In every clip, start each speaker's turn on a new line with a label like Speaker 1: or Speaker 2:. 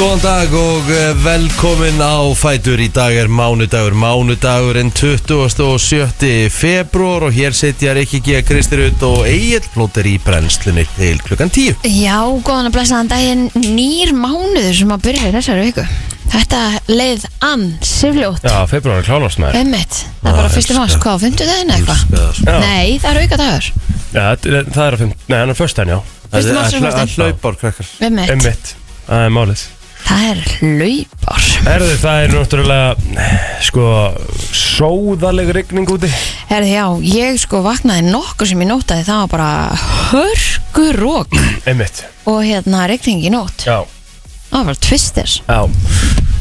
Speaker 1: Góðan dag og eh, velkomin á Fætur í dag er mánudagur Mánudagurinn 27. februar og hér setja Rikki G. Kristirut og Egil Blóter í brennslunni til klukkan 10
Speaker 2: Já, góðan að blessa þann daginn nýr mánuður sem að byrja í þessari viku Þetta leið ann, sifljótt
Speaker 3: Já, februar er klárast maður
Speaker 2: Ömmit, það er bara
Speaker 1: Ah,
Speaker 2: fyrstu mars,
Speaker 1: elska.
Speaker 2: hvað, á fimmtudaginn eða eitthvað?
Speaker 3: Já.
Speaker 2: Nei, það er auka dagur
Speaker 3: Já, það er- það er að fimm, nei, hann er föstæn, já
Speaker 2: Fyrstu mars
Speaker 1: Það
Speaker 2: er föstudaginn.
Speaker 1: hlaupar krakkar
Speaker 2: Ömmit,
Speaker 3: Emmitt, það er málið
Speaker 2: það er laupár
Speaker 3: Erðu, það er náttúrulega, sko, sóðaleg rigning úti
Speaker 2: Herði já, ég sko vaknaði nokkuð sem ég nótaði Það var bara hörgur rók
Speaker 3: Emmitt,
Speaker 2: Og hérna, regning í nótt
Speaker 3: já,
Speaker 2: Það var bara tvistir
Speaker 3: já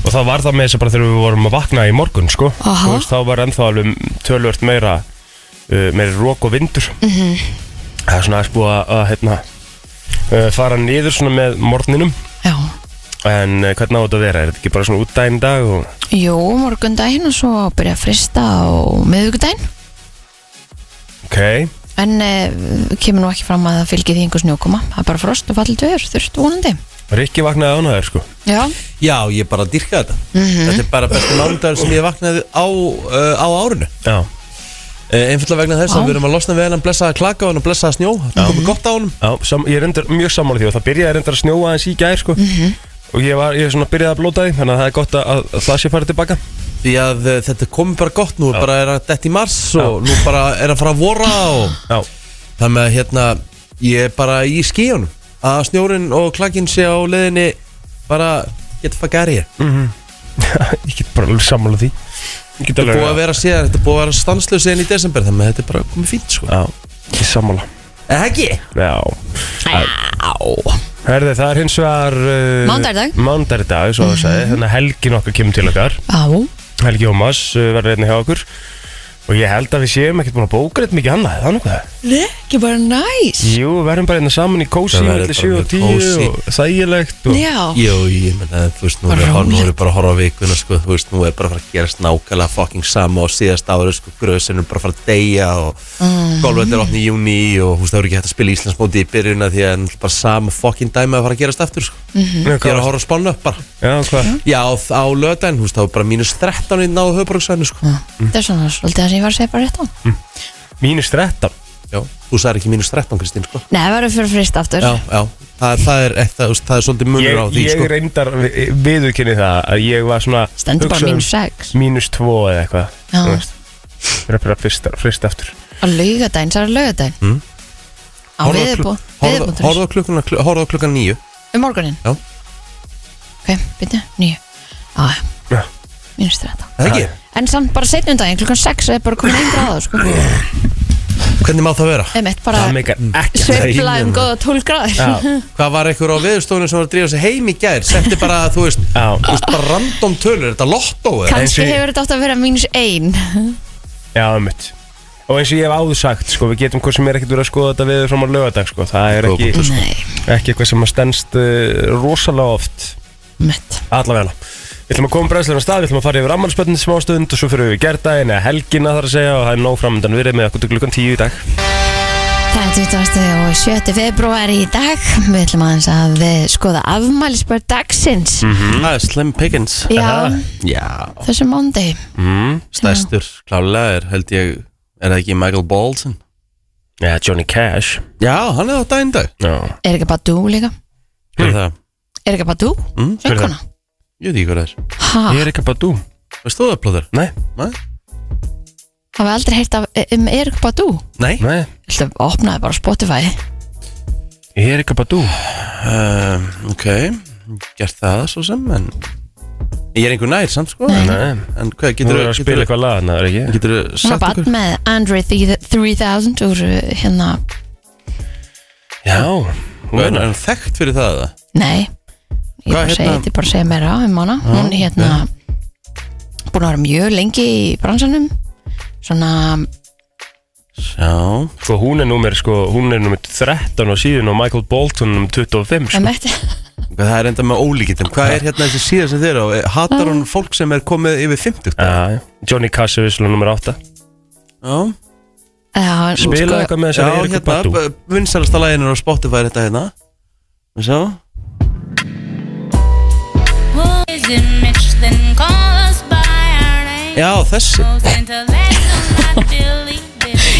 Speaker 3: Og það var það með þess að bara þegar við vorum að vakna í morgun, sko
Speaker 2: Aha.
Speaker 3: Þú veist, þá var ennþá alveg tölvört meira, uh, meira rók og vindur mm -hmm. Það er svona aðeins búið að, að, hérna, uh, fara niður svona með morgninum
Speaker 2: Já,
Speaker 3: En uh, hvernig á þetta að vera, er þetta ekki bara svona útdægin dag og
Speaker 2: jú, morgundaginn og svo byrja að frista á miðvikudaginn
Speaker 3: Ok,
Speaker 2: En uh, kemur nú ekki fram að það fylgir því einhver snjókoma Það er bara frost og fallit veður, þurft vonandi
Speaker 3: Rikki vaknaði ánæður, sko
Speaker 2: Já,
Speaker 1: Já, ég bara dýrka þetta
Speaker 2: Mhm.
Speaker 1: Þetta er bara besti mánudagur sem ég vaknaði á, uh, á árinu
Speaker 3: Já,
Speaker 1: uh, Einfallega vegna þess
Speaker 2: Vá.
Speaker 1: að við erum að losna við hennan blessaða klaka og hennan blessaða snjó Það komið gott á honum
Speaker 3: já sam, ég er reyndar mjög sammála því og það byrjaði reyndar að snjóa aðeins í gær sko. og ég var, ég svona byrjaði að blóta því þannig að það er gott að, að, að það sé farið tilbaka
Speaker 1: Því að uh, þetta komið bara gott nú, bara er að detti í mars og nú bara er að fara að vora og
Speaker 3: Já,
Speaker 1: Þannig að hérna, ég er bara í skíunum Að snjórin og klakinn sé á leiðinni bara geta fæk er ég
Speaker 3: ég get bara alveg sammála því Ég get alveg
Speaker 1: Búið að vera síðan, þetta er búið að vera stanslöð síðan í desember Þannig að þetta er bara komið fínt sko
Speaker 3: Já, ég er sammála
Speaker 1: Eða ekki?
Speaker 3: Já Herði, það er hins vegar uh,
Speaker 2: Mánudagur í dag.
Speaker 3: Mánudagur í dag, svo það sagði Þannig að helgin okkar kemur til okkar
Speaker 2: á,
Speaker 3: Helgi Ómas uh, verður einnig hjá okkur Og ég held að við séum ekkert búin að bóka þetta mikið annað, er það nokkuð
Speaker 2: ekki bara næs
Speaker 3: Jú, við verðum bara einnig saman í kósi
Speaker 1: Það verður
Speaker 3: Mellir
Speaker 1: bara
Speaker 3: 7 og
Speaker 1: mjög
Speaker 3: 10
Speaker 1: kósí.
Speaker 3: og þægilegt og...
Speaker 2: Já,
Speaker 1: Jú, ég menna, þú veist, nú
Speaker 2: Bara
Speaker 1: er, hor- nú
Speaker 2: rólegt.
Speaker 1: er ég bara að horfa á vikuna, sko, þú veist, nú er bara að fara að gerast nákvæmlega fucking sama og síðast ára, sko, gröðsinn er bara að fara að deyja og mm. golvet er opni í júni og, þú veist, það voru ekki hægt að spila Íslandsmóti í byrjun af því að náttúrulega bara sama fucking dæmi að fara að gerast aftur, sko.
Speaker 2: Mhm.
Speaker 3: Nei,
Speaker 1: Ég er
Speaker 3: hvað-
Speaker 1: að horfa að spána upp bara.
Speaker 3: Já, hvað?
Speaker 1: Já, þ- á löðdæn, þú veist, það var bara mínus 13 inn á höfbruksvæðinu, sko.
Speaker 2: það er svona svolítið það sem ég var að segja bara rétt á
Speaker 1: Mm.
Speaker 3: Mínus 13
Speaker 1: Já, þú sagði ekki mínus 13, Kristín, sko.
Speaker 2: Nei, það verður fyrir frist aftur
Speaker 1: Já, já, það, er- það er, það, það, það er svolítið
Speaker 3: Ég,
Speaker 1: munur á því,
Speaker 3: ég
Speaker 1: sko.
Speaker 3: reyndar viðurkynni það að ég var svona
Speaker 2: Stendur bara
Speaker 3: hugsa um
Speaker 2: mínus sex.
Speaker 3: Mínus 2 eða eitthvað
Speaker 2: Já.
Speaker 3: þú veist. Mér er bara frist, frist aftur
Speaker 2: Á laugadaginn, það er laugadaginn mm. Á
Speaker 1: Horfðu á klukk- horfðu-
Speaker 2: viðbúntur
Speaker 1: horfðu á klukkuna- kl- horfðu á klukkan níu.
Speaker 2: Um morguninn
Speaker 1: Já.
Speaker 2: Ok, byrju, nýju Á,
Speaker 3: Já.
Speaker 2: mínus þetta
Speaker 1: Er það ekki?
Speaker 2: En samt bara setnum daginn, klukkan 6 er bara komin einn gráða sko.
Speaker 1: Hvernig má það vera?
Speaker 2: Einmitt,
Speaker 3: Það
Speaker 2: bara
Speaker 3: meikar ekki
Speaker 2: sveifla um góða 12 gráður
Speaker 3: Já,
Speaker 1: Hvað var einhver á viðstofunum sem var að drífa sig heim í gær Setti bara, þú veist,
Speaker 3: já
Speaker 1: þú veist bara random tölur Þetta lottó eða?
Speaker 3: Kann- eins
Speaker 2: Kanski
Speaker 3: og ég-
Speaker 2: hefur þetta átt að vera mínus ein
Speaker 3: Já, einmitt Og eins og ég hef áður sagt, sko, við getum hvað sem er ekkert verið að skoða þetta við fram á lögadag, sko Það er
Speaker 1: Góð
Speaker 3: ekki,
Speaker 2: Nei,
Speaker 3: ekki eitthvað sem að stendst uh, rosalega oft
Speaker 2: mitt
Speaker 3: Allavega Við ætlum að koma bræðslega á stað, við ætlum að fara yfir ammalspöndin smá stund og svo fyrir við gerdaginn eða helgina þar að segja og það er nóg framöndan verið með okkur til klukkan 10 í dag.
Speaker 2: Það er 20. og 7. februar í dag Við ætlum aðeins að eh, skoða afmælisbörn dagsins
Speaker 3: Mm.
Speaker 1: Það er Slim Pickens
Speaker 2: Já,
Speaker 1: Mhm. Já,
Speaker 2: þessu mándi
Speaker 3: Mm,
Speaker 1: stærstur Klálega er, held ég, er það ekki Michael Bolton?
Speaker 3: Já, Johnny Cash.
Speaker 1: Já, hann er á daginn dag
Speaker 3: Já.
Speaker 2: Er ekki bara þú líka?
Speaker 1: Hver er það?
Speaker 2: Er ekki bara þú?
Speaker 1: Mm,
Speaker 3: hver er það?
Speaker 2: Söngkona?
Speaker 1: Ég veit ekki hvað það er
Speaker 2: Ha,
Speaker 3: Ég er ekki bara þú.
Speaker 1: Veist þú það, plóður?
Speaker 3: Nei.
Speaker 1: Nei?
Speaker 2: hafa aldrei heyrt af, um Er ekki bara þú?
Speaker 1: Nei?
Speaker 3: Nei.
Speaker 2: Þetta opnaði bara Spotify
Speaker 3: Ég er ekki bara þú.
Speaker 1: Um, ok, gert það svo sem, en Ég er einhver nær, samt sko En,
Speaker 3: Nei.
Speaker 1: en hvað,
Speaker 3: Þú
Speaker 1: getur
Speaker 3: er að spila eitthvað lag, það er ekki.
Speaker 1: Getur þú
Speaker 2: Hún er
Speaker 1: sagt
Speaker 2: bara
Speaker 1: okkur?
Speaker 2: með Andre 3000 úr eh, hérna
Speaker 3: Já.
Speaker 1: Er er
Speaker 3: Hún er
Speaker 1: hann þekkt fyrir það? eða?
Speaker 2: Nei, ég
Speaker 1: Hvað
Speaker 2: bara segi,
Speaker 1: hérna?
Speaker 2: þetta er bara að segja meira um hana Hún er hérna búin að vera mjög lengi í bransanum Svona
Speaker 1: Já
Speaker 3: Sko hún er númer, sko, hún er númer 13 á síðun og Michael Bolton númer 25,
Speaker 2: Sko.
Speaker 3: sko.
Speaker 1: Hvað Það er enda með ólíkindum Hvað er hérna þessi síða sem þeir á? Hatar
Speaker 2: Ah.
Speaker 1: hún fólk sem er komið yfir 50?
Speaker 3: Já, já. Johnny Cash er vissulega númer 8.
Speaker 1: Já,
Speaker 2: Já,
Speaker 3: Spila
Speaker 2: sko,
Speaker 3: eitthvað með þess
Speaker 1: já
Speaker 3: að ég er ekki bara þú.
Speaker 1: hérna Vinsalasta lægin er á Spotify er þetta hérna Við sjá
Speaker 4: his image, then call us by our name.
Speaker 1: Já, þessi
Speaker 4: Goes into that, I believe it.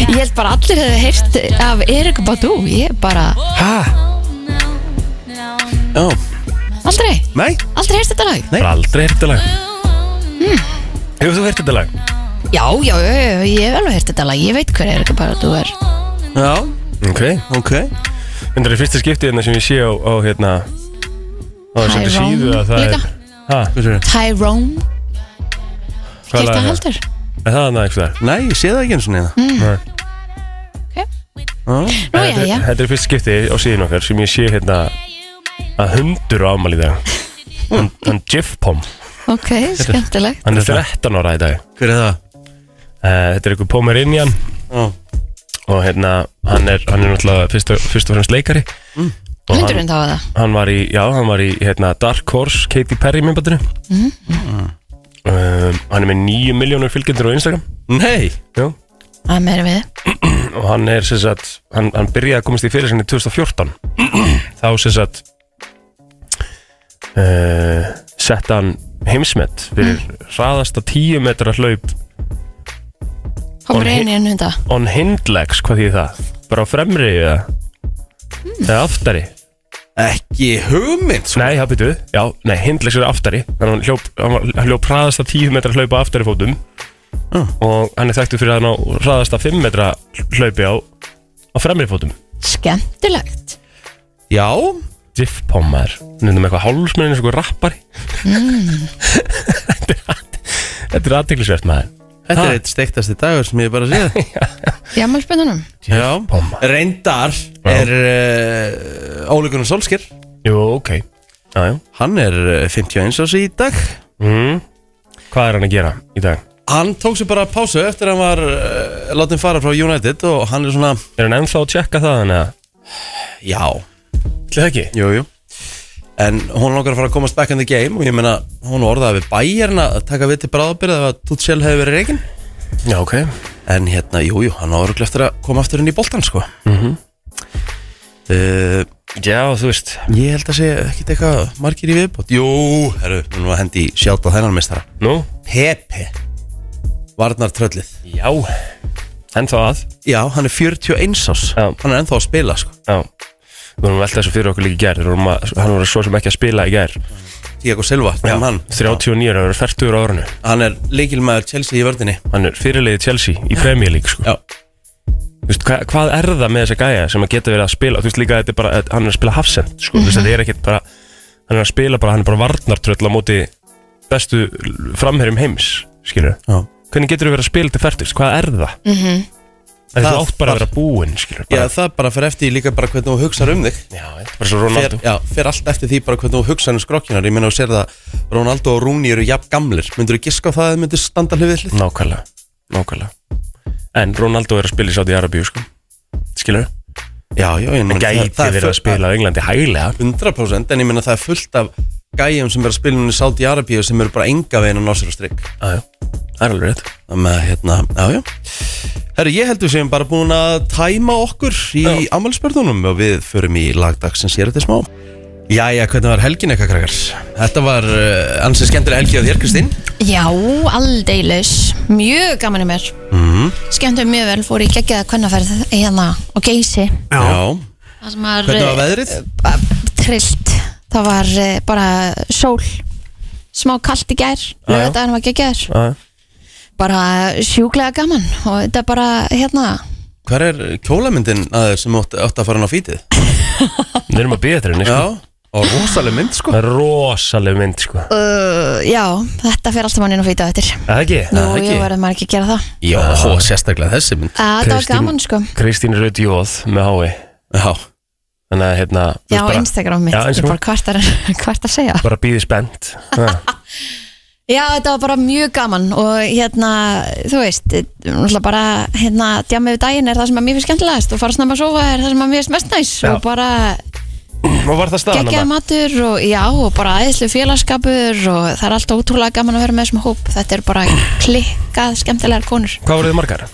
Speaker 2: Ég held bara allir hefur heyrt af Erik Badú Ég bara,
Speaker 1: Hæ?
Speaker 4: Oh, no, no.
Speaker 1: Já,
Speaker 2: aldrei,
Speaker 1: nei,
Speaker 2: aldrei heyrt þetta lag
Speaker 1: nei
Speaker 3: Bara aldrei heyrt þetta lag Hefur þú heyrt þetta lag?
Speaker 2: Já, já, já, já, ég hef alveg heyrt þetta lag Ég veit hver Erik Badú er
Speaker 1: Já,
Speaker 3: Ok
Speaker 1: ok
Speaker 3: Þetta er í fyrsta skipti hérna sem ég sé á, á hérna á þessari
Speaker 2: Tyrone
Speaker 3: síðu að það
Speaker 2: líka.
Speaker 3: er Ha,
Speaker 1: Hvað sér
Speaker 2: Tyrone, gert
Speaker 3: hvað
Speaker 2: að
Speaker 3: lag er það?
Speaker 2: heldur
Speaker 3: Er það annað eitthvað?
Speaker 1: Nei, ég sé það ekki hérna. eins og neina
Speaker 2: Mm.
Speaker 3: Nei.
Speaker 1: Já,
Speaker 2: Nú, já,
Speaker 3: Þetta
Speaker 2: já,
Speaker 3: er- þetta er fyrst skipti á síðan okkar sem ég sé hérna
Speaker 4: Hmm.
Speaker 3: að hundur á afmæli í dag hann, hann Jeff Pom,
Speaker 2: ok, skemmtilegt
Speaker 3: hann er 13 ára í dag
Speaker 1: hver er það?
Speaker 3: uh, þetta er einhver Pomeranian
Speaker 1: Já,
Speaker 3: og hérna hann er, hann er náttúrulega fyrst og, fyrst og fremst leikari og hann,
Speaker 2: Hundurinn þá að það
Speaker 3: hann var í, já, hann var í hérna, Dark Horse Katy Perry myndbandinu um, hann er með 9 miljónur fylgjendur á Instagram
Speaker 1: nei
Speaker 3: já.
Speaker 2: Það meira við
Speaker 3: og hann er sem sagt, hann, hann byrjaði að komast í fyrir sinni 2014 þá sem sagt uh, sett hann heimsmet fyrir hraðasta 10 metra hlaup
Speaker 2: Komur
Speaker 3: Og
Speaker 2: einu en hunda
Speaker 3: on hindlegs, hvað þýð það? bara á fremri eða eða aftari,
Speaker 1: Ekki hugmynd sko.
Speaker 3: nei það byrju já, nei, hindlegs er aftari þannig að hann hljóp, hann var- hann hljóp hraðasta 10 metra hlaup á aftari fótum og hann er þekktu fyrir að ná hraðasta 5 metra hlaupi á, á fremri fótum
Speaker 2: Skemmtilegt
Speaker 1: Já,
Speaker 3: Diff Pommar Nefnum eitthvað hálfsmennin eins og eitthvað rappari Mm. Þetta er at- Þetta er aðtiklisvert maður
Speaker 1: þetta
Speaker 3: Ha?
Speaker 1: er eitt steiktasti dagur sem ég hef bara séð
Speaker 2: Ég amal spennunum
Speaker 1: Já,
Speaker 3: Pomma.
Speaker 1: reyndar er uh, Óleikunum Solskir
Speaker 3: Jú, ok Jájú
Speaker 1: Hann er eh, 51 árs í dag
Speaker 3: mm. Hvað er hann að gera í dag?
Speaker 1: Hann tók sér bara pásu eftir að hann var uh, látin fara frá United og hann er svona
Speaker 3: Er hann ennþá að tjekka það hann eða?
Speaker 1: Já,
Speaker 3: Ætli það ekki?
Speaker 1: jú, jú En hún langar að fara að komast back in the game og ég meina hún orðaði við bæjarna að taka við til bráðbyrð ef að Tutsel hefði verið reygin
Speaker 3: Já, ok
Speaker 1: En hérna, jú, jú, hann áður eftir að koma aftur inn í boltan, sko Eh, mm
Speaker 3: Já, þú veist
Speaker 1: Ég held að segja ekkit eitthvað margir í viðbót Jú, herru, nú erum við að hendi sjátt á þennan meistara
Speaker 3: Nú?
Speaker 1: Pepe Varnar tröllið
Speaker 3: Já Ennþá að
Speaker 1: Já, hann er 41 ás
Speaker 3: Já.
Speaker 1: Hann er ennþá að spila, sko
Speaker 3: Já Við vorum veltað þessu fyrir okkur líka í gær Við vorum að- Hann var svo sem ekki að spila í gær
Speaker 1: Diego Silva, já. hann
Speaker 3: 39 ára, það er 40 ára árinu
Speaker 1: Hann er leikilmaður Chelsea í vördinni
Speaker 3: Hann er fyrirliði Chelsea í Premier League sko.
Speaker 1: Já,
Speaker 3: Þú veist, hva, hvað er það með þessa gæja sem að geta verið að spila þú veist líka að þetta er bara, að hann er að spila hafsend sko, mm -hmm.
Speaker 1: Mhm.
Speaker 3: þetta er ekkert bara hann er að spila bara, hann er bara varnartröll á móti bestu framherjum heims skilur,
Speaker 1: já Mhm.
Speaker 3: hvernig getur þú verið að spila til færtist, hvað er það? Mm -hmm.
Speaker 1: Það-
Speaker 3: þú átt bara að vera búinn skilur, bara,
Speaker 1: Já, það bara fer eftir því líka bara hvernig þú hugsar um þig
Speaker 3: já, þetta er bara svo
Speaker 1: fer,
Speaker 3: Ronaldo
Speaker 1: já, fer allt eftir því bara hvernig þú hugsar um skrokkinar Ég meina þú sér það, Ronaldo og Rooney eru jafn gamlir Myndur þú giska á það að þið myndir standa hlið við hlið?
Speaker 3: nákvæmlega, nákvæmlega en Ronaldo er að spila í Saudi Arabíu sko. skilur,
Speaker 1: Já, já, ég meina
Speaker 3: gæti verið að spila á Englandi hægilega
Speaker 1: 100% en ég meina það er fullt af gæjum sem vera að spila núna í Saudi Arabíu sem eru bara enga veginn að ná sér á strikk
Speaker 3: já, já, það er alveg rétt
Speaker 1: þannig að hérna, já, já Herru, ég heldur sem bara búin að tæma okkur í ammælspörðunum og við förum í lagdag sem sér þetta smá Jæja, hvernig var helgin eitthvað krakkar? Þetta var uh, ansið skemmtilega helgi á þér, Kristín
Speaker 2: Já, aldeilis Mjög gaman í mér
Speaker 1: mm.
Speaker 2: Skemmtum mjög vel, fór í geggjaða kvennaferð Hérna og geysi
Speaker 1: Já,
Speaker 2: Það sem var eh,
Speaker 1: hvernig var veðrið?
Speaker 2: trillt Það var eh, bara sól Smá kalt í gær Lögðardaginn var geggjaður
Speaker 3: já, já.
Speaker 2: Bara sjúklega gaman Og þetta bara, hérna
Speaker 1: Hvar er kjólamyndin að þér sem átt, átt að fara hann á fítið?
Speaker 3: við erum að býða þér henni,
Speaker 1: Já,
Speaker 3: sko.
Speaker 1: og rosaleg mynd, sko
Speaker 3: það er rosaleg mynd sko. er
Speaker 2: uh, Já, þetta fer alltaf mann inn og fýta eftir
Speaker 3: það ekki?
Speaker 2: Nú,
Speaker 1: það ekki?
Speaker 2: ég verður maður ekki að gera það
Speaker 1: Já, sérstaklega þessi mynd
Speaker 2: Að Þetta var
Speaker 3: Kristín-
Speaker 2: gaman, sko
Speaker 3: Kristín Rödd Jóð með hái
Speaker 1: Já,
Speaker 3: Þannig að hérna þú
Speaker 2: Já,
Speaker 3: veist bara,
Speaker 2: Instagram mitt, ég
Speaker 3: Já,
Speaker 2: er
Speaker 3: Instagram.
Speaker 2: bara hvart að, hvart að segja
Speaker 3: bara býði spennt
Speaker 2: Ah,
Speaker 3: Ha,
Speaker 2: Já, þetta var bara mjög gaman og hérna, þú veist náttúrulega bara, hérna, djamið við daginn er það sem að mér finnst skemmtilegast og fara snemma að sofa er það sem að mér finnst mest næs
Speaker 3: Já.
Speaker 2: og bara
Speaker 3: Og var það staðan
Speaker 2: geggjaði
Speaker 3: hann?
Speaker 2: matur og já, og bara aðeinslu félagskapur og það er alltaf ótrúlega gaman að vera með þessum hóp þetta er bara klikkað skemmtilegar konur
Speaker 3: Hvað voruð þið margar?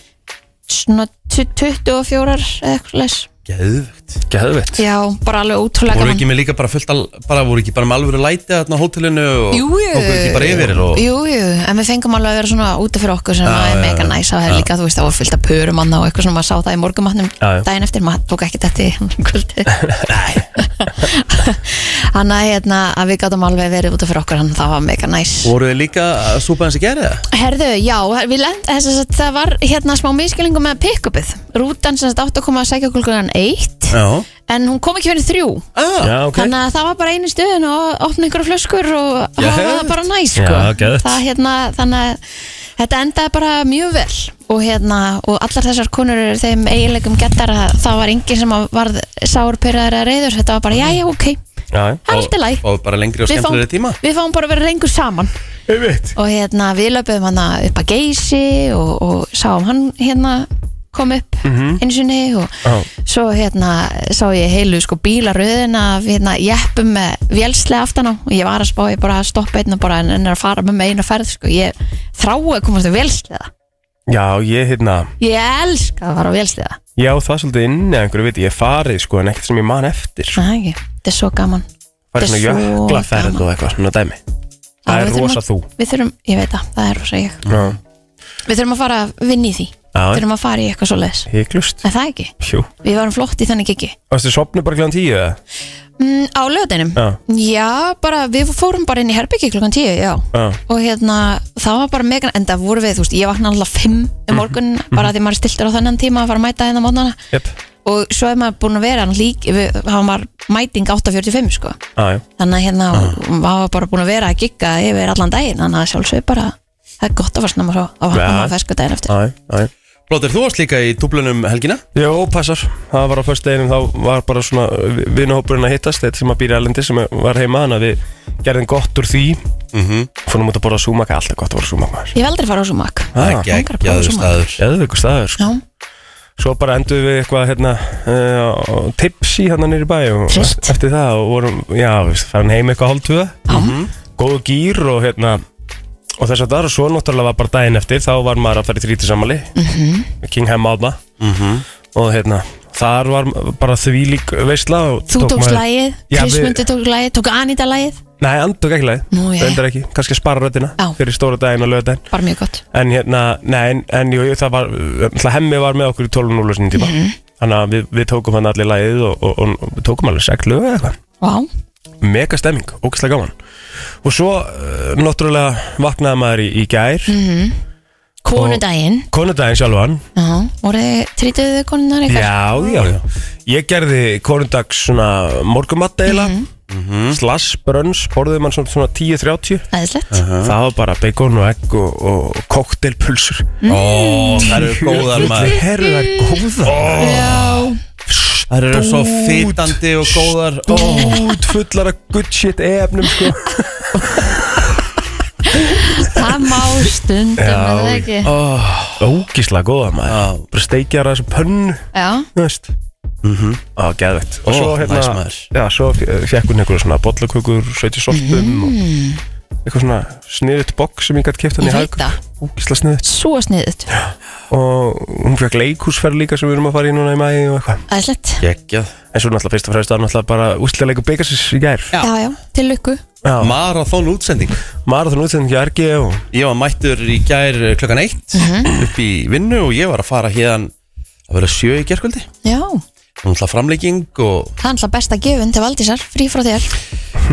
Speaker 2: svona tu- 24 eða eitthvað leis
Speaker 1: geðvögt
Speaker 3: Geðvett
Speaker 2: Já, bara alveg ótrúlega
Speaker 1: voru
Speaker 2: gaman
Speaker 1: ekki með líka bara fullt al, bara voru ekki bara með alvöru læti þarna á hótelinu og
Speaker 2: Jú, jú.
Speaker 1: tóku ekki bara yfir og
Speaker 2: Jú, jú, en við fengum alveg að vera svona úti fyrir okkur sem
Speaker 1: Já,
Speaker 2: var
Speaker 1: já,
Speaker 2: mega
Speaker 1: já.
Speaker 2: næs og það er líka, þú veist, það voru fyllt af pörum annað og eitthvað svona, maður sá það í morgumatnum
Speaker 3: Já, já.
Speaker 2: daginn eftir, maður tók ekki þetta í kvöldi Þannig að, hérna, að við gátum alveg verið úti fyrir okkur, þannig að það var mega næs
Speaker 1: voru þið líka að súpa hans í gerði
Speaker 2: Herðu, já, við lend, þess að það var hérna smá miskilningu með pick-upið Rútan sem þetta átt að koma að segja klukkan 1
Speaker 1: já
Speaker 2: En hún kom ekki fyrir þrjú
Speaker 1: ah,
Speaker 3: Já, ok
Speaker 2: Þannig að það var bara einu stöðin og opna einhverja flöskur og
Speaker 1: Geðveikt.
Speaker 2: hafa það bara næ sko.
Speaker 3: Já, geðveikt.
Speaker 2: það, hérna, Þannig að þetta endaði bara mjög vel og, hérna, og allar þessar konur eru þeim eiginleikum gettar að það var enginn sem að varð sárpyrraður eða reyður þetta var bara jæja ok,
Speaker 3: Já, já.
Speaker 2: það er allt í læg
Speaker 1: og bara lengri og
Speaker 2: Við fáum,
Speaker 1: skemmtilegri tíma
Speaker 2: við fáum bara að vera rengur saman
Speaker 1: einmitt
Speaker 2: og hérna við löpum hana upp að geysi og, og sáum hann hérna kom upp einu sinni og
Speaker 3: Já.
Speaker 2: svo hérna sá ég heilu sko bílaröðina af hérna jeppum með vélslega aftan á og ég var að spá ég bara að stoppa einn og bara en en er að fara með mig einu ferð sko ég þrái að komast á vélslega
Speaker 3: Já, ég hérna
Speaker 2: ég elska að fara á vélslega
Speaker 3: Já, það er svolítið inni að einhverju viti Ég hef farið sko en ekkert sem ég man eftir sko.
Speaker 2: það er ekki, þetta er svo gaman
Speaker 3: Farið svona
Speaker 2: þetta er svo
Speaker 3: jöklaferð
Speaker 2: gaman.
Speaker 3: og eitthvað svona dæmi Það
Speaker 2: við
Speaker 3: er
Speaker 2: þurfum
Speaker 3: rosa
Speaker 2: að-
Speaker 3: þú
Speaker 2: við þurfum, ég veit það, það er rosa ég
Speaker 3: Já,
Speaker 2: við þurfum að fara að vinna í því
Speaker 3: Já,
Speaker 2: þurfum að fara í eitthvað svo leiðis
Speaker 3: hygglust
Speaker 2: er það ekki?
Speaker 3: Jú
Speaker 2: við varum flott í þannig ekki
Speaker 3: Varstu sopnu bara klæðan tíu eða?
Speaker 2: Mm, á löðinum?
Speaker 3: Já.
Speaker 2: Já, bara við fórum bara inn í herbyggi klukkan tíu, já.
Speaker 3: Já,
Speaker 2: Og hérna, það var bara mega, en það voru við, þú veist, ég vakna alltaf fimm
Speaker 3: Mhm.
Speaker 2: um morgun, bara því maður er stiltur á þennan tíma að fara að mæta hérna mótnana.
Speaker 3: jöp
Speaker 2: Og svo er maður búin að vera hann lík, við, hafa maður mæting 8.45, sko.
Speaker 3: Já, já
Speaker 2: Þannig að hérna,
Speaker 3: Ah.
Speaker 2: maður var bara búin að vera að gigga yfir allan daginn, þannig að sjálfsög bara, það er gott að fara snemma svo og
Speaker 3: Já.
Speaker 2: hann maður fersku daginn eftir.
Speaker 3: Já, já, já
Speaker 1: Blóttir, þú varst líka í dúblunum um helgina
Speaker 3: Jó, passar. Það var á fyrst deginum, þá var bara svona vinnahópurinn að hittast, þetta sem að býra erlendi sem var heima, þannig að við gerðum gott úr því,
Speaker 1: mm -hmm.
Speaker 3: fórum út að borða súmaka, alltaf gott að borða súmaka maður.
Speaker 2: Ég vil aldrei fara á súmak.
Speaker 1: Það
Speaker 3: Ah,
Speaker 1: er
Speaker 2: langar að prófa
Speaker 1: geggjaður
Speaker 2: svona.
Speaker 1: staður
Speaker 3: Eðvöku staður, sko.
Speaker 2: Já,
Speaker 3: Svo bara endur við eitthvað, hérna, uh, tipsi hérna nýri bæ og
Speaker 2: Flott.
Speaker 3: eftir það og vorum, já, veist, farin heim eitthvað hálftuða,
Speaker 2: já,
Speaker 3: Mhm. góðu gýr og hérna, og þess að það er svo náttúrulega var bara daginn eftir, þá var maður að fara í trítisamali, mm
Speaker 2: Mhm.
Speaker 3: -hmm. King Hem Átna, og hérna, þar var bara því lík veistla og
Speaker 2: Þú
Speaker 3: tók
Speaker 2: tókst
Speaker 3: maður-
Speaker 2: lagið,
Speaker 3: Já, við-
Speaker 2: Krismundi tók lagið, tók Anita lagið,
Speaker 3: Nei, andug ekki leið,
Speaker 2: Nú, já.
Speaker 3: reyndar ekki, kannski að spara röddina
Speaker 2: Já.
Speaker 3: fyrir stóra daginn og lögadaginn
Speaker 2: bara mjög gott.
Speaker 3: En hérna, nei, en, en jú, jú, það var, það hemmi var með okkur í 12.0 sinni tíma
Speaker 2: Mhm.
Speaker 3: Þannig að við, við tókum hann allir lagið og, og, og, og við tókum alveg seklu eða eitthvað
Speaker 2: Vá,
Speaker 3: Mega stemming, ógæslega gaman Og svo, uh, náttúrulega, vaknaði maður í, í gær
Speaker 2: konudaginn.
Speaker 3: Konudaginn sjálfan
Speaker 2: Já, voru þið, trýtuðu þið konunar eitthvað?
Speaker 3: Já, já, já Ég gerði konundags svona morgumatt eiginlega
Speaker 1: Mhm.
Speaker 3: Slass, brönns, borðið mann svona, svona 10.30
Speaker 2: Æðislegt.
Speaker 3: Það var bara bacon og egg og, og koktelpulsur
Speaker 1: Ó, það eru góðar maður
Speaker 3: Herru, það er góðar oh.
Speaker 2: Já.
Speaker 1: Það eru svo fýtandi og góðar Ó,
Speaker 3: Út fullar af good shit efnum sko.
Speaker 2: Það má stundum,
Speaker 3: Já.
Speaker 2: er það ekki?
Speaker 3: Ógísla góða maður
Speaker 1: Já.
Speaker 3: Bara steikja þar þessu pönnu
Speaker 2: Já,
Speaker 3: Þú veist Á, geðveitt Og
Speaker 1: Mhm. Ó,
Speaker 3: svo
Speaker 1: næs
Speaker 3: hérna
Speaker 1: maður.
Speaker 3: Já, svo fekk hún einhverju svona bollakökur Sveiti sortum og eitthvað svona sniðut box sem ég gætt kæft hann í
Speaker 2: Ég veit
Speaker 3: hag
Speaker 2: það.
Speaker 3: Ógísla sniðut
Speaker 2: svo sniðut.
Speaker 3: Og hún fekk leikhúsferð líka sem við erum að fara í núna í mæði og eitthvað
Speaker 2: Æðislegt.
Speaker 1: geggjað
Speaker 3: En svo náttúrulega fyrst og fremst var náttúrulega bara úslega leikur byggasins í gær
Speaker 1: Já.
Speaker 2: Já, já, til lukku.
Speaker 3: Já.
Speaker 1: Marathon útsending
Speaker 3: Marathon útsending hjá RG og
Speaker 1: Ég var mættur í gær eh, klukkan eitt
Speaker 2: Mhm.
Speaker 1: upp í vinnu og ég var að fara hérna að vera sjö í gerkvöldi
Speaker 2: Já,
Speaker 1: Nú ætla framlegging og
Speaker 2: það er alltaf besta gefun til Valdísar, frí frá þér.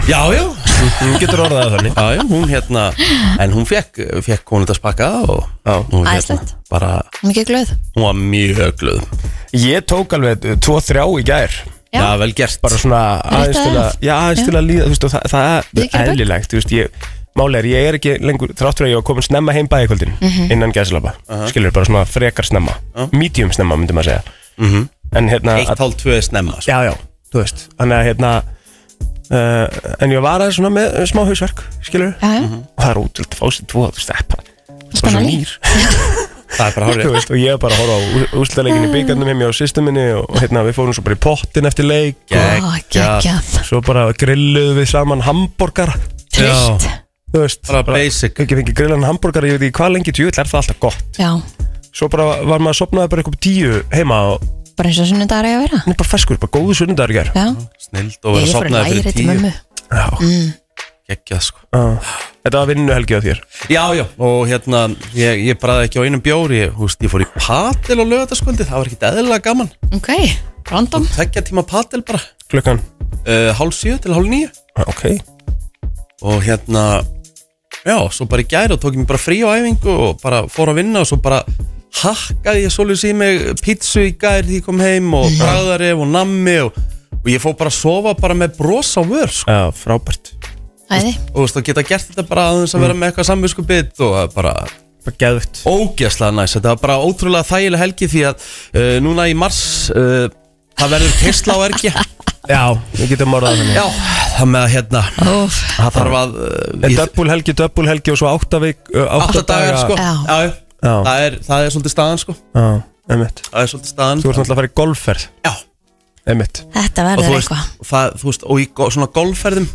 Speaker 1: Já, já,
Speaker 3: Hún getur orðað það þannig
Speaker 1: já, já hún hérna En hún fekk, fekk konundaspakka og
Speaker 3: Já.
Speaker 1: hún hérna
Speaker 2: Æðislegt.
Speaker 1: bara,
Speaker 2: Mikið glöð.
Speaker 1: hún var mjög glöð
Speaker 3: Ég tók alveg 2-3 í gær
Speaker 2: Já.
Speaker 1: Já, vel gert
Speaker 3: Bara svona aðeins til
Speaker 2: af.
Speaker 3: að Já, aðeins
Speaker 2: Já.
Speaker 3: til að líða, þú veist, og það, það
Speaker 2: Við
Speaker 3: er
Speaker 2: gerum
Speaker 3: eðlilegt, þú veist, ég Máli er, ég er ekki lengur, þrátt fyrir að ég var komin snemma heim bæði kvöldin
Speaker 2: Mhm.
Speaker 3: Innan gæðslapa Skilur bara svona frekar snemma Medium snemma, myndi maður segja En hérna
Speaker 1: Eitt hálf tvö er snemma sko.
Speaker 3: Já, já, þú veist Þannig að hérna uh, En ég var aðeins svona með smá hausverk, skilur
Speaker 2: Já, já,
Speaker 3: Og það er útrúld að fá sér tvo, þú veist, það er bara bara Mhm. svo
Speaker 2: spennan í.
Speaker 3: nýr
Speaker 1: Það er bara
Speaker 3: Þú
Speaker 1: hárið
Speaker 3: veist, og ég var bara að horfa á
Speaker 2: Ah.
Speaker 3: úrslaleginni byggarnum heim hjá sýstu minni og og hérna við fórum svo bara í pottin eftir leik
Speaker 2: Ó,
Speaker 1: Geggjað.
Speaker 2: geggjað.
Speaker 3: svo bara grilluðum við saman hambúrgar
Speaker 2: Trillt.
Speaker 3: þú veist,
Speaker 1: Bara basic.
Speaker 3: ekki fengið grillan hambúrgar ég veit ekki hvað lengi tjóðl er það alltaf gott
Speaker 2: Já,
Speaker 3: svo bara var maður að sopnaði bara eitthvað tíu heima og
Speaker 2: bara eins og sunnudagur eiga að vera
Speaker 3: Hún er bara ferskur, bara góðu sunnudagur í gær
Speaker 2: Já,
Speaker 1: Snild og vera
Speaker 2: ég fór að
Speaker 1: sopnaði
Speaker 2: læra
Speaker 1: fyrir
Speaker 2: þetta
Speaker 1: tíu
Speaker 2: mömmu
Speaker 3: Já,
Speaker 1: Mm. Geggjað, sko.
Speaker 3: já. Þetta var vinnuhelgi á þér
Speaker 1: Já, já, og hérna ég, ég bræði ekki á einum bjór ég, húst, ég fór í patel á lögataskvöldi það var ekkit eðlilega gaman
Speaker 2: Ok, random
Speaker 1: Tekja tíma patel bara
Speaker 3: Klukkan
Speaker 1: uh, Hálf sjö til hálf níu
Speaker 3: Já, Ok
Speaker 1: Og hérna, já, svo bara í gæri og tók ég mér bara frí á æfingu og bara fór að vinna og svo bara hakkaði ég svolítið í mig pítsu í gæri því ég kom heim og bræðarif og nammi og, og ég fór bara að sofa bara með bros á vör sko.
Speaker 3: Já, frábært
Speaker 2: Æði,
Speaker 1: og þú veist, þá geta gert þetta bara aðeins að vera með eitthvað samvisku bit og að bara
Speaker 3: Bara geðvitt
Speaker 1: ógeðslega næst, þetta var bara ótrúlega þægileg helgi því að uh, núna í mars uh, það verður kistla á ergi
Speaker 3: Já, við getum orðað þannig
Speaker 1: já, það með að hérna
Speaker 2: óf
Speaker 1: það þarf að uh,
Speaker 3: En
Speaker 1: í
Speaker 3: döbbul helgi, döbbul helgi og svo átta vik uh,
Speaker 1: átta dagar sko
Speaker 2: Já.
Speaker 1: já, já.
Speaker 3: Já.
Speaker 1: Það, er, það er svolítið staðan sko
Speaker 3: Já, einmitt
Speaker 1: það er svolítið staðan
Speaker 3: Þú ert náttúrulega að fara í golfferð
Speaker 1: já,
Speaker 3: Einmitt
Speaker 2: Þetta
Speaker 1: og þú
Speaker 2: verður
Speaker 1: veist,
Speaker 2: eitthvað
Speaker 1: það, þú veist og í go- svona golfferðum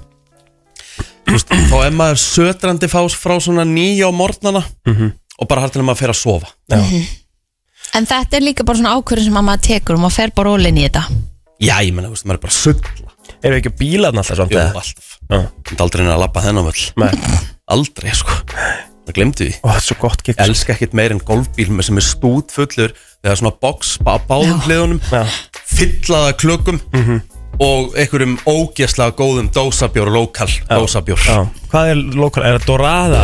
Speaker 1: þú veist, þá er maður sötrandi fás frá svona nýja á morgnana og bara hartilega maður fer að sofa
Speaker 2: En þetta er líka bara svona ákvörðin sem að maður tekur og maður fer bara rólinn í þetta
Speaker 1: já, ég menna, þú veist, maður er bara að sulla
Speaker 3: Eru ekki bílarn alltaf samt
Speaker 1: jú,
Speaker 3: eða?
Speaker 1: alltaf,
Speaker 3: Já
Speaker 1: þú ert aldrei neina að labba þennan völl
Speaker 3: Nei
Speaker 1: aldrei sko það glemdi því
Speaker 3: Ó, þetta er svo gott gig
Speaker 1: Ég elska ekkert meir en golfbíl með sem er stút fullur þegar svona box á báðum
Speaker 2: Já.
Speaker 1: hliðunum
Speaker 3: Já. Mhm.
Speaker 1: fyllaða klökum og einhverjum ógeðslega góðum dósabjór, lokal dósabjór
Speaker 3: Já Hvað er lokal, er það Dorada?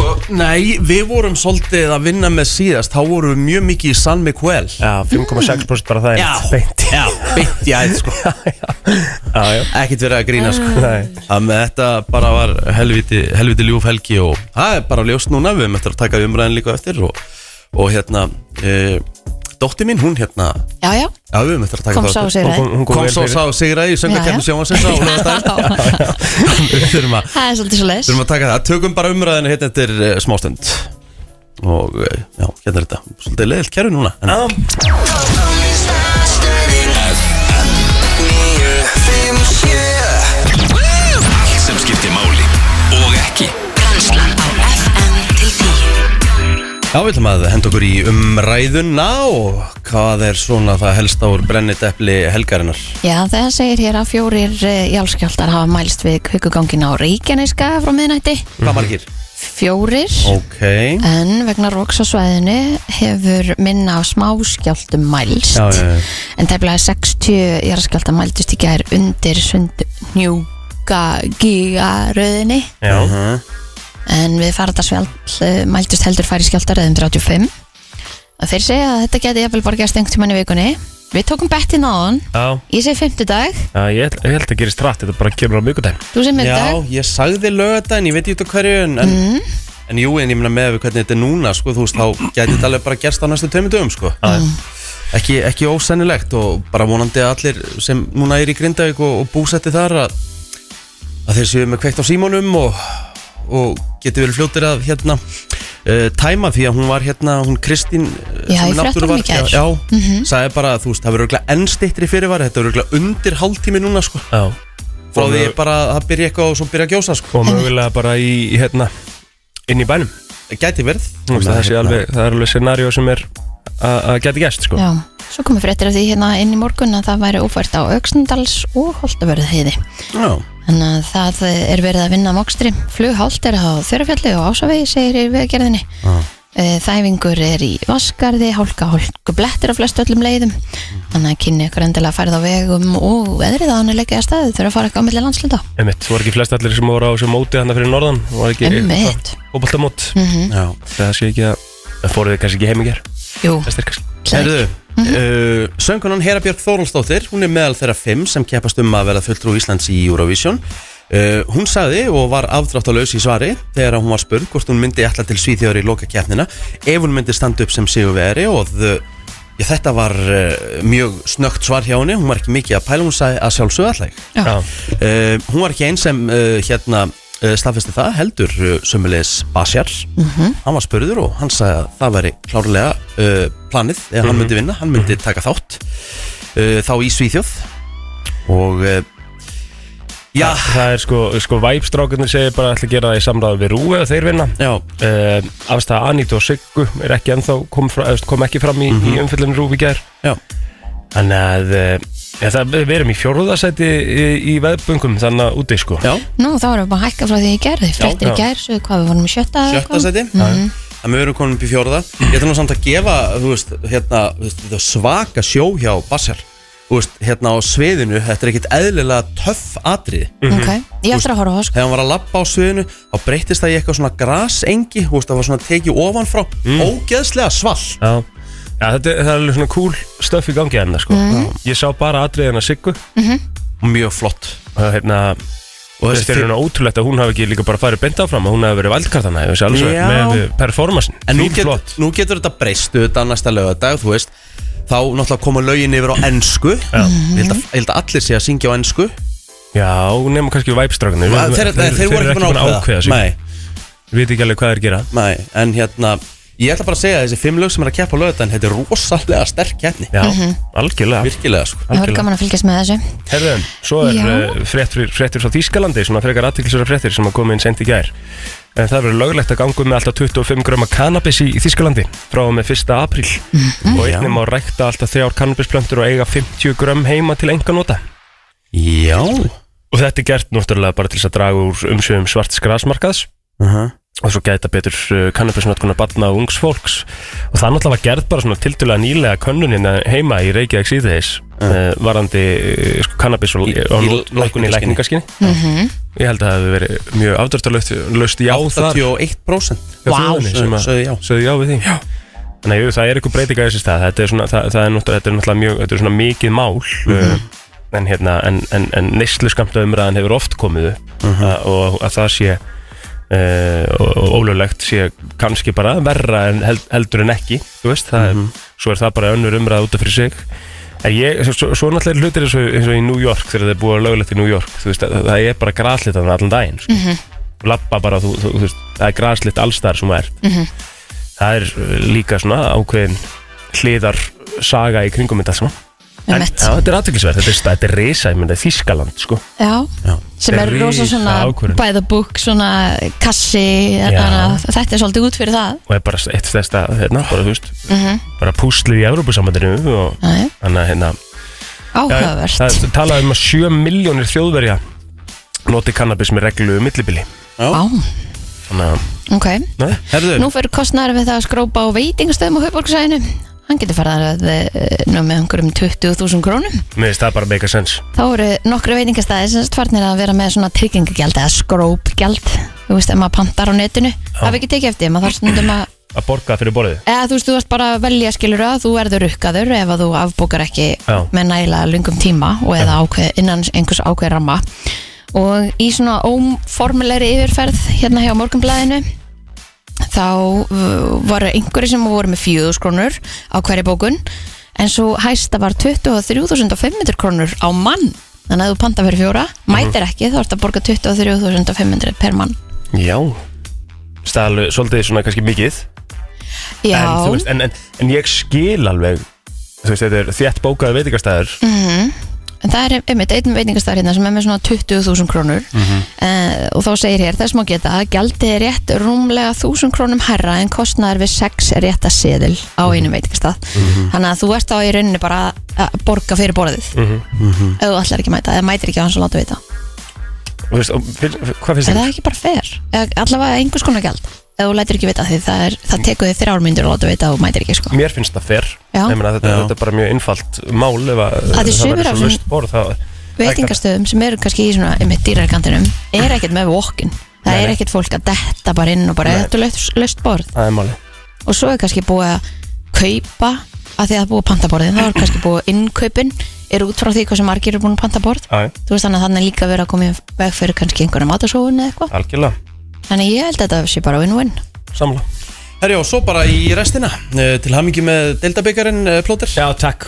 Speaker 1: Og, Nei, við vorum svolítið að vinna með síðast þá vorum við mjög mikið í San Miguel
Speaker 3: Já, 5,6% bara það er Beint
Speaker 1: já, beint í æð sko.
Speaker 3: Já, já
Speaker 1: ekkert verið að grína sko.
Speaker 3: Nei
Speaker 1: Það með þetta bara var helviti, helviti ljúf helgi og það er bara ljóst núna, við höfum eftir að taka umræðin líka eftir og, og hérna, e, dótti mín, hún hérna,
Speaker 2: Já, já,
Speaker 1: já við höfum eftir að taka
Speaker 2: kom sá
Speaker 1: það
Speaker 2: sér
Speaker 3: Hún
Speaker 2: það
Speaker 3: kom- Hún
Speaker 1: Kom svo
Speaker 3: fyrir.
Speaker 1: sá sigraði í söngakefni sjónvansins á Laugardaginn.
Speaker 2: Það
Speaker 1: Við þurfum að,
Speaker 2: er svolítið svo
Speaker 1: þurfum að taka það, tökum bara umræðinu hérna eftir e, smástund og eh, já, hérna er þetta, svolítið leðilt kerfi núna en,
Speaker 5: Allt sem skiptir máli og ekki
Speaker 6: Brennslan á FM til 10
Speaker 1: Já, við ætlum að henda okkur í umræðuna og hvað er svona það helst á brennidepli helgarinnar?
Speaker 2: Já, það segir hér að fjórir eh, jálskjaldar hafa mælst við kvikugangin á Reykjaneska frá miðnætti
Speaker 1: Hvað margir?
Speaker 2: Fjórir
Speaker 1: Ok,
Speaker 2: En vegna roks á svæðinu hefur minna á smáskjaldum mælst
Speaker 1: Já, já, já.
Speaker 2: En tæmlega 60 jarðskjaldar mæltust í gær undir sund njúka gigaröðinni
Speaker 3: Já
Speaker 1: Uh-huh.
Speaker 2: En við farðarsfjald mæltust heldur færi skjaldar eðum 35 Og þeir segja að þetta geti jafnvel bara gerst einhvern tímann í vikunni Við tókum bettin á hann
Speaker 3: Já
Speaker 2: Ég segi 50 dag,
Speaker 3: Já, ég held- ég held að gerist rætt Þetta bara kemur á miðgudaginn
Speaker 2: þú segi 50
Speaker 1: já, ég sagði lögadaginn, ég veit ekki út af hverju en, en,
Speaker 2: Mhm.
Speaker 1: en jú, en ég meina með við hvernig þetta er núna, sko, þú veist, þá gæti þetta alveg bara gerst á næstu tveimur dögum, sko ekki, ekki ósennilegt og bara vonandi að allir sem núna er í Grindavík og, og búsetti þar að, að þeir séu með kveikt á símónum og, og geti verið fljótir að hérna uh, tæma því að hún var hérna, hún Kristín eh,
Speaker 2: Já,
Speaker 1: sem
Speaker 2: í
Speaker 1: náttúruvarð-
Speaker 2: fréttunum í gær. Mhm.
Speaker 1: Já, já sagði bara að þú veist, það verður örgulega enn stittri fyrirvar þetta verður örgulega undir hálftími núna, sko
Speaker 3: Já
Speaker 1: frá því ég bara að byrja eitthvað og svo byrja að gjósa sko.
Speaker 3: Og mögulega bara í, í hérna Inn í bænum
Speaker 1: gæti Hérna. verð
Speaker 3: Þú veist, Það sé alveg Það er alveg scenarió sem er að að geta gæst, sko
Speaker 2: Já, svo komum fréttir af því hérna inn í morgun að það væri ófært á Öxnandals og Holtavörðu heiði.
Speaker 1: Já.
Speaker 2: Þannig að það er verið að vinna mókstri. Flughált er á Þjörafjalli og Ásavegi, segir í veðgerðinni. Ah. Þæfingur er í Vaskarði, hálka, hálku blettir á flest öllum leiðum. Þannig að kynni ykkur endilega að færð á vegum og veðrið að hann er leikið að staði þurfa að fara eitthvað á milli landsluta.
Speaker 3: Einmitt, voru ekki flest allir sem voru á þessu móti hann fyrir norðan Voru ekki
Speaker 2: Einmitt.
Speaker 3: fótboltamót
Speaker 1: Já.
Speaker 3: Það sé ekki að Það fóruðu kannski ekki heim í ger
Speaker 2: Jú,
Speaker 3: Þessir kannski
Speaker 1: Herðu, uh, söngunan Hera Björk Þórólsdóttir hún er meðal þeirra fimm sem keppast um að vera fulltrú Íslands í Eurovision uh, hún sagði og var afdráttalös í svari þegar hún var spurð hvort hún myndi ætla til Svíþjóður í loka keppnina ef hún myndi standa upp sem sigurveri og the, já, þetta var uh, mjög snögt svar hjá henni, hún var ekki mikið að pæla hún sagði að sjálfsögða allega
Speaker 2: Já.
Speaker 3: Já,
Speaker 1: uh, hún var ekki einn sem uh, hérna uh, staðfesti það heldur uh, sömulegis Basjar hann var spurður og hann sagði að það væri klárlega uh, planið eða hann myndi vinna, hann myndi taka þátt uh, þá í Svíþjóð og uh, já,
Speaker 3: það er sko, sko væpstrákunni segir bara að ætla að gera það í samræðu við rúi og þeir vinna
Speaker 1: já
Speaker 3: uh,
Speaker 1: Mhm.
Speaker 3: Afstæða Anít og Siggu er ekki ennþá kom, fra, eða, kom ekki fram í, mm í umfyllinu rúi í ger
Speaker 1: Já.
Speaker 3: Þannig að eh, ja, það, við erum í fjórðasæti í, í veðböngum þannig að úti sko
Speaker 1: Já,
Speaker 2: Nú, þá erum við bara að hækka frá því í gerði Frettir
Speaker 3: já.
Speaker 2: í gerð, svo hvað við vorum í sjötta eða
Speaker 1: sjötta
Speaker 2: eitthvað.
Speaker 1: seti Þannig við erum komin upp í fjórða Ég ætla nú samt að gefa, þú veist, hérna þú veist, þetta er svaka sjó hjá Basel Þú veist, hérna á sviðinu, þetta er ekkit eðlilega töff atrið
Speaker 2: Ok, ég ætla að horfa á það, sko
Speaker 1: Þegar hann var að lappa á sviðinu þá breyttist það í eitthvað svona grasengi þú veist, það var svona tekið ofanfrá ógeðslega svall
Speaker 3: Já, já þetta, er- það er alveg svona cool stöf í gangi hérna sko
Speaker 1: Mhm.
Speaker 3: Ég sá bara atriðina Siggu
Speaker 1: Mjög flott
Speaker 3: og hérna
Speaker 1: Og
Speaker 3: Þetta
Speaker 1: þessi
Speaker 3: er
Speaker 1: fyrir
Speaker 3: hérna ótrúlegt að hún hafi ekki líka bara farið beint áfram að hún hafi verið valdkartana
Speaker 1: Já.
Speaker 3: með performansin,
Speaker 1: En nú,
Speaker 3: fín
Speaker 1: get,
Speaker 3: flott
Speaker 1: nú getur þetta breystu þetta næsta lögadag, þú veist Þá náttúrulega koma lögin yfir á ennsku Ég held að- ég held að allir sé að syngja á ennsku
Speaker 3: Já, nema kannski væpstrákunni
Speaker 1: Þeir, þeir, þeir, voru ekki búin að ákveða
Speaker 3: sig
Speaker 1: Nei,
Speaker 3: Við veit ekki alveg hvað þeir gera
Speaker 1: nei, en hérna Ég ætla bara að segja að þessi fimm lög sem er að keppa á lögadaginn Þetta er rosalega sterk keppni
Speaker 3: Já, algjörlega
Speaker 1: Virkilega, sko
Speaker 2: Það voru gaman að fylgjast með þessu
Speaker 3: Herðum, svo er
Speaker 2: Já.
Speaker 3: uh, fréttur, fréttur frá Þýskalandi svona frekar aðtiklisverða fréttur sem að koma inn sent í gær en það verður löglegt að ganga um með alltaf 25 gröma kannabis í, í Þýskalandi frá og með 1. apríl og einnig má rækta alltaf þrjár kannabisplöntur og eiga 50 grömm heima til enga nota
Speaker 1: Já
Speaker 3: og þetta er gert náttúrulega bara til þess að draga úr umsjöfum svarts grasmarkaðs og svo gæta betur uh, kannabisnötkunar barna og ungs fólks og það náttúrulega var gerð bara svona tildulega nýlega könnunin uh, heima í Reykjavík síðdeis uh, varandi uh, sko, kannabis og,
Speaker 1: Í- í
Speaker 3: og l- lækkun í
Speaker 1: lækningaskyni.
Speaker 3: lækningaskinni ég held að það hefði verið mjög afdörtalöst löst já þar
Speaker 1: 81%
Speaker 3: hjá þjóðinni sem að-
Speaker 1: sögðu já.
Speaker 3: sögðu já við því já. Þannig að jú, það er eitthvað breytinga þessi stað þetta er, svona, það, það er, náttúrulega, þetta er náttúrulega mjög þetta er svona mikið mál
Speaker 1: Mhm.
Speaker 3: uh, en, hérna, en, en, en neyslu umræðan hefur oft komið upp
Speaker 1: Mhm.
Speaker 3: að, og að það sé uh, og- og ólöglegt sé kannski bara verra en held, heldur en ekki þú veist, það
Speaker 1: Mhm.
Speaker 3: er, svo er það bara önnur umræða út af fyrir sig en ég, svo- svo, svo náttúrulega eru hlutir eins og, eins og í New York þegar það er búið að löglegt í New York þú veist, það, það er bara graslit þannig allan daginn sko. lappa bara, þú, þú, þú veist, það er graslit allstar sem það er það er uh, líka svona ákveðin hliðar saga í kringum þetta svona En,
Speaker 2: Einmitt.
Speaker 3: já, þetta er aðtöklisverð, þetta er, sta- þetta er risa, ég myndi að Þískaland, sko.
Speaker 2: Já, sem
Speaker 3: Þetta
Speaker 2: er
Speaker 3: er
Speaker 2: rosa
Speaker 3: rísa
Speaker 2: svona
Speaker 3: ákvörðun.
Speaker 2: by the book, svona kassi þannig að þetta er svolítið út fyrir það
Speaker 3: Og er bara eitt stærsta, hérna, bara, þú veist, bara púslið í Evrópusambandinu og
Speaker 2: Jæja.
Speaker 3: þannig að, hérna,
Speaker 2: Áhugavert
Speaker 3: Það er talað um að 7 miljónir þjóðverja noti kannabis með reglu um millibili
Speaker 2: Á,
Speaker 3: Þannig að,
Speaker 2: ok
Speaker 3: nei,
Speaker 1: Herðu,
Speaker 2: Nú fyrir kostnæður við það að skrópa á veitingastöðum á höfborgsæðinu Hann getur farað að eh, ná með einhverjum 20.000 krónum
Speaker 3: mér finnst það bara make a sense
Speaker 2: Þá eru nokkru veitingastæði sem stvarnir að vera með svona tryggingagjald eða skrópgjald Þú veist, ef maður pantar á netinu Haf ekki tekið eftir, maður þarf stundum að
Speaker 3: Að borga fyrir borðið
Speaker 2: eða þú veist, þú varst bara að velja skilur að þú erður rukkaður ef að þú afbókar ekki
Speaker 3: Já.
Speaker 2: með næla lungum tíma og eða ákveð, innan einhvers ákveð ramma og í svona óformulegri yfirferð hérna hjá morgunblæðinu þá uh, voru einhverju sem voru með 4.000 krónur á hverju bókun en svo hæsta var 23.500 krónur á mann þannig að þú panta fyrir fjóra,
Speaker 3: Mhm.
Speaker 2: mætir ekki þá ertu að borga 23.500 per mann
Speaker 3: Já Stælu, svolítið svona kannski mikið
Speaker 2: Já,
Speaker 3: en, þú veist, en, en, en ég skil alveg Þú veist, þetta er þétt bókaði veitingastæður
Speaker 2: Mm. En það er einmitt einn veitingastæðar hérna sem er með svona 20.000 krónur mm og þá segir hér, þess má geta að gjaldið er rétt rúmlega 1000 krónum herra en kostnaður við 6 rétta seðil á einum veitingastæð þannig að þú ert þá í rauninni bara að borga fyrir borðið ef þú allar ekki að mæta, eða mætir ekki á hans og láta vita
Speaker 3: Þú veist, og finn- hvað
Speaker 2: er
Speaker 3: finnst
Speaker 2: það
Speaker 3: þér?
Speaker 2: ekki bara fer? allavega einhvers konar gjald ef þú lætir ekki vita því það, er, það tekur þið þrjár myndir og láta vita og mætir ekki sko.
Speaker 3: Mér finnst það fer
Speaker 2: Já.
Speaker 3: Ég meina, þetta,
Speaker 1: Já.
Speaker 3: þetta er bara mjög einfalt mál ef að
Speaker 2: Það er sumir
Speaker 3: verður
Speaker 2: af þessum
Speaker 3: svo laust borð það-
Speaker 2: veitingastöðum sem eru kannski í svona einmitt dýrarkantinum er ekkert með walk-in það
Speaker 3: Nei,
Speaker 2: er
Speaker 3: nei.
Speaker 2: ekkert fólk að detta bara inn og bara
Speaker 3: Nei.
Speaker 2: þetta er laust- laust borð
Speaker 3: Það er máli
Speaker 2: og svo er kannski búið að kaupa að því að það er búið að panta borðin þá er kannski búið að innkaupin er út frá því hversu margir eru búin að panta borð
Speaker 3: Já, já,
Speaker 2: þú veist þannig að þannig líka verið að koma í veg fyrir kannski einhverja matasóun eða eitthvað
Speaker 3: Algjörlega,
Speaker 2: þannig ég held að þetta sé bara win-win
Speaker 3: samla
Speaker 1: herjá, svo bara í restina Eh, Til hamingi með deildabikarin plóter
Speaker 3: Já, takk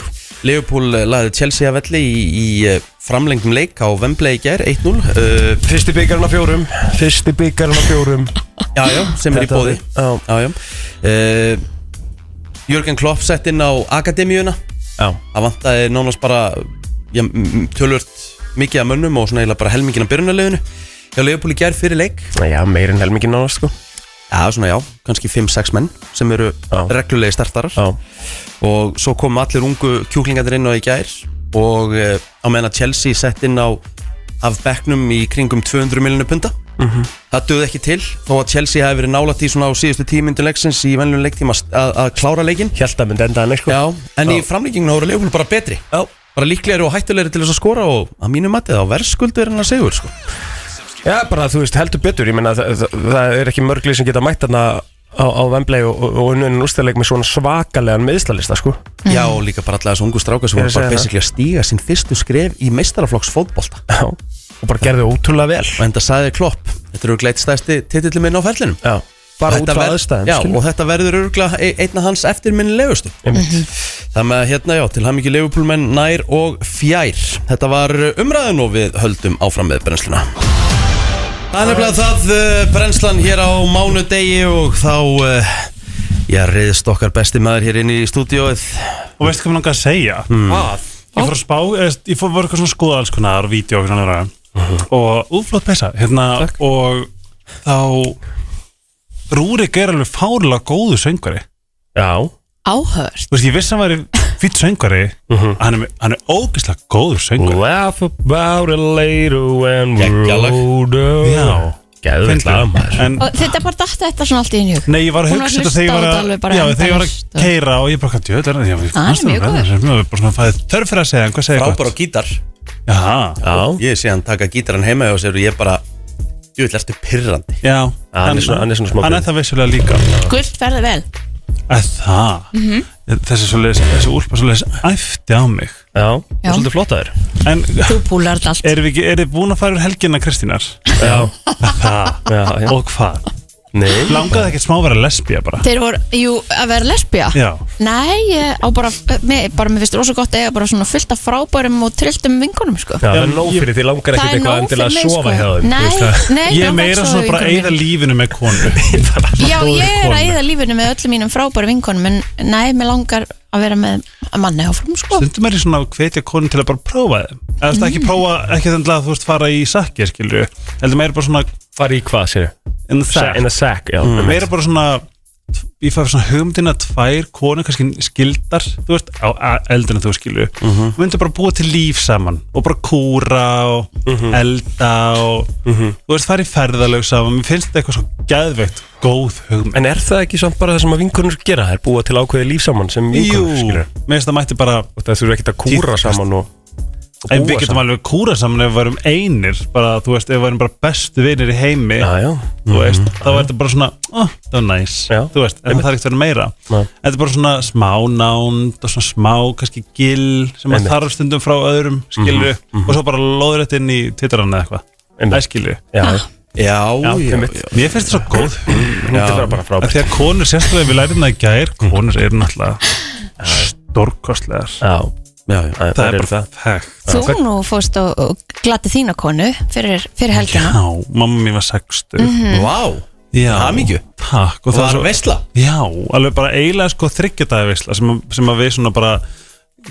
Speaker 1: Leopold laði Chelsea að velli í, í eh, framlengdum leik á Wembley í gær 1-0 uh,
Speaker 3: Fyrsti byggarinn á fjórum Fyrsti byggarinn á fjórum
Speaker 1: Já, já, sem er í
Speaker 3: Þetta
Speaker 1: bóði
Speaker 3: var-
Speaker 1: Já, já uh, Jörgen Klopp sett inn á Akademíuna
Speaker 3: Já
Speaker 1: Það vantaði nánast bara já, m- tölvört mikið af mönnum og svona eiginlega bara helmingin af byrjunarleginu hjá Leopold í gær fyrir leik
Speaker 3: Já, meirinn helmingin nánast sko
Speaker 1: Já, svona já, kannski 5-6 menn sem eru
Speaker 3: Já.
Speaker 1: reglulegi startarar
Speaker 3: Já,
Speaker 1: og svo komu allir ungu kjúklingarnir inn á í gær og eh, á meðan að Chelsea sett inn á af bekknum í kringum 200 miljónu punta
Speaker 3: Mhm.
Speaker 1: það döði ekki til þó að Chelsea hafi verið nálætt í svona á síðustu tímyndu leiksins í venlunum leiktíma að, að klára leikin
Speaker 3: held að myndi enda hann sko.
Speaker 1: Já, en í
Speaker 3: Já.
Speaker 1: framleikinginu voru leifbúl bara betri
Speaker 3: Já.
Speaker 1: bara líklegri og hættulegri til þess að skora og að mínu mati þá verðskuldur en að segur sko.
Speaker 3: Já, bara þú veist, heldur betur Ég meina, það, það, það er ekki mörglið sem geta mætt þarna á, á Vemblei og, og, og unnunin úrstæðleik með svona svakalegan meðslalista, sko
Speaker 1: Já, og líka bara allega þessu ungu stráka sem
Speaker 3: Ég er
Speaker 1: voru bara
Speaker 3: að segja
Speaker 1: basically að stíga sín fyrstu skref í meistaraflokks fótbolta
Speaker 3: Já, og bara gerði ótrúlega vel
Speaker 1: og enda saði Klopp, þetta eru gleitt stæsti titillin minn á ferlinum
Speaker 3: Já, bara
Speaker 1: Og
Speaker 3: út
Speaker 1: þetta
Speaker 3: frá
Speaker 1: verð-
Speaker 3: aðstæðum,
Speaker 1: Já,
Speaker 3: skilur
Speaker 1: og þetta verður örgulega einna hans eftirminnilegustu
Speaker 3: Einmitt.
Speaker 1: Þannig að hérna, já, til hamingi leifupúlmenn nær og fjær Þetta var umræðin og við höldum áfram með brennsluna Það er nefnilega það eh, brennslan hér á mánudegi og þá eh, Já, reyðist okkar besti maður hér inn í stúdíóið
Speaker 7: og veistu hvað mér langar að segja
Speaker 3: Hvað?
Speaker 7: Hmm. ég fór að spá, eða, ég fór að vera eitthvað svona skoða alls konar og vídeo og svona vera og úflott peysa hérna, og þá Rúrik er alveg fárlega góðu söngari
Speaker 3: Já,
Speaker 2: Áhört
Speaker 7: þú veist, ég vissi að hann væri fýtt söngari hann, er, með- hann er ógeðslega góður söngari
Speaker 3: laugh about it later when
Speaker 1: Geggjalag.
Speaker 3: we're older
Speaker 7: Já.
Speaker 3: Geðvilt
Speaker 7: Fyndið.
Speaker 3: lag, maður
Speaker 7: en
Speaker 2: Og þetta bara datta þetta svona allt í henni
Speaker 7: Nei, ég var að
Speaker 2: Hún var
Speaker 7: hugsa
Speaker 2: að
Speaker 7: þetta þegar
Speaker 2: hlusta
Speaker 7: ég var
Speaker 2: á þetta alveg
Speaker 7: að
Speaker 2: bara
Speaker 7: Já, þegar ég var
Speaker 2: endalaust og-
Speaker 7: að keira og ég bara hvað djöð er það ég
Speaker 2: hann er
Speaker 7: fannst
Speaker 2: mjög
Speaker 7: það
Speaker 2: góður.
Speaker 7: verður sem ég var bara svona fæði þörf fyrir að segja en hvað segja
Speaker 1: Frábær á
Speaker 7: gott
Speaker 1: gítar
Speaker 7: Já,
Speaker 3: Já,
Speaker 1: Ég sé hann taka gítaran heima hjá sér og ég bara Jú, þetta ertu pyrrandi
Speaker 7: já
Speaker 3: hann er svona- hann er svona smá
Speaker 7: Hann
Speaker 3: brun.
Speaker 7: er það vissulega líka
Speaker 2: Gullt verði vel
Speaker 7: Að það
Speaker 2: Mhm.
Speaker 7: Þessi svoleiðis, þessi úlpa svoleiðis æfti á mig
Speaker 3: já, það er svolítið flott að þér
Speaker 7: En
Speaker 2: Þú púlar þetta allt
Speaker 7: erum við ekki, erum við búin að fara úr helgina Kristínar?
Speaker 3: Já,
Speaker 7: Það,
Speaker 3: já, já
Speaker 7: og hvað?
Speaker 3: Nei,
Speaker 7: Langaði ekkert smá að vera lesbía bara
Speaker 2: Þeir voru, jú, að vera lesbía
Speaker 7: Já.
Speaker 2: Nei, ég á bara, mér, bara mér finnst rosa gott að eiga bara svona fullt af frábærum og trilltum vingunum, sko
Speaker 3: Já, það
Speaker 7: Já,
Speaker 3: er nóg
Speaker 7: ég-
Speaker 3: fyrir því
Speaker 2: Það
Speaker 3: langar ekkert
Speaker 2: er
Speaker 3: eitthvað
Speaker 2: nóg
Speaker 3: endilega
Speaker 2: fyrir
Speaker 3: að
Speaker 2: mig,
Speaker 3: sofa
Speaker 2: sko.
Speaker 3: hjá þeim
Speaker 2: Nei,
Speaker 3: þú veist það.
Speaker 2: nei,
Speaker 7: Ég
Speaker 2: langar
Speaker 7: er meira
Speaker 2: ekki
Speaker 7: svona
Speaker 2: sofa
Speaker 7: bara að
Speaker 2: vinkonum
Speaker 7: eyða
Speaker 2: mínum.
Speaker 7: lífinu með konu
Speaker 2: Já,
Speaker 7: góðri
Speaker 2: ég er
Speaker 7: konu.
Speaker 2: að eyða lífinu með öllum mínum frábæru vinkonum en nei, mér langar að vera með manni áfram, sko
Speaker 7: stundum er ég svona að hvetja konun til að bara prófa þeim eða þú veist ekki prófa, ekki þannig að þú veist fara í sakki skilju, heldur meira bara svona
Speaker 3: Fara í hvað, sér
Speaker 7: in the sack,
Speaker 3: In a sack, já mm.
Speaker 7: meira bara svona ég fæði svona hugmyndin að tvær konur kannski skildar, þú veist á a- eldinu þú skilju,
Speaker 3: Mhm.
Speaker 7: mm -hmm. myndu bara búa til líf saman og bara kúra og
Speaker 3: Mhm.
Speaker 7: elda og þú veist fara í ferðalög saman, mér finnst þetta eitthvað svo geðveikt góð hugmynd
Speaker 3: En er það ekki samt bara það sem að vinkunur gera? Það er búa til ákveði líf saman sem
Speaker 7: Jú,
Speaker 3: vinkunur skilur
Speaker 7: mér finnst það mætti bara
Speaker 3: Og það þurfa ekkert að kúra
Speaker 7: Tíðkast.
Speaker 3: saman og, og
Speaker 7: En við getum alveg kúra saman ef við varum einir bara, þú veist, ef við varum bara bestu vinir í heimi
Speaker 3: Já, Mhm. já
Speaker 7: þú veist, þá er þetta bara svona oh, það var næs,
Speaker 3: Já.
Speaker 7: þú veist, en það þarf ekkert að vera meira
Speaker 3: Nei.
Speaker 7: þetta er bara svona smá nánd og svona smá, kannski gill sem að
Speaker 3: Einmitt. Mhm,
Speaker 7: þarf stundum frá öðrum, skilju og svo bara loður þetta inn í titlarna eða eitthvað
Speaker 3: Mm. Einmitt.
Speaker 7: það skilju
Speaker 3: Já,
Speaker 1: Já, já,
Speaker 3: einmitt.
Speaker 1: já.
Speaker 7: Mér finnst þetta svo góð
Speaker 3: hún er bara bara
Speaker 7: að
Speaker 3: frábært
Speaker 7: því að konur, sérstaklega við lærum það í gær
Speaker 3: Mhm.
Speaker 7: konur eru náttúrulega stórkostlegar
Speaker 3: Já,
Speaker 1: já, já.
Speaker 3: það, það er bara það
Speaker 7: fægt
Speaker 2: Þú nú fórst og, og glati þína konu fyrir, fyrir helgina
Speaker 7: Já, mamma mín var sextu
Speaker 1: Vá,
Speaker 7: Já,
Speaker 1: hamingju.
Speaker 7: Takk, og
Speaker 1: og
Speaker 7: það
Speaker 1: var
Speaker 7: svo,
Speaker 1: veistla
Speaker 7: já, alveg bara eiginlega sko þryggjadaði veisla sem, að- sem að við svona bara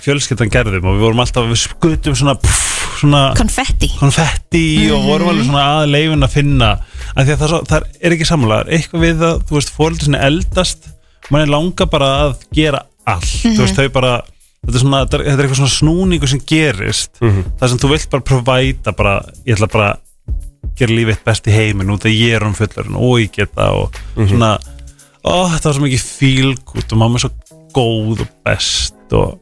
Speaker 7: fjölskyldan gerðum og við vorum alltaf, við skutum svona pff, svona
Speaker 2: Konfetti
Speaker 7: konfetti
Speaker 2: Mhm.
Speaker 7: og vorum alveg svona að leifin að finna af því að það, er svo, það er ekki sammálaðar eitthvað við það, þú veist, fóreldur sinni eldast mann er langa bara að gera allt,
Speaker 2: Mhm.
Speaker 7: þú veist, þau bara þetta er, svona, þetta er þetta er eitthvað svona snúningu sem gerist þar sem þú vilt bara provæta bara, ég ætla bara að gera lífið eitt best í heimin út að ég er um fullurinn og ég get það og svona, ó, þetta var svo mikið fílgút og mamma er svo góð og best og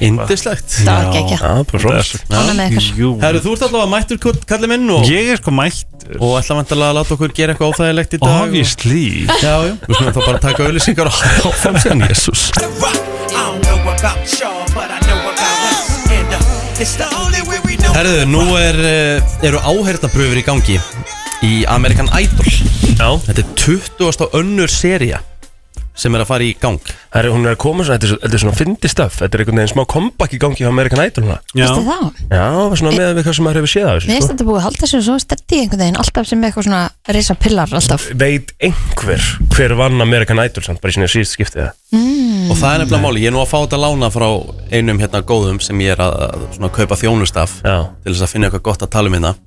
Speaker 1: Indislegt
Speaker 2: Það var
Speaker 7: Já.
Speaker 2: gekkja
Speaker 3: Já, bara
Speaker 7: það er
Speaker 3: frábært
Speaker 7: svo
Speaker 2: Ánægð með ykkur.
Speaker 7: Jú.
Speaker 1: Herru, þú ert allavega mættur kallið minn og
Speaker 7: ég er sko mættur
Speaker 1: og ætla vantarlega að láta okkur gera eitthvað óþægilegt í dag og-
Speaker 7: Obviously
Speaker 1: Já, já, við skulum þá bara taka auðlýsingar og halda áfram síðan, jésús Herðu, nú er, eh, eru áherðnapröfur í gangi í American Idol
Speaker 3: Já,
Speaker 1: Þetta er 20. önnur seria sem er að fara í gang
Speaker 3: það er, hún er að koma svona, þetta er, svo- þetta er svona fyndi stöf Þetta er einhvern veginn smá comeback í gangi hjá American Idol núna.
Speaker 7: Já,
Speaker 2: Vistu það?
Speaker 3: Já, svona með við hvað sem maður hefur séð af
Speaker 2: Mér
Speaker 3: þessu
Speaker 2: finnst
Speaker 3: sko.
Speaker 2: þetta búið að halda sér svo steddi einhvern veginn alltaf sem eitthvað svona risa pillar alltaf
Speaker 3: Veit einhver hver vann American Idol samt bara í sinni síðust skiptið það
Speaker 1: og það er nefnilega máli, ég er nú að fá þetta lána frá einum hérna góðum sem ég er að að svona kaupa þjónustaf
Speaker 3: Já.
Speaker 1: til þess að finna eitthvað gott að tala um hérna eh,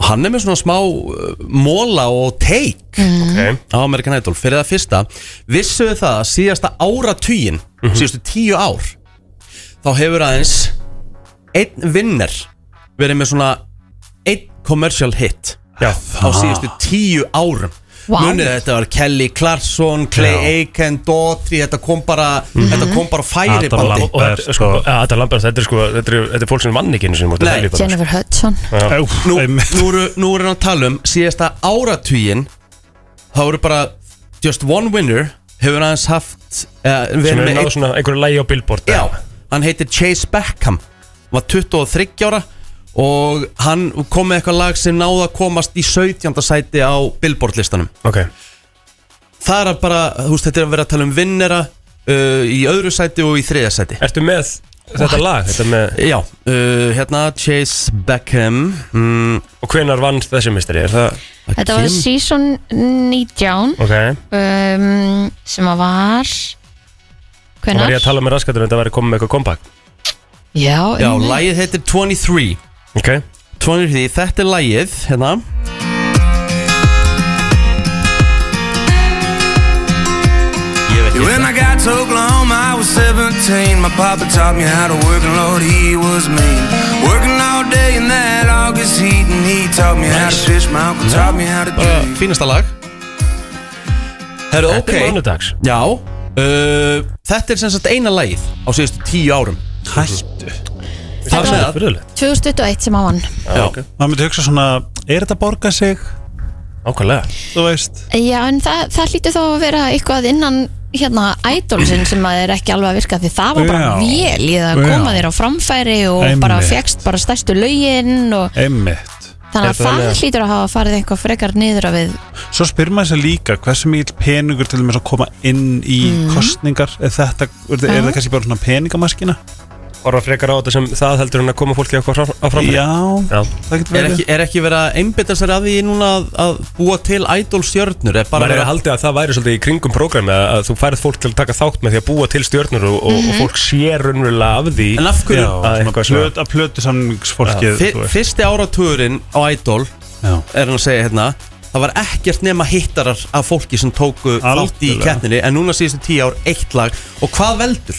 Speaker 1: og hann er með svona smá uh, móla og teik
Speaker 2: Mm.
Speaker 3: ok,
Speaker 1: á American Idol fyrir það fyrsta vissuðu það að síðasta áratugin
Speaker 3: Mhm.
Speaker 1: síðustu tíu ár þá hefur aðeins einn vinner verið með svona einn commercial hit
Speaker 3: já,
Speaker 1: á síðustu tíu árum
Speaker 2: Vá.
Speaker 1: munið þetta var Kelly Clarkson Clay Aiken, Daughtry þetta kom bara, þetta kom bara á
Speaker 7: Adam
Speaker 1: færibandi
Speaker 3: Mhm.
Speaker 7: Lambert.
Speaker 3: og þetta er sko,
Speaker 7: sko-
Speaker 3: að þetta er Lambert, þetta er sko þetta er, þetta er fólk sem vann ekki einu sinni móti
Speaker 1: Nei.
Speaker 3: Helgi bara.
Speaker 2: Jennifer Hudson
Speaker 1: nú,
Speaker 7: Nú,
Speaker 1: nú, eru, nú eru hann að tala um síðasta áratvíin þá eru bara just one winner hefur aðeins haft uh,
Speaker 3: sem er náðu svona einhverju lægi á billboard
Speaker 1: já, hann heitir Chase Beckham hann var 23 ára og hann kom með eitthvað lag sem náða að komast í 17. sæti á Billboard listanum
Speaker 3: ok,
Speaker 1: það er að bara, þú veist þetta er að vera að tala um vinnera uh, í öðru sæti og í þriðja sæti
Speaker 3: ertu með þetta lag þetta með,
Speaker 1: já, uh, hérna Chase Beckham mm,
Speaker 3: og hvenar vann þessi misteri er það,
Speaker 2: Þetta var
Speaker 1: Kim-
Speaker 2: season 19
Speaker 3: ok
Speaker 2: um, sem að var
Speaker 3: og var ég
Speaker 2: hvenar?
Speaker 3: að tala með raskatunum þetta væri komið með eitthvað kompakt
Speaker 2: Já, um
Speaker 1: já,
Speaker 2: einmitt.
Speaker 1: lagið heitir 23
Speaker 3: ok,
Speaker 1: 23, þetta er lagið hérna Ég veit
Speaker 8: When
Speaker 1: ekki
Speaker 8: I got so glum, I was 17. My papa taught me how to work, and Lord, he was mean. Working all day in that August heat, and he taught me how to fish. My uncle taught me how to
Speaker 1: Bara
Speaker 8: do.
Speaker 1: Uh, fínasta lag Herru,
Speaker 3: þetta
Speaker 1: ok
Speaker 3: er mánudags
Speaker 1: Já uh, Þetta er sem sagt eina lagið á síðustu tíu árum
Speaker 7: hættu
Speaker 1: Þar með
Speaker 2: var-
Speaker 3: það er
Speaker 1: að
Speaker 3: fyrirlegt
Speaker 2: 2021 sem að vann
Speaker 1: Já,
Speaker 7: maður myndi hugsa svona, er þetta að borga sig
Speaker 3: ákvæmlega
Speaker 7: þú veist,
Speaker 2: Já, en það, það hlýtur þá að vera eitthvað innan hérna idolsinn sem að er ekki alveg að virka því það var bara
Speaker 7: Já.
Speaker 2: vel í það að
Speaker 7: Já.
Speaker 2: koma þér á framfæri og
Speaker 7: Einmitt.
Speaker 2: bara fegst bara stærstu lögin og
Speaker 7: einmitt
Speaker 2: þannig að
Speaker 3: Þetta
Speaker 2: það
Speaker 3: þannig að-
Speaker 2: hlýtur að hafa farið eitthvað frekar niður á við
Speaker 7: svo spyr maður sér líka hversu mikil peningur til þess að koma inn í kostningar er þetta, er, er það kannski bara svona peningamaskina
Speaker 3: orða frekar á þetta sem það heldur en að koma fólki eitthvað frá- á framfæri
Speaker 7: já,
Speaker 3: Já.
Speaker 7: það getur
Speaker 1: Er
Speaker 7: verið
Speaker 1: ekki, er ekki verið að einbytta sér að því núna að, að búa til idol stjörnur Er bara
Speaker 3: maður er
Speaker 1: verið
Speaker 3: að
Speaker 1: að
Speaker 3: haldi að það væri svolítið í kringum prógrami að, að þú færið fólk til að taka þátt með því að búa til stjörnur og, og, og fólk sér raunverulega af því
Speaker 1: En af
Speaker 7: já,
Speaker 1: hverju
Speaker 3: að
Speaker 7: svona
Speaker 3: eitthvað svona-
Speaker 7: plöt, að plötu samningsfólkið
Speaker 1: fyr, Fyrsti áratugurinn á idol
Speaker 7: Já.
Speaker 1: er hann að segja hérna Það var ekkert nema hittarar af fólki sem tóku þátt í
Speaker 7: Algjörlega.
Speaker 1: keppninni En núna síðustu tíu ár eitt lag Og hvað veldur?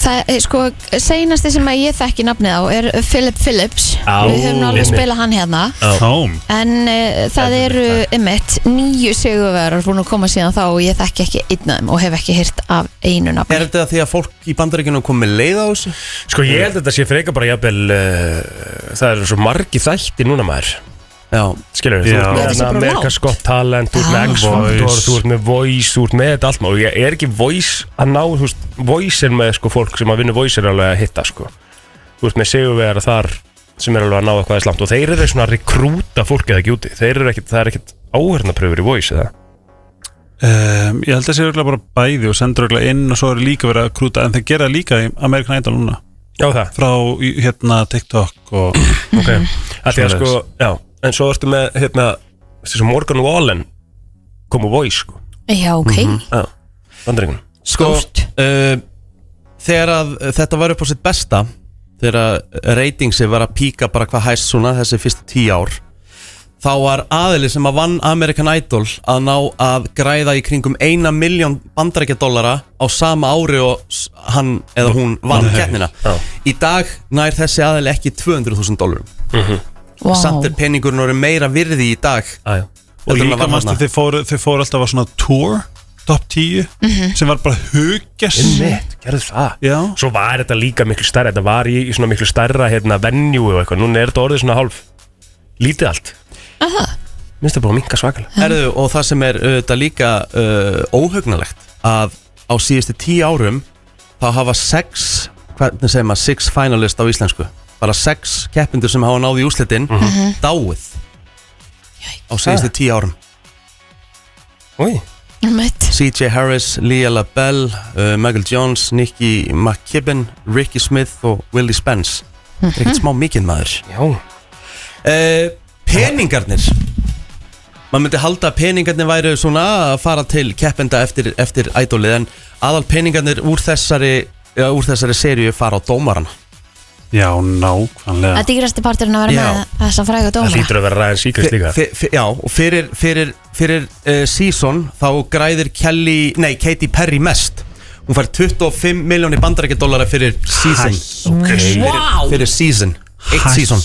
Speaker 2: Það er sko, seinasti sem að ég þekki nafnið á er Philip Phillips
Speaker 3: Á,
Speaker 2: Við höfum alveg
Speaker 3: einmitt.
Speaker 2: spilað hann hérna
Speaker 7: Tóm
Speaker 2: En uh, það
Speaker 3: Einmitt,
Speaker 2: eru ymmit nýju sigurverðar búin að koma síðan þá og ég þekki ekki einn af þeim og hef ekki hýrt af einu nafni
Speaker 1: Er þetta því að fólk í bandaríkjunum kom með leið á þessu?
Speaker 3: sko ég held að þetta sé frekar bara jafnvel uh, það eru svo margi þætti núna maður
Speaker 1: Já,
Speaker 3: skilur við,
Speaker 7: Já.
Speaker 3: þú
Speaker 7: Já,
Speaker 3: ert
Speaker 2: þetta sé
Speaker 3: með
Speaker 2: bara
Speaker 3: America
Speaker 2: langt.
Speaker 3: Scott Talent þú ert með
Speaker 2: Já.
Speaker 3: X Factor,
Speaker 7: Voice.
Speaker 3: þú ert með Voice þú ert með þetta allt maður, ég er ekki Voice að ná, þú veist, Voice er með sko fólk sem að vinna Voice er alveg að hitta sko þú ert með Sigurvegar þar sem er alveg að ná eitthvað eða slangt og þeir eru svona að rekrúta fólkið ekki úti, þeir eru ekkit, það er ekkit áhörnapröfur í Voice eða
Speaker 7: Um, ég held að það sé örugglega bara bæði og sendur örugglega inn og svo er líka verið að krúta en þeir gera það líka í American Idol núna
Speaker 3: Já það,
Speaker 7: frá í- hérna TikTok og
Speaker 3: ok
Speaker 2: Mhm.
Speaker 3: að Því að sko,
Speaker 7: Svoleiðis.
Speaker 3: já, en svo ertu með hérna, þessi Morgan Wallen kom úr Voice sko,
Speaker 2: Já, ok,
Speaker 3: já, vandringun
Speaker 1: sko uh, Þegar að eh, þetta var upp á sitt besta Þegar að reytingsi var að píka bara hvað hæst svona þessi fyrstu tíu ár Þá var aðili sem að vann American Idol að ná að græða í kringum eina miljón bandarækjadólara á sama ári og s- hann eða hún vann keppnina.
Speaker 3: Já.
Speaker 1: Í dag nær þessi aðili ekki 200.000 dólarum.
Speaker 2: wow.
Speaker 1: Samt er penningurinn orðið meira virði í dag
Speaker 3: ah,
Speaker 7: og
Speaker 1: heldur en hann
Speaker 7: líka
Speaker 1: var
Speaker 7: mannstu
Speaker 1: þarna.
Speaker 7: þeir fóru, þeir fóru alltaf að svona tour top 10
Speaker 2: Mhm.
Speaker 7: sem var bara hugess
Speaker 3: Einmitt, gerðu það
Speaker 7: Já.
Speaker 3: Svo var þetta líka miklu stærra, þetta var í, í svona miklu stærra hérna venue og eitthvað, núna er þetta orðið svona hálf lítið allt
Speaker 2: Aha.
Speaker 3: Minnst það búið að minka svakalega
Speaker 1: Erðu, og það sem er auðvitað líka uh, óhugnalegt að á síðustu tíu árum þá hafa sex, hvernig segir maður, six finalist á íslensku bara sex keppindur sem hafa náði í úslitin dáið á síðustu tíu árum
Speaker 3: Úi,
Speaker 2: Einmitt.
Speaker 1: CJ Harris, Lea LaBelle uh, Michael Jones, Nicky McKibben Ricky Smith og Willie Spence þetta er ekkert smá mikið maður
Speaker 3: já
Speaker 1: uh, Peningarnir Maður myndi halda að peningarnir væru svona að fara til keppenda eftir, eftir ædólið en aðal peningarnir úr þessari, ja, úr þessari seríu fara á dómaran
Speaker 7: Já, nákvæmlega
Speaker 2: Það dýrasti parturinn að vera
Speaker 1: Já.
Speaker 2: með þessa fræga
Speaker 3: Það
Speaker 2: dómara
Speaker 3: lítur að vera ræðan síkast líka
Speaker 1: Já, og fyrir, fyrir fyrir uh, season þá græðir Kelly, nei, Katy Perry mest Hún fær 25 miljónir bandarækjadólara fyrir season fyrir,
Speaker 9: Vá.
Speaker 1: fyrir season Eitt season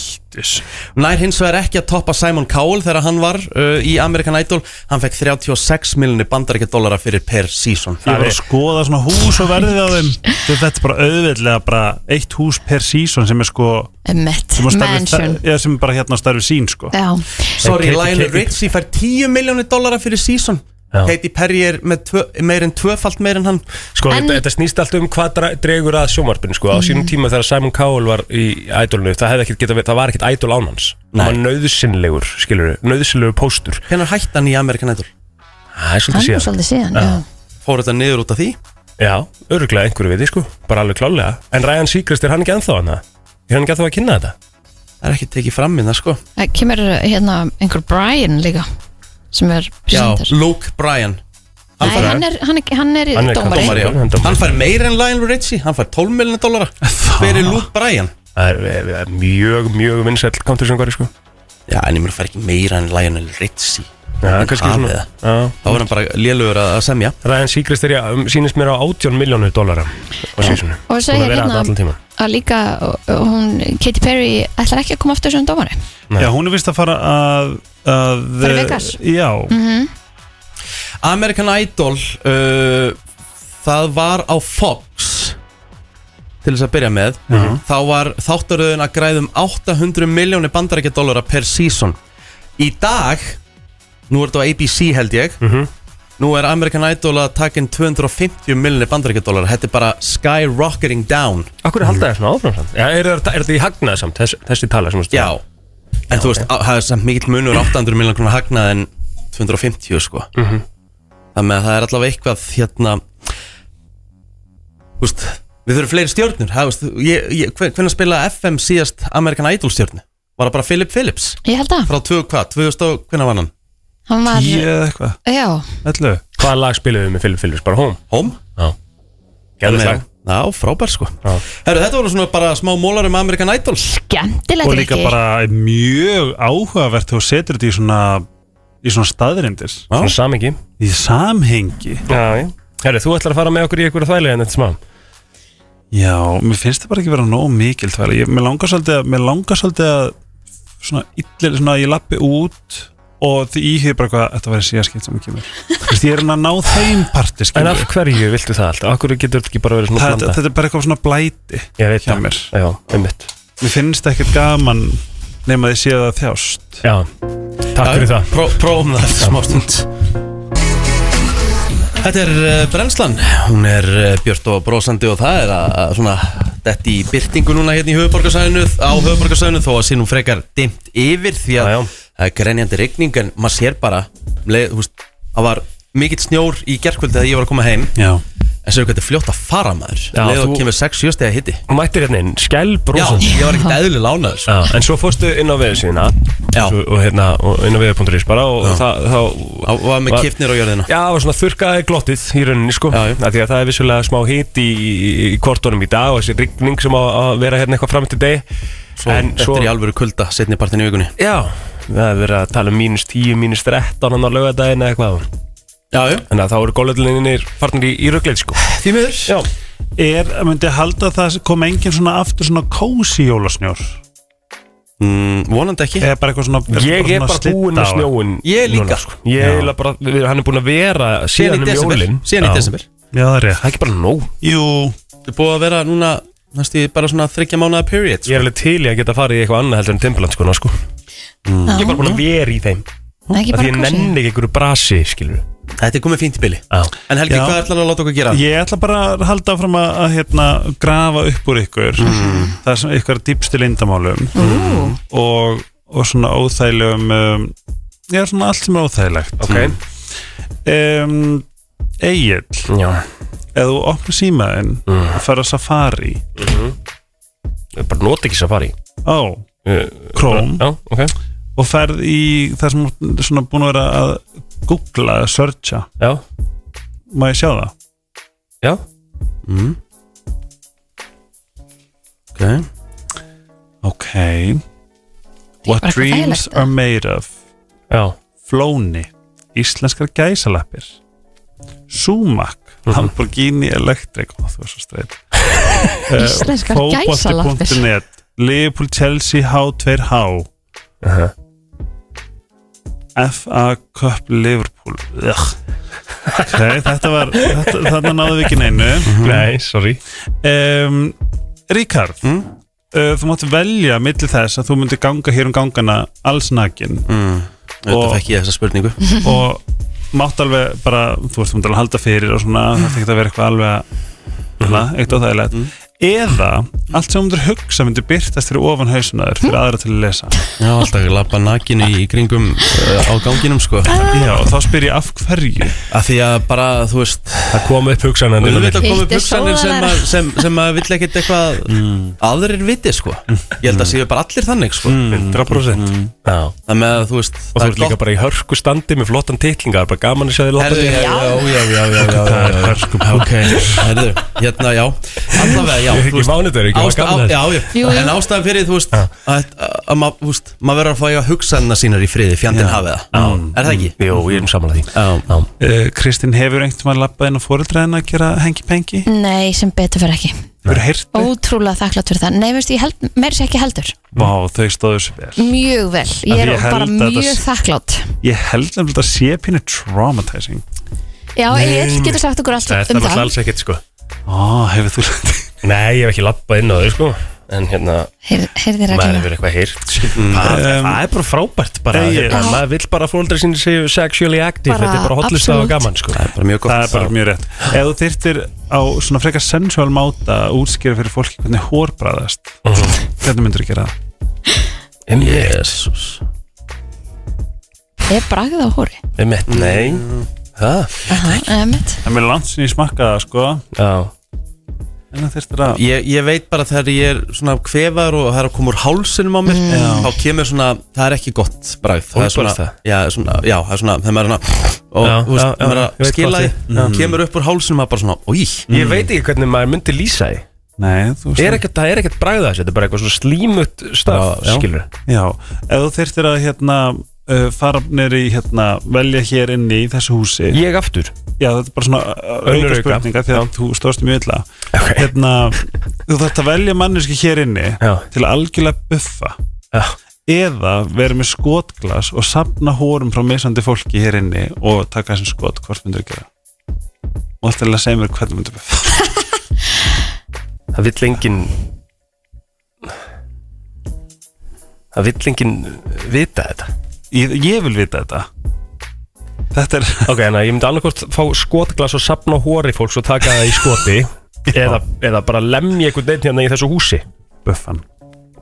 Speaker 1: Nær hins vegar ekki að toppa Simon Cowell þegar hann var uh, í American Idol Hann fekk 36 miljónir bandarækjadólara fyrir per season
Speaker 7: Ég var að skoða svona hús og verðið á þeim Þú veist, Þetta er bara auðveldlega bara eitt hús per season sem er sko
Speaker 2: Met,
Speaker 7: sem, er starfi-
Speaker 2: mansion
Speaker 7: Já, sem er bara hérna starfi sín sko
Speaker 2: Já,
Speaker 1: Sorry,
Speaker 3: Katy-
Speaker 1: Lionel
Speaker 3: Katy-
Speaker 1: Richie fær 10 miljónir dólara fyrir season
Speaker 3: Já.
Speaker 1: Katy Perry er með tvö, meir en tvöfalt meir en hann
Speaker 2: En-
Speaker 3: Sko,
Speaker 2: Mhm.
Speaker 3: þetta- þetta snýst allt um hvað dra- dregur að sjómarpinu, sko. Á sínum tíma þegar Simon Cowell var í ædolinu, það hefði ekkert getað verið, það var ekkert ædol án hans.
Speaker 1: Nei.
Speaker 3: Það var nöðsynlegur, skilur við, nöðsynlegur póstur.
Speaker 1: Hvernig hætti hann í American Idol?
Speaker 3: Það er svolítið
Speaker 2: hann var
Speaker 3: síðan.
Speaker 2: svolítið síðan já.
Speaker 1: Fór þetta niður út af því?
Speaker 3: Já, öruglega einhverju við því, sko. Bara alveg klálega. En Ryan Seacrest, er hann ekki ennþá hann Er hann ekki ennþá að kynna þetta?
Speaker 1: Það er ekki tekið fram í það sko
Speaker 2: Það kemur hérna einhver Brian líka sem er presentur
Speaker 1: Luke Bryan
Speaker 2: Nei, hann er, hann er, hann er,
Speaker 3: Hann er
Speaker 2: dómari
Speaker 1: Dómari, já.
Speaker 3: Hann dómari.
Speaker 1: Hann fær meir en Lionel Richie Hann fær 12 miljónir dólara Fyrir Luke Bryan
Speaker 3: Það er, er, er mjög, mjög vinsæll countrysöngari, sko.
Speaker 1: Já, en ég mér fær ekki meira en Lionel Richie
Speaker 3: Já,
Speaker 1: Hann
Speaker 3: kannski
Speaker 1: hafi
Speaker 3: svona.
Speaker 1: það.
Speaker 3: Já.
Speaker 1: Þá var hann bara lélugur að að semja
Speaker 3: Ryan Seacrest er, já, um, sýnist mér á 18 miljónu dólara á sísunum.
Speaker 2: og
Speaker 3: Búin að
Speaker 2: segja
Speaker 3: vera
Speaker 2: hérna
Speaker 3: þarna allan tímann.
Speaker 2: að líka og- og hún, Katy Perry ætlar ekki að koma aftur sem dómari
Speaker 7: Já, hún er vist að fara að, að
Speaker 2: Fara í Vegas? Mhm.
Speaker 7: Já,
Speaker 1: American Idol uh, Það var á Fox Til þess að byrja með Þá var þáttaröðun að um græðum 800 miljónir bandarækja dólara per season Í dag Nú er þetta á ABC held ég Nú er American Idol að taka inn 250 miljónir bandarækja dólara Þetta er bara skyrocketing down
Speaker 3: Akkur er haldið það svona áfram samt? Já, er, er, er þetta í hagnað samt, þessi, þessi tala um? sem þú veist?
Speaker 1: Já En þú veist, á- það er samt mikill munur 800 miljónir krónar hagnað en 250 sko Þannig að það er allavega eitthvað hérna Þú veist, við þurfum fleiri stjórnur það, þú veist, ég, ég, hven- Hvenær spilaði FM síðast American Idol stjórnu? Var það bara Philip Phillips?
Speaker 2: ég held að,
Speaker 1: Frá 2000 hvað? 2000 og hvenær var hann?
Speaker 2: hann var
Speaker 7: ég eða eitthvað,
Speaker 2: já,
Speaker 7: ætlu
Speaker 3: Hvaða lag spiluðu við með Philip Phillips? Bara home?
Speaker 1: Home?
Speaker 3: Já. Gæðið lag?
Speaker 1: Já, frábær sko
Speaker 3: Já.
Speaker 1: Herru, þetta voru svona bara smá mólar um American Idol
Speaker 2: gemtilegt
Speaker 7: Og líka bara mjög áhugavert þú setur þetta í svona í svona staðrindir,
Speaker 1: Já.
Speaker 3: Svona samingi?
Speaker 7: í samhengi
Speaker 3: Já, já. Herri, þú ætlar að fara með okkur í einhverja þvæli en þetta smá.
Speaker 7: Já, mér finnst það bara ekki vera nóg mikil þvæla, ég, mér langar svolítið að mér langar svolítið að svona illir, svona að ég lappi út og því íhugði bara hvað þetta væri síðaskipt sem ég kemur Þú veist, ég er hann að ná þeim parti
Speaker 3: En
Speaker 7: skilur
Speaker 3: af
Speaker 7: við.
Speaker 3: hverju viltu það allt? Akkur getur þetta ekki bara verið svona
Speaker 7: Það-
Speaker 3: blanda?
Speaker 7: þetta er bara eitthvað svona blæti
Speaker 3: ég veit
Speaker 7: hjá
Speaker 3: það.
Speaker 7: mér.
Speaker 3: Já, einmitt.
Speaker 7: mér finnst ekkert gaman nema þið séu það þjást
Speaker 3: Já. Takk fyrir það.
Speaker 1: Pró, Prófum það eftir smá stund Þetta er uh, brennslan Hún er uh, björt og brósandi og það er að, að svona Þetta í byrtingu núna hérna í höfuborgarsæðinu Á höfuborgarsæðinu þó að sé nú frekar dimt yfir Því að
Speaker 3: Já, já.
Speaker 1: það er grenjandi rigning En maður sér bara leið, þú veist, Það var mikill snjór í gerkvöldi þegar ég var að koma heim
Speaker 7: Já,
Speaker 1: En séu hvað þetta er fljótt að fara maður
Speaker 3: Já,
Speaker 1: Leðu
Speaker 3: þú-
Speaker 1: þú... kemur 6-7 stegi hitti
Speaker 3: Þú mættir hérna inn, skæl
Speaker 1: Já,
Speaker 3: brósandi.
Speaker 1: ég var ekkert eðlilega lánaður sko.
Speaker 3: Já, en svo fórstu inn á veðu síðuna
Speaker 1: Já.
Speaker 3: svo, og hérna, og inn á veðu.is bara og það, þá
Speaker 1: Það var með
Speaker 3: Var-
Speaker 1: kipnir á jörðina
Speaker 3: Já, það var svona þurkaði glottið í rauninni sko
Speaker 1: Já, já.
Speaker 3: Af Því að það er vissulega smá hit í, í, í kortunum í dag og þessi rigning sem á að vera hérna eitthvað fram til deg
Speaker 1: Svo, Þetta er í alvöru kulda setni partin í vikunni
Speaker 3: Já, það er verið að tala um mínus 10, mínus 13 hann á laugardaginn eða eitthvað
Speaker 1: Já, já,
Speaker 3: Þannig að þá eru góðleilinir farnir í, í ruggleit sko
Speaker 1: því miður
Speaker 3: Já,
Speaker 7: er, myndi ég halda að það kom engin svona aftur svona kósi jólasnjór
Speaker 1: Mm, vonandi ekki
Speaker 7: eða bara eitthvað svona
Speaker 3: ég er
Speaker 7: svona
Speaker 3: bara
Speaker 7: slydda
Speaker 3: búinn með
Speaker 7: á-
Speaker 3: snjóin
Speaker 1: Ég líka.
Speaker 3: núna, sko. Ég er eiginlega bara, við- hann er búinn að vera
Speaker 1: Síðan
Speaker 3: síðan
Speaker 1: í
Speaker 3: um
Speaker 1: desember
Speaker 3: jólin
Speaker 1: Síðan í
Speaker 3: Já.
Speaker 1: desember
Speaker 7: Já, það er rétt
Speaker 3: Það er ekki bara nóg
Speaker 7: Jú,
Speaker 1: Þetta er búið að vera núna næstu í bara svona þryggja mánuða period sko.
Speaker 3: Ég er alveg til í að geta farið í eitthvað annað heldur en Timbaland sko, sko. Ég er bara búinn að vera í þeim
Speaker 2: ekki
Speaker 3: Af Því
Speaker 2: bara
Speaker 3: ég
Speaker 2: kosið
Speaker 3: nenni ekki einhverju brasi, skilur
Speaker 1: Þetta er komið fínt í byli
Speaker 3: Já.
Speaker 1: En Helgi,
Speaker 7: Já.
Speaker 1: hvað ætlar að láta okkur gera?
Speaker 7: ég ætla bara að halda fram að, að hérna, grafa upp úr ykkur
Speaker 2: Mhm.
Speaker 7: það er svona ykkur dýpstu lindamálum og, og svona óþægilegum um, já, svona allt sem er óþægilegt
Speaker 3: Ok,
Speaker 7: um, Egil,
Speaker 3: já
Speaker 7: eða þú opnar símaðinn
Speaker 2: Mhm.
Speaker 7: og fer að safari
Speaker 3: Ég bara nota ekki safari
Speaker 7: á
Speaker 3: Uh,
Speaker 7: Chrome
Speaker 3: Já, ok
Speaker 7: og ferð í það sem þú ert svona búin að vera að googla, að searcha
Speaker 3: Já,
Speaker 7: má ég sjá það?
Speaker 3: já
Speaker 1: Ok
Speaker 7: ok What
Speaker 2: eitthvað
Speaker 7: dreams
Speaker 2: þægilegt,
Speaker 7: are made of
Speaker 3: Já,
Speaker 7: Flóni íslenskar gæsalappir Sumac Lamborghini Electric og þú er svo streit
Speaker 2: Íslenskar gæsalappir.
Speaker 7: Fótbolti.net Liverpool Chelsea H2H FA Cup Liverpool Ugh. okay, þetta var þetta, þarna náðu við ekki neinu
Speaker 3: Mhm.
Speaker 7: Mm.
Speaker 3: Nei, sorry Mm.
Speaker 7: um, Ríkard uh, þú mátt velja millir þess að þú myndir ganga hér um gangana alls nakin
Speaker 1: Þetta
Speaker 7: Og-
Speaker 1: fekk ég þessa spurningu
Speaker 7: og mátt alveg bara þú veist, þú myndir alveg halda fyrir og svona það þetta ekki að vera eitthvað alveg að mm. eitt óþægilegt eða allt sem þú myndir hugsa myndir byrtast fyrir ofan hausunaður fyrir aðra til að lesa
Speaker 1: Já, alltaf lappa nakinu í kringum uh, á ganginum sko
Speaker 7: Já, og þá spyr ég af hverju
Speaker 1: Af því að bara, þú veist
Speaker 3: Það kom upp hugsan
Speaker 1: Þú veit
Speaker 3: henni
Speaker 1: að koma upp
Speaker 2: Viltu
Speaker 1: hugsanir sem að,
Speaker 2: sóðalæra?
Speaker 1: sem, sem að vill ekkert eitthvað aðrir viti sko Ég held að séu bara allir þannig sko
Speaker 3: 100% Já
Speaker 1: Þannig að þú veist
Speaker 3: Mm. Og þú ert líka bara í hörku standi með flottan titlingar Bara gaman að sjá þér
Speaker 1: Herðu,
Speaker 3: lappandi
Speaker 1: já, já, já, já, já, já, já. Ok, herðu, hérna, já Allavega, já,
Speaker 3: Ég er
Speaker 1: þú
Speaker 3: ekki
Speaker 1: veist
Speaker 3: mánuður, ekki var
Speaker 1: Ásta, á,
Speaker 3: gaman að
Speaker 1: já,
Speaker 3: þessu
Speaker 1: já,
Speaker 2: Jú, jú.
Speaker 1: en ástæðan fyrir þú veist að, að, að ma- þú veist, maður verður að fá ég að hugsa hennar sínar í friði, fjandinn hafið það Mm. er það ekki?
Speaker 3: Jó, ég er um saman að því
Speaker 1: Já, já.
Speaker 7: uh, Kristín, hefur einhvern veginn labbað inn á fóreldræðina að gera hengi-pengi?
Speaker 2: Nei, sem betur fyrir ekki
Speaker 7: Hefur hirtu?
Speaker 2: Ótrúlega þakklátt fyrir það Nei, veistu, ég held, meir sér ekki heldur
Speaker 7: Vá, þau stóðu sér vel
Speaker 2: Mjög vel,
Speaker 7: Af
Speaker 2: ég er
Speaker 7: ég held
Speaker 2: bara
Speaker 7: að þetta
Speaker 2: mjög
Speaker 7: sé-
Speaker 2: þakklátt
Speaker 7: Ég held nefnilega að þetta sé pínu traumatizing
Speaker 2: Já, ég getur sagt okkur allt
Speaker 3: Þetta
Speaker 2: um
Speaker 3: var
Speaker 2: það
Speaker 3: alls ekkert sko
Speaker 7: Ó, hefur þú lendið?
Speaker 3: Nei, ég hef ekki lappað inn á þau sko En hérna,
Speaker 2: Heyrð- Heyrðir ekki
Speaker 3: maður
Speaker 2: það
Speaker 3: hefur eitthvað heyrt
Speaker 7: Um,
Speaker 3: Það það er bara frábært bara,
Speaker 7: Nei, ég-
Speaker 3: hérna, Maður vill bara að fóldra sinni séu sexually active
Speaker 2: Bara
Speaker 3: Þetta er bara hotlist af
Speaker 2: absolutt.
Speaker 3: gaman sko
Speaker 1: Það er bara mjög gott
Speaker 7: Það er bara mjög rétt Ef þú þyrtir á svona frekar sensual máta að útskýra fyrir fólki hvernig hór bræðast
Speaker 3: Mhm.
Speaker 7: hvernig myndur þú gera það?
Speaker 1: Jésús
Speaker 2: Ég bragði það á hóri
Speaker 3: Einmitt, nei Það?
Speaker 2: Emmett
Speaker 7: Það er mér langt sinni ég smakka það sko
Speaker 3: Já
Speaker 7: en það þyrtir að
Speaker 1: ég, ég veit bara þegar ég er svona kvefaður og það er að koma úr hálsinum á mér
Speaker 2: Mm.
Speaker 1: þá kemur svona, það er ekki gott bragð það er svona,
Speaker 3: Hólbarasta?
Speaker 1: já, svona, já, það er svona þegar maður er svona og
Speaker 3: Já,
Speaker 1: þú veist,
Speaker 3: já, já,
Speaker 1: maður er
Speaker 3: ég
Speaker 1: að
Speaker 3: veit
Speaker 1: skila
Speaker 3: hvað
Speaker 1: því
Speaker 3: þið-
Speaker 1: mm. kemur upp úr hálsinum maður bara svona, oi
Speaker 3: Ég veit ekki hvernig maður myndi lýsa því
Speaker 7: Nei, þú veist
Speaker 3: er ekkert, Það er ekkert bragða þessu, þetta er bara eitthvað svona slímut staf,
Speaker 1: Já, já.
Speaker 3: skilur
Speaker 7: Já, ef þú þyrtir að hérna uh, fara nýri hérna velja hér inni í þessu húsi
Speaker 3: Ég aftur
Speaker 7: Já, þetta er bara svona uh,
Speaker 3: Önnur
Speaker 7: auka
Speaker 3: auka.
Speaker 7: spurninga því að þú stóðst mjög illa
Speaker 3: Ok.
Speaker 7: hérna, þú þarft að velja manneski hér inni
Speaker 3: Já.
Speaker 7: til að algjörlega buffa
Speaker 3: Já.
Speaker 7: eða vera með skotglas og sapna hórum frá misandi fólki hér inni og taka þessum skot hvort myndur gera og alltaf að segja mér hvernig myndur buffa
Speaker 3: Það vill engin Það vill engin vita þetta
Speaker 7: ég, ég vil vita þetta þetta er
Speaker 3: Ok, en ég myndi annarkort fá skotglas og sapna á hóri fólks og taka það í skoti eða, eða bara lemja einhvern veginn hérna í þessu húsi
Speaker 7: buffan,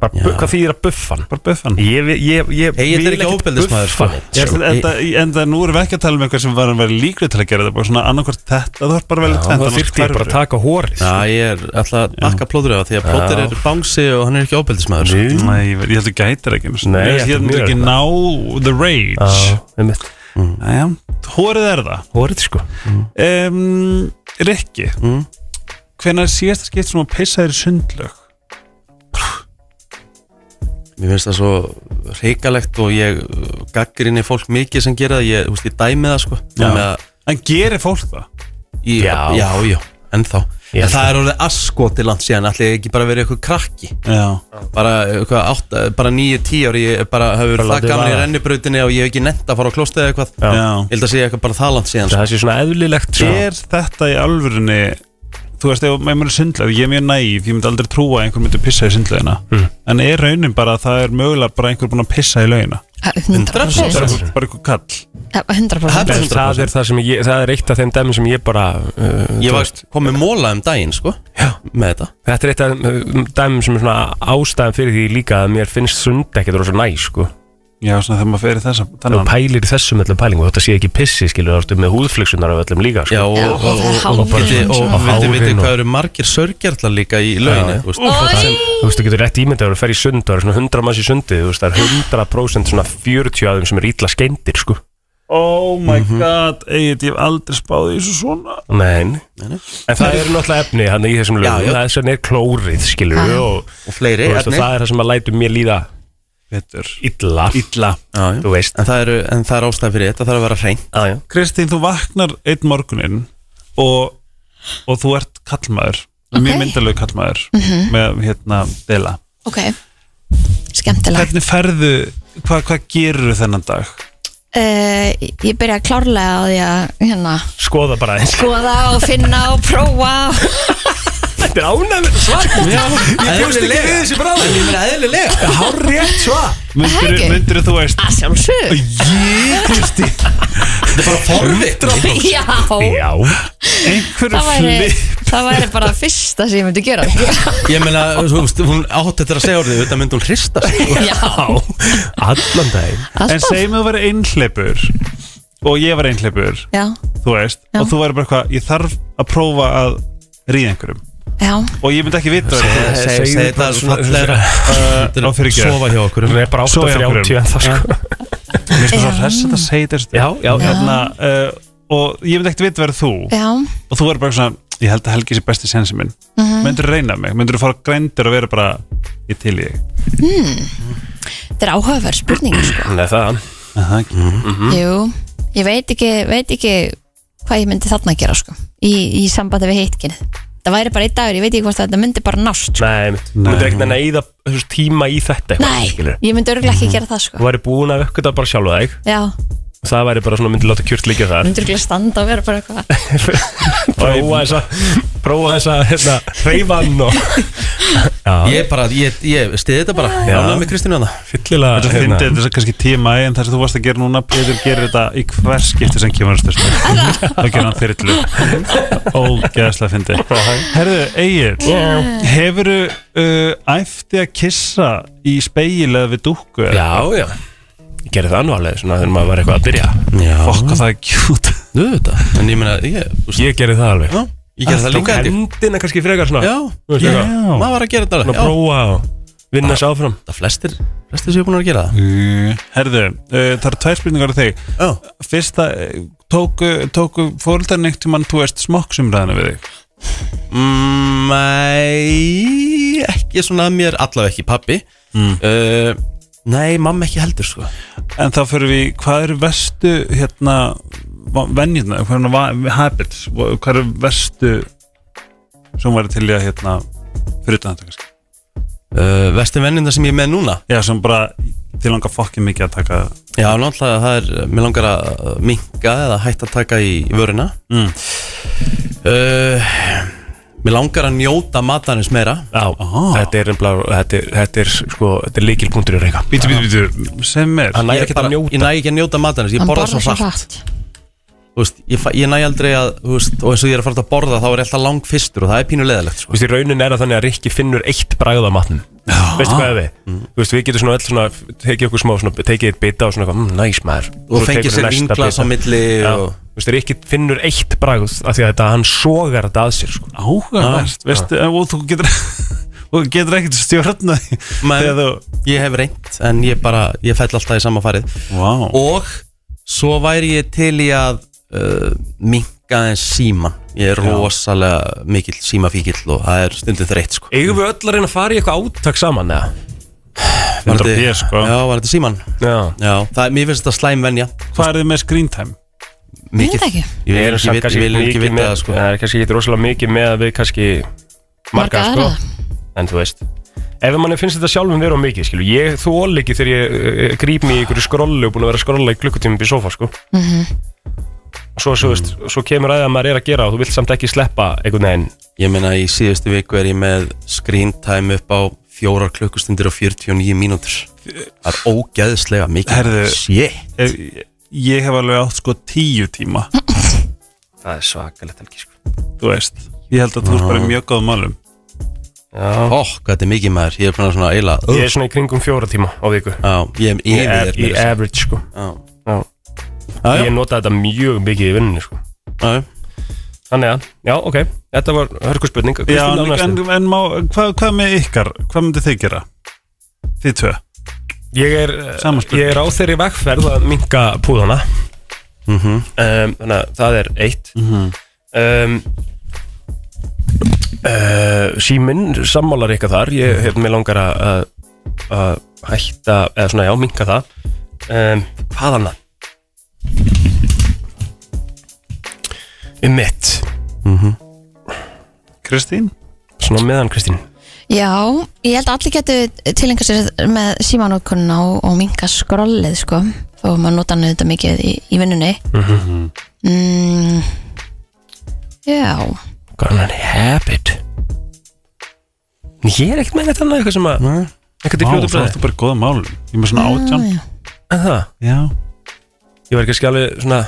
Speaker 3: bara, bu- Hvað þýðir að buffan?
Speaker 7: bara buffan
Speaker 3: Ég, vi- ég, ég
Speaker 1: Egill er ekki ofbeldismaður, sko.
Speaker 3: buffa
Speaker 7: Ég,
Speaker 3: neitt,
Speaker 7: ætla-
Speaker 3: sko.
Speaker 7: þetta, en það nú erum við ekki að tala um eitthvað sem var að vera líklega til að gera þetta bara svona annarkvort þetta, þú þarf bara að velja
Speaker 3: Já,
Speaker 7: tvennt,
Speaker 3: Það
Speaker 7: annars
Speaker 3: þyrfti ég bara að
Speaker 7: hverfur.
Speaker 3: taka hórið
Speaker 1: já, ég er alltaf að bakka plóður af því að plóður
Speaker 3: Já.
Speaker 1: er bangsi og hann er ekki ábeldismæður sko.
Speaker 7: Nei, ég veit- ég held að þú gætir ekki einu sinni.
Speaker 3: Nei, ég
Speaker 7: Ég held- ég
Speaker 3: held
Speaker 7: held
Speaker 3: mjög
Speaker 7: ekki
Speaker 3: örugglega.
Speaker 7: ná the rage Næja, hórið er það
Speaker 3: Hórið sko
Speaker 7: um, Rikki mm. Hvenær er síðasta skipt sem að pissa þér í sundlög?
Speaker 1: mér finnst það svo hrikalegt og ég gaggrinni fólk mikið sem gera það, ég, þú veist, ég dæmi það sko
Speaker 7: Já.
Speaker 1: Þannig að
Speaker 7: En gerir fólk það?
Speaker 1: Ég,
Speaker 3: Já.
Speaker 1: já, já, ennþá
Speaker 3: Ég
Speaker 1: En
Speaker 3: held
Speaker 1: það er orðið askoti langt síðan Ætli ekki bara verið eitthvað krakki
Speaker 7: Já
Speaker 1: Bara, eitthvað, átta, bara níu, tíu ári Ég bara hefur
Speaker 3: Bara
Speaker 1: verið það
Speaker 3: látið
Speaker 1: gaman í
Speaker 3: vaða.
Speaker 1: rennibrautinni Og ég hef ekki nefnt að fara á klostið eða eitthvað
Speaker 3: Já.
Speaker 7: Já.
Speaker 1: Ég held að segja eitthvað bara það langt síðan
Speaker 3: Það
Speaker 1: sko.
Speaker 3: það sé svona eðlilegt sko.
Speaker 7: Er þetta í alvörunni Þú veist, ef maður er sundlög, ég er mjög næf, ég myndi aldrei trúa að einhver myndi pissa í sundlögina En er raunin bara að það er mögulega bara einhver búinn að pissa í lögina?
Speaker 2: 100%
Speaker 7: Bara einhver- bara einhver kall
Speaker 2: Ja, 100%
Speaker 3: En það er, það, sem ég, það er eitt af þeim dæmi sem ég bara uh,
Speaker 1: Ég var komið móla um daginn sko Já. Með þetta
Speaker 3: Þetta er eitt af þeim dæmi sem er svona ástæðan fyrir því líka að mér finnst sund ekkert rosa næ sko.
Speaker 7: Já, svona þegar maður fyrir þessa
Speaker 3: Þú
Speaker 7: þannig að-
Speaker 3: pælir í þessum öllum pælingu Þetta sé ekki pissi skilur Þú ertu með húðflöksunar af öllum líka
Speaker 1: Já,
Speaker 3: sko.
Speaker 1: og,
Speaker 2: Já,
Speaker 1: og, og,
Speaker 2: það er
Speaker 1: og, og,
Speaker 2: hárin
Speaker 1: viti-
Speaker 2: og
Speaker 1: og,
Speaker 2: svona.
Speaker 1: og viti, viti
Speaker 3: Hárin og-
Speaker 1: hvað eru margir sörgjarlar líka í
Speaker 3: Já,
Speaker 1: lauginu
Speaker 3: já.
Speaker 1: þú veist.
Speaker 3: Það sem- Þú veist, þú getur rétt ímyndað að þú fer í sund og það eru svona 100 manns í sundi þú veist, Það er 100% svona 40 aðum sem er ítla skeindir sko.
Speaker 7: Oh my god, Egil, ég hef aldrei spáði í þessu svona
Speaker 3: Nein. En það eru náttúrulega efni hann í þessum lögum
Speaker 1: já.
Speaker 3: Það er svona er klórið skilur og,
Speaker 1: Og fleiri
Speaker 3: þú veist, og
Speaker 1: efni.
Speaker 3: það er það sem að lætu mér líða
Speaker 7: betur
Speaker 3: Illa
Speaker 7: Illa
Speaker 3: Já, já.
Speaker 7: Þú veist
Speaker 1: En það eru, en það eru ástæðan fyrir þetta, það þarf að vera hreint
Speaker 3: Já, já
Speaker 7: Kristín, þú vaknar einn morguninn og, og þú ert kallmaður
Speaker 2: Ok. Mhm.
Speaker 7: Mjög myndalög kallmaður með hérna Dela
Speaker 2: Ok, skemmtilega
Speaker 7: Hvernig ferðu, hva, hvað gerur þennan dag?
Speaker 2: uh, Ég byrja klárlega á því að hérna,
Speaker 3: Skoða bara eins
Speaker 2: skoða og finna og prófa
Speaker 3: Þetta er ánægðið svar
Speaker 1: Ég bjóst ekki við þessi bráðum En ég meina eðlilega
Speaker 7: Hár rétt svar
Speaker 2: Ekki.
Speaker 7: Myndur þú veist
Speaker 2: að sjálfsög
Speaker 7: Jí, Kristi
Speaker 1: Þetta er bara forvitt
Speaker 2: Já,
Speaker 3: Já
Speaker 7: Einhverju
Speaker 2: það væri,
Speaker 7: flip
Speaker 2: það væri bara fyrsta sem ég myndi gera
Speaker 1: Ég meina, þú veist, hún átt þetta að segja orðið Þetta myndi hún hrista sig sko.
Speaker 2: Já,
Speaker 3: Allan daginn
Speaker 7: En
Speaker 2: alltaf
Speaker 7: segjum að þú væri einhleipur Og ég var einhleipur
Speaker 2: Já,
Speaker 7: Þú veist
Speaker 2: Já.
Speaker 7: Og þú væri bara eitthvað Ég þarf að prófa að ríða einhverjum
Speaker 2: já,
Speaker 7: Og ég myndi ekki vita það
Speaker 1: Segðu
Speaker 3: segðu
Speaker 1: segðu þetta
Speaker 3: bara svona-
Speaker 1: fallegra
Speaker 7: Á
Speaker 1: Þetta er
Speaker 7: fyrirgefðu.
Speaker 1: Sofa hjá okkur
Speaker 3: Við erum bara
Speaker 7: Svo hjá
Speaker 3: 8.30 en það sko
Speaker 7: Mér finnst
Speaker 2: Já.
Speaker 7: það svo hress að það segja þetta
Speaker 3: Já, já, já.
Speaker 7: hérna, uh, Og ég myndi ekkert vita verið þú
Speaker 2: já
Speaker 7: Og þú verður bara svona Ég held að Helgi sé besti sensi minn mm -hmm. Myndur reyna mig, myndur fara grændur og vera bara Ég til ég
Speaker 2: Þetta er áhugaverð spurning sko.
Speaker 3: Nei, það
Speaker 7: mm -hmm.
Speaker 2: Jú, ég veit ekki, veit ekki hvað ég myndi þarna gera sko. í, í sambandi við heitkinnið Það væri bara einn dagur, ég veit ekki hvort þetta myndi bara nást sko.
Speaker 3: Nei, mitt Þú
Speaker 7: Nei.
Speaker 3: myndir ekkert enn að eyða þú veist, tíma í þetta eitthvað,
Speaker 2: Nei,
Speaker 3: skilurðu.
Speaker 2: ég myndi örgulega ekki gera það
Speaker 3: Þú
Speaker 2: sko.
Speaker 3: væri búin að aukvita bara sjálfa þig
Speaker 2: Já,
Speaker 3: Það væri bara svona myndi láta kjört líka þar
Speaker 2: myndi örgulega standa og vera bara eitthvað
Speaker 3: Prófa þessa Prófa þessa hérna Hreyfann og Já
Speaker 1: Ég bara, ég, ég stiði þetta bara
Speaker 3: Já.
Speaker 1: Ánægð með Kristínu að það
Speaker 3: Fyllilega
Speaker 7: Þetta
Speaker 3: hérna.
Speaker 7: fyndi þetta er svo kannski tíma En það sem þú varst að gera núna Pétur gerir þetta í hver skipti sem kemur þessu Það gerir hann þyrlu Ógeðslega fyndi Herðu, Egil Hefurðu uh, æfti að kissa Í speil eða við dúkku eða?
Speaker 3: Já, já Ég gerði það nú alveg svona þegar maður var eitthvað að byrja
Speaker 1: Já,
Speaker 7: Fokk að það er kjút
Speaker 1: þú veit það En ég meina, ég, þú veist,
Speaker 3: Ég gerði það alveg
Speaker 1: já, ég gerði það líka held ég.
Speaker 3: Endina kannski frekar svona
Speaker 1: Já,
Speaker 3: Þú veist
Speaker 1: já,
Speaker 3: eitthvað.
Speaker 1: maður var að gera þetta
Speaker 3: Svona
Speaker 1: alveg.
Speaker 3: að prófa og vinna sér áfram
Speaker 1: Já, flestir, flestir séu búin að gera það
Speaker 7: Herðu, uh, það eru tvær spurningar á þig
Speaker 1: Já,
Speaker 7: Fyrsta, eh, tóku, tóku fóröldarinn eitt tímann Þú veist smokksumræðina við þig
Speaker 1: Mm, Nei, ekki svona að mér allavega ekki pappi uh, Nei, mamma ekki heldur sko
Speaker 7: En þá fyrir við, í- hvað eru verstu hérna, va- venjurnar, hvað eru va- habits, Hva- hvað eru verstu sem væri til í að hérna, fyrir utan þetta kannski?
Speaker 1: uh, Vestin venninda sem ég er með núna
Speaker 7: Já, sem bara til langar fokkin mikið að taka
Speaker 1: Já, náttúrulega það er, mér langar að minka eða hætta að taka í vöruna
Speaker 7: Mm.
Speaker 1: uh, Mér langar að njóta matarins meira
Speaker 3: Já, þetta er ennblá þetta, er- þetta er sko, þetta er líkilpunktur í reyka
Speaker 7: Bítu, bítu, bítu, sem er
Speaker 3: Hann næri
Speaker 1: Ég
Speaker 3: ekki að
Speaker 1: bara-
Speaker 3: njóta
Speaker 1: Ég næ ekki að njóta matarins, ég
Speaker 2: Hann
Speaker 1: borða svo
Speaker 2: borðar
Speaker 1: hratt Þú veist, ég, fa- ég næ aldrei að, þú veist, og eins og ég er að fara út að borða þá er ég alltaf lang fyrstur og það er pínu leðilegt
Speaker 3: Þú
Speaker 1: sko.
Speaker 3: veist, í raunin er að þannig að Rikki finnur eitt bragð af matnum Veistu
Speaker 1: Ah.
Speaker 3: hvað er við?
Speaker 1: Mm.
Speaker 3: Þú veist, við getum svona öll svona tekið okkur smá, svona, tekið eitt bita og svona eitthvað, mm, næs maður
Speaker 1: og
Speaker 3: Svo
Speaker 1: fengið
Speaker 3: tekur
Speaker 1: sér
Speaker 3: næsta
Speaker 1: vinglas á
Speaker 3: bita.
Speaker 1: milli
Speaker 3: Já,
Speaker 1: og
Speaker 3: Þú veist, Rikki finnur eitt bragð af því að þetta, hann sogar þetta að sér sko.
Speaker 7: áhugavert, veistu, en- og þú getur, og þú getur ekkert stjórna því
Speaker 1: Men-
Speaker 7: þegar þú,
Speaker 1: ég hef reynt en ég bara, ég fell alltaf í sama farið
Speaker 7: vá,
Speaker 1: og svo væri ég til í að uh, minka en síman ég er rosalega mikill símafíkill og það er stundum þreytt sko
Speaker 3: Eigum við öll að reyna að fara í eitthvað átak saman eða?
Speaker 1: Var
Speaker 7: þetta ég, sko.
Speaker 1: Já, var þetta síman?
Speaker 3: Já
Speaker 1: Já, það, mér finnst þetta slæm venja
Speaker 7: hvað er þið með screen time?
Speaker 2: Ég veit
Speaker 1: Mikið
Speaker 2: ekki.
Speaker 1: Ég vil ekki vita- ég vil ekki vita
Speaker 3: með,
Speaker 1: það sko
Speaker 3: Það er kannski ekki rosalega mikið með að við kannski
Speaker 2: Marga
Speaker 3: marga sko
Speaker 2: aðra.
Speaker 3: En þú veist Ef manni finnst þetta sjálfum vera of mikið, skilu, ég þól ekki þegar ég uh, gríp mig í einhverju skrolli og búin að vera að skrolla í klukkutími upp í sofa, sko. Mm
Speaker 2: Mhm.
Speaker 3: -hmm. Svo, svo, veist, svo kemur að það að maður er að gera og þú vilt samt ekki sleppa einhvern veginn.
Speaker 1: Ég meina í síðustu viku er ég með screen time upp á fjórar klukkustundir og 49 mínútur Það er ógeðslega mikið
Speaker 7: Herðu.
Speaker 1: Shit
Speaker 7: Ef, ég hef alveg átt sko tíu tíma,
Speaker 3: Það er svakalegt helgi, sko.
Speaker 7: þú veist, ég held að þú erst bara í mjög góðum málum.
Speaker 3: Já.
Speaker 1: Ó, hvað þetta er mikið maður, ég er búin að svona eila
Speaker 3: Ég er svona í kringum fjóra tíma á viku.
Speaker 1: Já, ég er
Speaker 3: Í,
Speaker 1: yfir
Speaker 3: í
Speaker 1: þér
Speaker 3: average, sko. Já.
Speaker 1: Já, já.
Speaker 3: Ég nota þetta mjög mikið í vinnunni, sko.
Speaker 1: Já,
Speaker 3: Þannig að, já, ok, þetta var hörkuspurning
Speaker 7: Já, en, en, en má, hvað, hvað með ykkar? Hvað myndi þið gera? Þið tvö
Speaker 3: ég, er,
Speaker 7: Sama
Speaker 3: eh, ég er á þeirri vegferð að minka púðana
Speaker 7: Mhm.
Speaker 3: um, Þannig að það er eitt um,
Speaker 7: Mhm.
Speaker 3: uh, Síminn sammálar ykkar þar Ég hef mér langar hérna, að- að að hætta, eða svona já, minka það um, Hvað annað? Um mitt
Speaker 7: Kristín?
Speaker 3: Svona á meðan Kristín
Speaker 2: Já, ég held að allir getu tilengar sér með símanókunna og, og minga skrollið sko þó að maður nota hann auðvitað mikið í, í vinnunni mm, Já
Speaker 3: Hvað annað er habit? En Ég er ekkert með þetta annað eitthvað sem að Ekkert í
Speaker 7: Vá,
Speaker 3: fljótu
Speaker 7: það
Speaker 3: bræði
Speaker 7: ertu bara í góða málum Ég er með svona átján
Speaker 2: já.
Speaker 3: En það,
Speaker 7: Já,
Speaker 3: ég var ekki að skjáli svona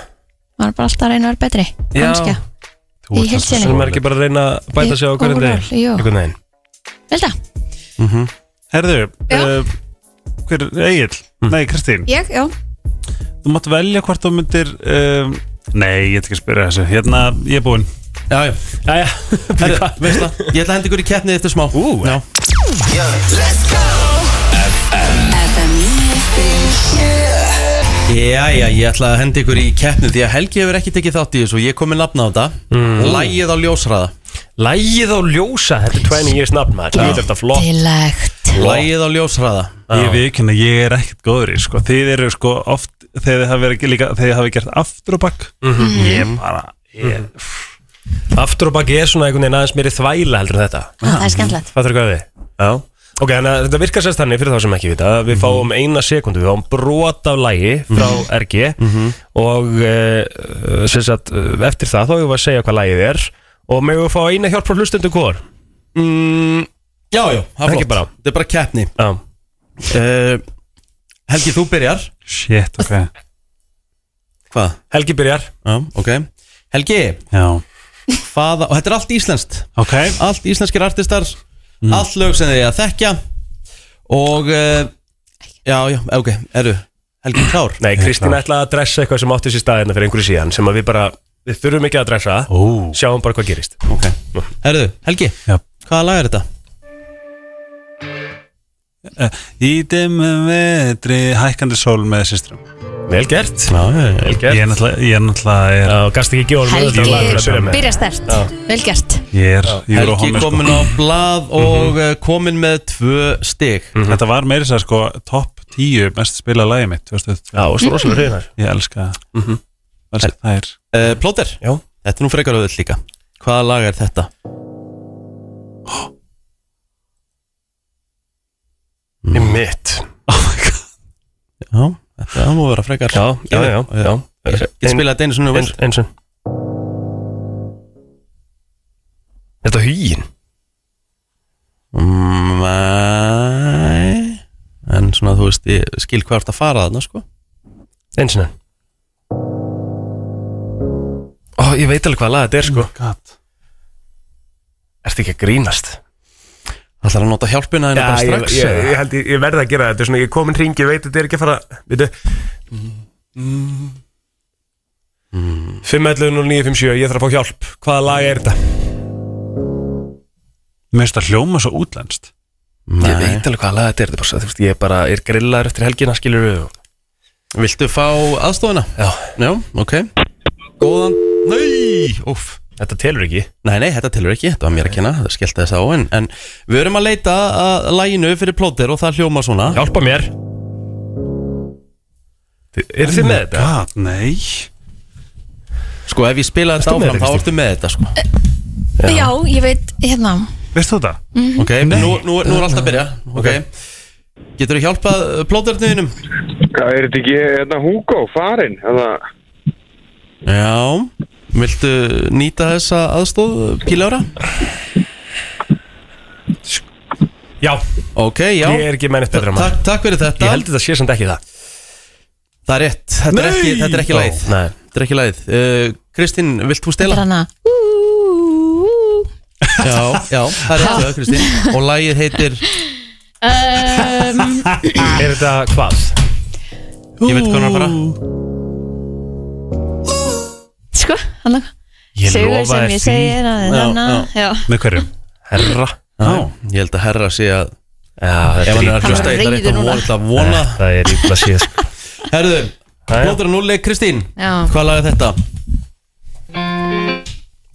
Speaker 2: maður er bara alltaf að reyna að vera betri
Speaker 3: Já.
Speaker 2: Hanskja,
Speaker 7: þú
Speaker 2: Í heild sinni.
Speaker 3: Svona maður er ekki bara að reyna að bæta sig á
Speaker 2: Í-
Speaker 3: hverjum
Speaker 2: overall,
Speaker 3: degi
Speaker 2: jú.
Speaker 3: Einhvern veginn
Speaker 2: velda
Speaker 7: Herðu, Hm.
Speaker 2: Já.
Speaker 7: uh, hver, Egil? Nei, Kristín
Speaker 2: Ég, já
Speaker 7: Þú mátt velja hvort þú myndir um, Nei, ég ætla ekki að spyrja þessu Hérna, ég er búinn
Speaker 1: Já, já,
Speaker 3: Jæja,
Speaker 1: herru, veist það Ég ætla að henda ykkur í keppnið eftir smá Ú, já
Speaker 6: FM 957
Speaker 1: Já, já, ég ætla að henda ykkur í keppnið Því að Helgi hefur ekki tekið þátt í þessu og Ég kom með nafna á þetta mm. Lægið á ljósræða
Speaker 3: Lægið á ljósa, þetta er 20 years nafn maður Þetta er þetta flott
Speaker 2: Tilegt
Speaker 1: Lægið á ljósræða
Speaker 7: Ég viðkynna, ég er ekkert góður í sko. Þið eru sko oft þegar þið hafi, verið, líka, þegar þið hafi gert aftur og bakk Ég bara ég,
Speaker 3: Aftur og baki er svona einhvern veginn aðeins meiri þvæla heldur en þetta
Speaker 2: Það er skemmtilegt
Speaker 3: Fattur hvað við? Já Mhm. Ok, þannig að þetta virkar sérst þannig fyrir þá sem ekki vita að Við fáum eina sekundu, við fáum brot af lægi frá RG og e, sem sagt, eh, eftir það þá erum við að segja hvað lægið er og megum við fá eina hjálp frá hlustundu hvor
Speaker 1: mm, Já, já, það er
Speaker 3: Ekki
Speaker 1: flott
Speaker 3: bara.
Speaker 1: Þetta er bara keppni
Speaker 3: Já,
Speaker 1: uh, Helgi, þú byrjar
Speaker 7: Shit, ok
Speaker 1: Hvað?
Speaker 3: Helgi byrjar
Speaker 1: Já, ok Helgi,
Speaker 7: Já,
Speaker 1: hvaða, og þetta er allt íslenskt
Speaker 7: ok
Speaker 1: Allt íslenskir artistar
Speaker 3: Mm.
Speaker 1: Allt lög sem þið er að þekkja Og uh, Já, já, ok, eru Helgi klár
Speaker 7: Hérna.
Speaker 3: Nei, Kristín ætlaði að dressa eitthvað sem átti sér staðina fyrir einhverju síðan sem að við bara, við þurfum ekki að dressa
Speaker 7: Ó,
Speaker 3: Sjáum bara hvað gerist
Speaker 1: Ok Herðu, Helgi,
Speaker 7: Já.
Speaker 1: hvaða lag er þetta?
Speaker 7: Eh, Í dimmu vetri hækkandi sól með systrum
Speaker 3: Vel gert
Speaker 7: Já, já, já
Speaker 3: Vel gert.
Speaker 7: Ég er náttúrulega, ég er náttúrulega ég er,
Speaker 3: Já, gast ekki gjóðum
Speaker 2: Helgi, byrja stert Vel gert
Speaker 7: ég er, ég er á
Speaker 1: Helgi
Speaker 7: honum, sko.
Speaker 1: komin á
Speaker 3: Mhm.
Speaker 1: blað og mm komin með tvö stig
Speaker 3: Mm.
Speaker 7: Þetta var meiri sér sko topp 10 mest spilað lagi mitt 2022.
Speaker 3: Já, og svo rosalega hreinar
Speaker 7: Ég elska það Elska þær
Speaker 1: uh, Plóter,
Speaker 3: Já.
Speaker 1: þetta er nú frekar auðvitað líka Hvaða lag er þetta?
Speaker 7: Mm.
Speaker 3: Í mitt
Speaker 1: Já, þetta má vera frekar
Speaker 3: Já, já, já, já.
Speaker 1: Ég get spilað þetta einu svona vel
Speaker 3: eins og Þetta er hýin
Speaker 1: Mm, Nei En svona þú veist, ég skil hvað ert að fara þarna sko
Speaker 3: Eins og Ó, ég veit alveg hvað lag þetta er sko
Speaker 7: Oh God
Speaker 3: Ertu ekki að grínast?
Speaker 1: Það er að nota hjálpina þína bara strax eða?
Speaker 3: held ég, ég verði að gera þetta Svona, ég er komin hringi, ég veit þetta er ekki að fara Veitu 5.11.09.57, ég þarf að fá hjálp Hvaða lag er þetta?
Speaker 7: Mér finnst það hljóma svo útlenskt
Speaker 3: Ég veit alveg hvaða lag þetta er Þetta er bara, svo- þú veist, ég er bara, er grillaður eftir helgina, skilur við
Speaker 1: Viltu fá aðstofuna?
Speaker 3: Já,
Speaker 1: Já, ok Góðan Nei, óf
Speaker 3: þetta telur ekki
Speaker 1: Nei, nei, þetta telur ekki, þetta var mér að kenna, það skellti þess á en, en við erum að leita að læginu fyrir plóter og það hljóma svona
Speaker 3: Hjálpa mér Er þið með þetta?
Speaker 7: Oh God, nei
Speaker 1: Sko, ef ég spila þetta
Speaker 3: Ertu með
Speaker 1: áfram,
Speaker 3: þetta,
Speaker 1: þá ertu með þetta, sko
Speaker 2: Já, ég veit, hérna
Speaker 7: Veist þú það?
Speaker 1: Ok, nú, nú, nú er allt að byrja Ok Getur þú hjálpað plóternuðinum?
Speaker 9: Hvað er þetta ekki, hérna Hugo, farinn? Hérna,
Speaker 1: Já Viltu nýta þessa aðstóð, pílára?
Speaker 3: Já,
Speaker 1: Ok, já
Speaker 3: ég er ekki mennit betra maður
Speaker 1: Takk, takk fyrir
Speaker 3: Ég
Speaker 1: þetta
Speaker 3: held þetta sé samt ekki það
Speaker 1: Það er rétt, þetta er ekki, þetta er ekki lægð
Speaker 3: Nei.
Speaker 1: Þetta er ekki lægð uh, Kristín, vilt þú
Speaker 2: Þetta er
Speaker 1: stela?
Speaker 2: hana
Speaker 1: Já, já, það er rétt, já, Kristín Og lægið heitir,
Speaker 2: um,
Speaker 3: Er þetta hvað?
Speaker 1: ég veit hvað hann er að fara
Speaker 2: Sko, hana
Speaker 3: Ég
Speaker 2: Sigur
Speaker 3: lofa
Speaker 2: sem
Speaker 3: þér
Speaker 2: ég
Speaker 3: því
Speaker 2: segir að
Speaker 1: Já,
Speaker 2: hana Já,
Speaker 7: Með hverjum?
Speaker 3: Herra
Speaker 1: Já, ég held að herra sé að
Speaker 3: Já,
Speaker 1: Ef
Speaker 3: þetta
Speaker 1: hann
Speaker 3: er
Speaker 1: er að
Speaker 3: ítla
Speaker 1: hlusta í
Speaker 2: Hann
Speaker 1: þetta
Speaker 2: var reiður núna.
Speaker 1: Það er vona
Speaker 3: Þetta er ítla síð
Speaker 1: Herðu,
Speaker 3: já.
Speaker 1: plótur að núli, Kristín
Speaker 2: já
Speaker 1: Hvað lagði þetta?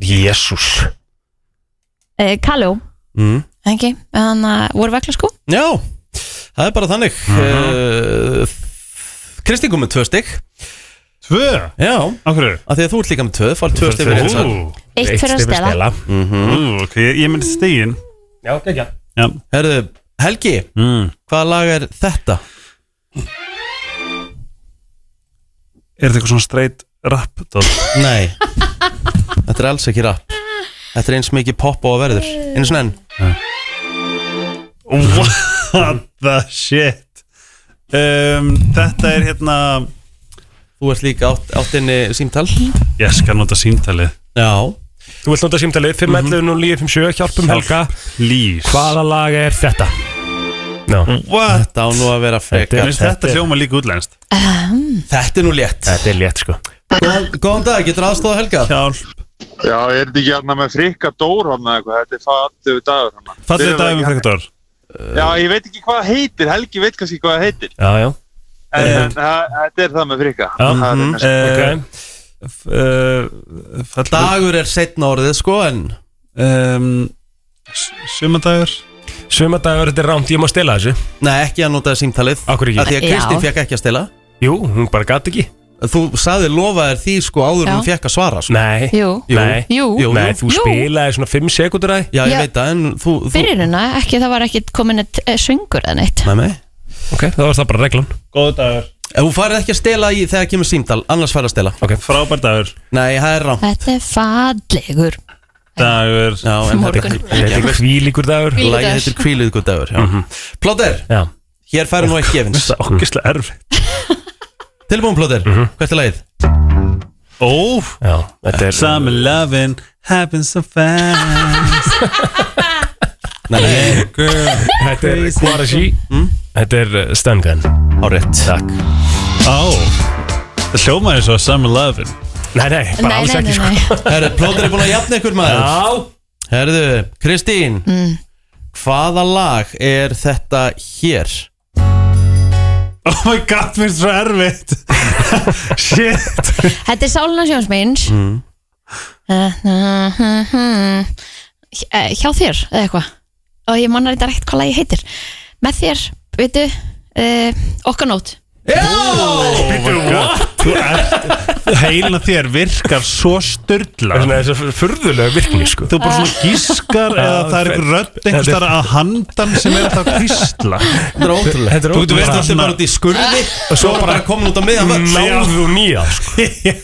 Speaker 3: Jésús
Speaker 2: Eh, Kalló
Speaker 1: Mm.
Speaker 2: Ekki, en hann voru vekla eh, sko
Speaker 1: Já það er bara þannig uh
Speaker 3: Mhm.
Speaker 1: Kristi kom með tvö stygg
Speaker 7: Tvö?
Speaker 1: Já,
Speaker 7: Af hverju?
Speaker 1: af því að þú ert líka með tvö farið tvö stygg með
Speaker 7: Ú,
Speaker 1: þessar
Speaker 2: Eitt fyrir að stela
Speaker 7: ú, ok, ég, ég myndi stegin
Speaker 3: Já, ekki
Speaker 7: Já,
Speaker 1: Herðu, Helgi,
Speaker 7: mm.
Speaker 1: hvaða lag er þetta?
Speaker 7: Er þetta eitthvað svona straight rap? dót?
Speaker 1: Nei Þetta er alls ekki rap Þetta er eins mikið pop og að verður Einu svona enn
Speaker 7: What the shit um, Þetta er hérna
Speaker 1: Þú ert líka átt, áttinni símtal
Speaker 7: Ég skal nota símtalið
Speaker 1: Já
Speaker 3: Þú vilt nota símtalið 511 0957 Hjálpum Helga
Speaker 7: Please
Speaker 3: Hvaða lag er þetta? Ná,
Speaker 7: What?
Speaker 1: Þetta á nú að vera
Speaker 3: Þetta
Speaker 1: frekar
Speaker 3: er-
Speaker 7: Minnst þetta hljóma líka útlænst
Speaker 1: Þetta er nú létt
Speaker 3: þetta er létt sko
Speaker 1: Góðan, góðan dag, getur aðstofað Helga?
Speaker 7: Hjálp
Speaker 9: Já, er þetta ekki hérna með frikka dór hann eða eitthvað? Þetta er fattu dagur hann.
Speaker 7: Fallið dag með frektur
Speaker 9: Já, ég veit ekki hvað það heitir, Helgi veit kannski hvað það heitir.
Speaker 3: Já, já
Speaker 9: En, en það- þetta er það með frikka.
Speaker 3: Já,
Speaker 9: Það er
Speaker 3: mhm,
Speaker 9: kannski-
Speaker 7: eh.
Speaker 3: ok.
Speaker 7: Fallið dag
Speaker 1: Dagur er setna orðið sko en
Speaker 7: Um, Sumadagur
Speaker 3: Sumadagur, þetta er rámt, ég má stela þessu
Speaker 1: Nei, ekki að nota símtalið
Speaker 3: Af hverju ekki?
Speaker 1: Af Því að
Speaker 2: Já.
Speaker 1: Kristín fekk ekki að stela
Speaker 3: Jú, hún bara gæti ekki
Speaker 1: Þú saði lofaðir því sko áður
Speaker 2: Já.
Speaker 1: en hún fekk að svara sko.
Speaker 3: Nei,
Speaker 2: Jú.
Speaker 3: nei,
Speaker 2: Jú. Jú.
Speaker 3: nei þú
Speaker 2: Jú.
Speaker 3: spilaði svona 5 sekundur að
Speaker 1: Já, ég
Speaker 2: Já.
Speaker 1: veit það en þú, þú
Speaker 2: Byrjununa, ekki það var ekki komin eitt eh, svingur eða neitt
Speaker 1: Nei, nei
Speaker 3: Ok, það var það bara reglan
Speaker 7: Góð dagur
Speaker 1: Ef Þú farið ekki að stela í þegar kemur símtal Annars farið að stela
Speaker 7: Frábær dagur
Speaker 1: Nei, það er rám
Speaker 2: Þetta er fallegur
Speaker 7: Dagur
Speaker 1: Já, en þetta
Speaker 2: Morgun.
Speaker 3: Þetta er eitthvað hvílíkur dagur
Speaker 2: Hvílíkur.
Speaker 1: Lægið heitir kvíluðgur dagur já. Plóter,
Speaker 3: Já,
Speaker 1: hér færi nú ekki gefins
Speaker 7: Það er ógislega erfitt
Speaker 1: Tilbúin Plóter, hvert er lægið?
Speaker 7: Ó
Speaker 3: já, þetta er
Speaker 7: Oh, Summer lovin' happens so fast
Speaker 1: Nei, nei,
Speaker 3: Þetta er
Speaker 7: Crazy.
Speaker 3: Quarashi
Speaker 2: Hmm?
Speaker 3: Þetta er uh, Stun Gun
Speaker 1: á rétt
Speaker 3: Takk
Speaker 7: Á Það hljómaði svo Summer lovin'
Speaker 3: Nei, nei, bara
Speaker 2: Nei,
Speaker 3: alls
Speaker 2: nei,
Speaker 3: ekki
Speaker 2: nei,
Speaker 3: sko
Speaker 2: nei
Speaker 1: Herru, Plóter er búin að jafna ykkur maður
Speaker 3: Já,
Speaker 1: Herðu, Kristín Hvaða lag er þetta hér?
Speaker 7: Oh my god, mér er svo erfitt Shit
Speaker 2: Þetta er Sálina Eh, Sjónsmeins eh, Hjá þér, eða eitthvað Og ég manna þetta rétt hvað lagi heitir Með þér, veitu uh, Okkanót
Speaker 7: Oh Þú ert Heilina þér virkar svo
Speaker 3: það er
Speaker 7: styrla
Speaker 3: svona þessi furðulega virkni sko
Speaker 7: Þú bara svona gískar eða það er einhver rödd einhvers þar að handan sem er alltaf kvísla
Speaker 1: Þetta er ótrúlega
Speaker 3: Þetta er
Speaker 1: Þú
Speaker 7: Þú getur
Speaker 3: ótrúlega
Speaker 1: veist alltaf
Speaker 7: Bara svona-
Speaker 1: bara út í skurði og svo er bara komin út á miðan völl
Speaker 3: Náðu nýja sko
Speaker 7: Já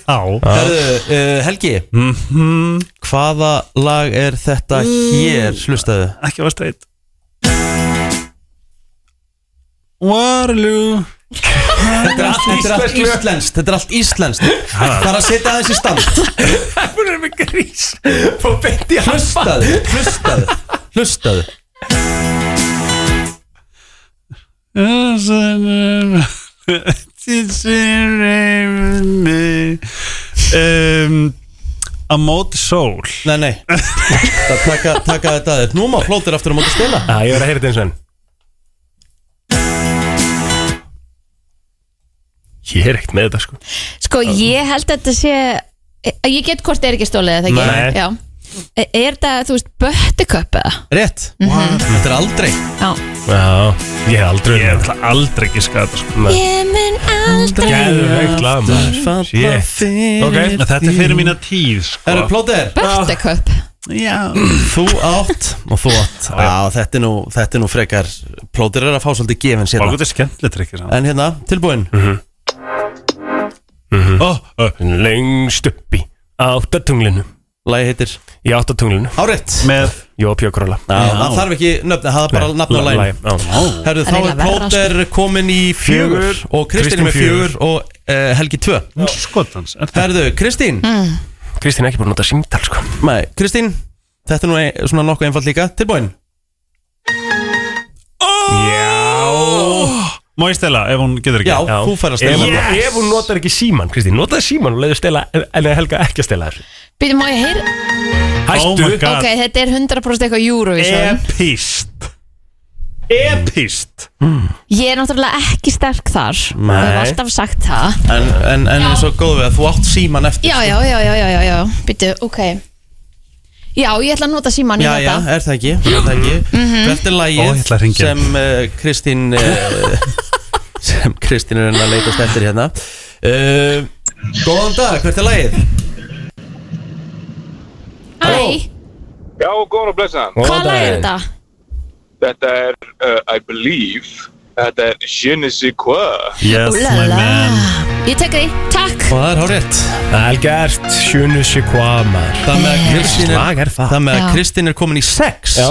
Speaker 1: Herðu, uh, Helgi Hvaða lag er þetta hér? Hlustaðu
Speaker 7: Ekki var streitt Waterloo
Speaker 1: Þetta er allt- þetta er allt íslenskt Þetta er allt íslenskt Það er að setja aðeins í stand
Speaker 3: Það er með grís Fá beint í
Speaker 1: Hlustaðu, hlustaðu, hlustaðu
Speaker 7: um, A móti sól
Speaker 1: Nei, nei Það taka, taka þetta aðeins Nú má plótir aftur á móti stela
Speaker 3: Já, ég verð að heyra þetta eins og enn Ég er ekkert með þetta sko
Speaker 2: Sko, ég held að þetta sé eh, Ég get hvort er ekki stólið eða það
Speaker 3: Nei.
Speaker 2: ekki Já. Eh, Er þetta, þú veist, böttiköp eða?
Speaker 1: Rétt Þetta er aldrei
Speaker 2: Já
Speaker 3: Já, ég hef aldrei
Speaker 7: Ég ætla aldrei ekki skata sko.
Speaker 2: Ég mun aldrei
Speaker 3: Gæðveikt lag maður Shit Ok,
Speaker 7: Þetta er fyrir mína tíð
Speaker 1: Herru,
Speaker 7: sko.
Speaker 1: plótir
Speaker 2: Böttiköp
Speaker 7: Já.
Speaker 1: Þú átt og þú átt Já, þetta er nú, þetta er nú frekar Plótir er að fá svolítið gefins
Speaker 7: Bara
Speaker 1: hérna
Speaker 7: gott er skemmtilegt ekki saman
Speaker 1: En hérna, tilbúin
Speaker 7: oh, uh,
Speaker 3: Lengst upp í áttatunglinu
Speaker 1: Lagi heitir
Speaker 3: Í áttatunglinu
Speaker 1: Árétt
Speaker 7: Með
Speaker 3: Jó, Pjókróla
Speaker 1: Það þarf ekki nöfna, það er bara nafn á lægin Herru, þá
Speaker 2: Það er
Speaker 1: er
Speaker 2: eiginlega verra, sko.
Speaker 1: plóter komin í fjögur
Speaker 3: Fjögur.
Speaker 1: Og Kristín er með
Speaker 3: Kristín
Speaker 1: fjögur og eh, Helgi tvö
Speaker 7: skotans Er það
Speaker 1: Herru, Kristín
Speaker 2: Mm.
Speaker 3: Kristín er ekki búin að nota símtal sko
Speaker 1: Nei, Kristín Þetta er nú ein, svona nokkuð einfalt líka Tilbúin
Speaker 7: Má ég stela ef hún getur ekki
Speaker 1: Já, þú fær að stela
Speaker 3: Ef- Ef hún notar ekki síman, Kristín Notaði síman og leiði stela En Helga ekki að stela þessu
Speaker 2: Býtum má ég heyra
Speaker 7: Oh my
Speaker 3: Hættu
Speaker 7: god
Speaker 2: Ok, þetta er 100% eitthvað Eurovision
Speaker 7: Epist Epist
Speaker 2: Ég er náttúrulega ekki sterk þar Nei Ég hef alltaf sagt það
Speaker 1: En, en, en eins og góð við að þú átt síman eftir
Speaker 2: Já, já, já, já, já, já, já Býtu, ok Já, ég Mhm. ætla að nota síman í
Speaker 1: Já, já,
Speaker 2: þetta
Speaker 1: er það ekki, er það ekki. Hvert er
Speaker 7: Ó, ég ætla
Speaker 1: lagið
Speaker 7: að hringja.
Speaker 1: sem uh, Kristín uh, sem Kristín er enn að leitast eftir hérna uh, Góðan dag, hvert er lagið?
Speaker 2: Æ,
Speaker 9: Já, góðan og blessaðan.
Speaker 3: Góðan
Speaker 2: hvað lag er
Speaker 3: daginn.
Speaker 2: þetta?
Speaker 9: Þetta er, uh, I believe, þetta er je ne sais quoi.
Speaker 7: Yes, my
Speaker 2: Úlala.
Speaker 7: man
Speaker 2: Ég tek því, takk
Speaker 1: Og það er hárétt
Speaker 3: Vel gert, sjönu sér hvað maður
Speaker 1: Það með að Kristín er,
Speaker 3: Slag er það
Speaker 1: það með
Speaker 2: Já.
Speaker 1: að Kristín er komin í sex
Speaker 3: Já,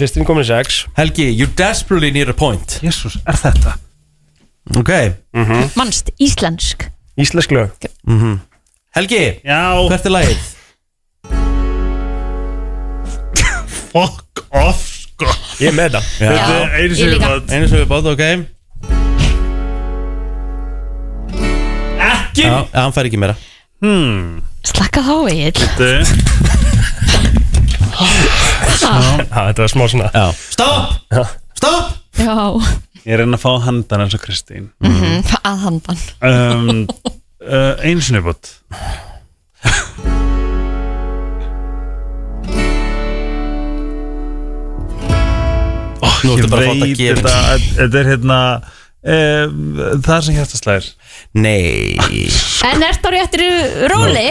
Speaker 3: Kristín komin í sex
Speaker 1: Helgi, you desperately need a point
Speaker 7: Jesus, er þetta?
Speaker 1: Ok,
Speaker 2: Manst, íslensk
Speaker 3: Íslensk lög
Speaker 1: Helgi,
Speaker 7: Já,
Speaker 1: hvert er lagið?
Speaker 7: fuck off sko
Speaker 3: Ég er með það
Speaker 2: Já,
Speaker 7: Þetta er einu
Speaker 2: ég
Speaker 7: sem
Speaker 2: líka.
Speaker 7: við
Speaker 1: Einu sem við báðum, ok
Speaker 7: Ekki
Speaker 1: Já, hann fær ekki meira
Speaker 2: Slakka þá, Egil
Speaker 7: Þetta
Speaker 3: Ha, Þetta var smá svona
Speaker 1: Já. Stopp,
Speaker 3: Já.
Speaker 1: stopp
Speaker 2: Já,
Speaker 7: Ég reyna að fá handan eins og Kristín
Speaker 2: Mhm, að handan
Speaker 7: um, uh, Einu sinni bútt
Speaker 1: Nú
Speaker 7: Ég
Speaker 1: ertu bara að fá þetta
Speaker 7: veit
Speaker 1: að gefa
Speaker 7: þetta Þetta er hérna um, Það sem hjartaslæðir
Speaker 1: Nei,
Speaker 2: En ert á réttir róli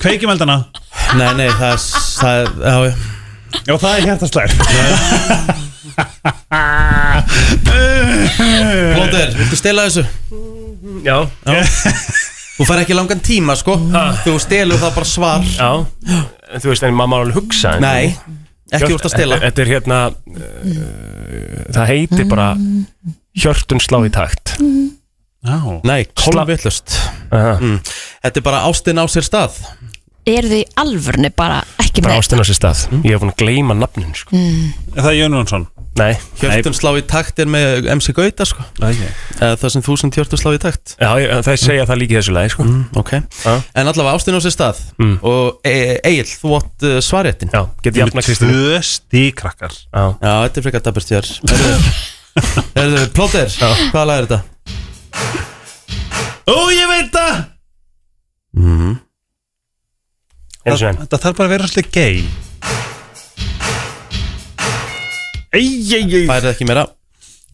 Speaker 7: Kveikjum eldana
Speaker 1: nei, nei, það, er- það, er- já, já
Speaker 7: Já, það er
Speaker 3: hérna
Speaker 7: hjartaslæðir
Speaker 1: Blóter, viltu stela þessu?
Speaker 3: Já,
Speaker 1: Þú fær ekki langan tíma sko Þú stelur það bara svar
Speaker 3: já En Þú veist, en maður má alveg hugsa en-
Speaker 1: Nei, ekki úr að stela
Speaker 3: Þetta-
Speaker 7: Eh,
Speaker 3: Þetta er hérna uh, Það heitir bara Hjörtun slá í takt
Speaker 7: Já
Speaker 1: Nei, kolvillust
Speaker 3: Aha.
Speaker 1: Þetta er bara ástin á sér stað
Speaker 2: Er þið í alvörni bara ekki
Speaker 3: Bara
Speaker 2: með
Speaker 3: ástin á sér stað
Speaker 1: Mm.
Speaker 3: Ég hef búin að gleyma nafnin sko.
Speaker 7: Er það Jón Jónsson?
Speaker 3: Nei,
Speaker 1: Hjörtun slá í takt er með MC Gauta sko
Speaker 7: Okay.
Speaker 1: Eða Það sem þúsund hjörtun slá í takt
Speaker 3: já, ég, það segja það líka í þessu lagi sko.
Speaker 1: Ok
Speaker 3: Já.
Speaker 1: En allavega ástin á sér stað
Speaker 3: Mm.
Speaker 1: Og e Egil, þú átt uh, svaréttin
Speaker 3: Já, get ég afna Kristín
Speaker 7: Tvö stíkrakkar
Speaker 3: Já,
Speaker 1: Já, þetta er frekar dabert þér Erðu, plóter, hvaða lag er þetta?
Speaker 7: Ó, ég veit það!
Speaker 3: eins og enn
Speaker 7: Þetta þarf bara að vera svolítið gay Ei, ei, ei
Speaker 1: Færið ekki meira,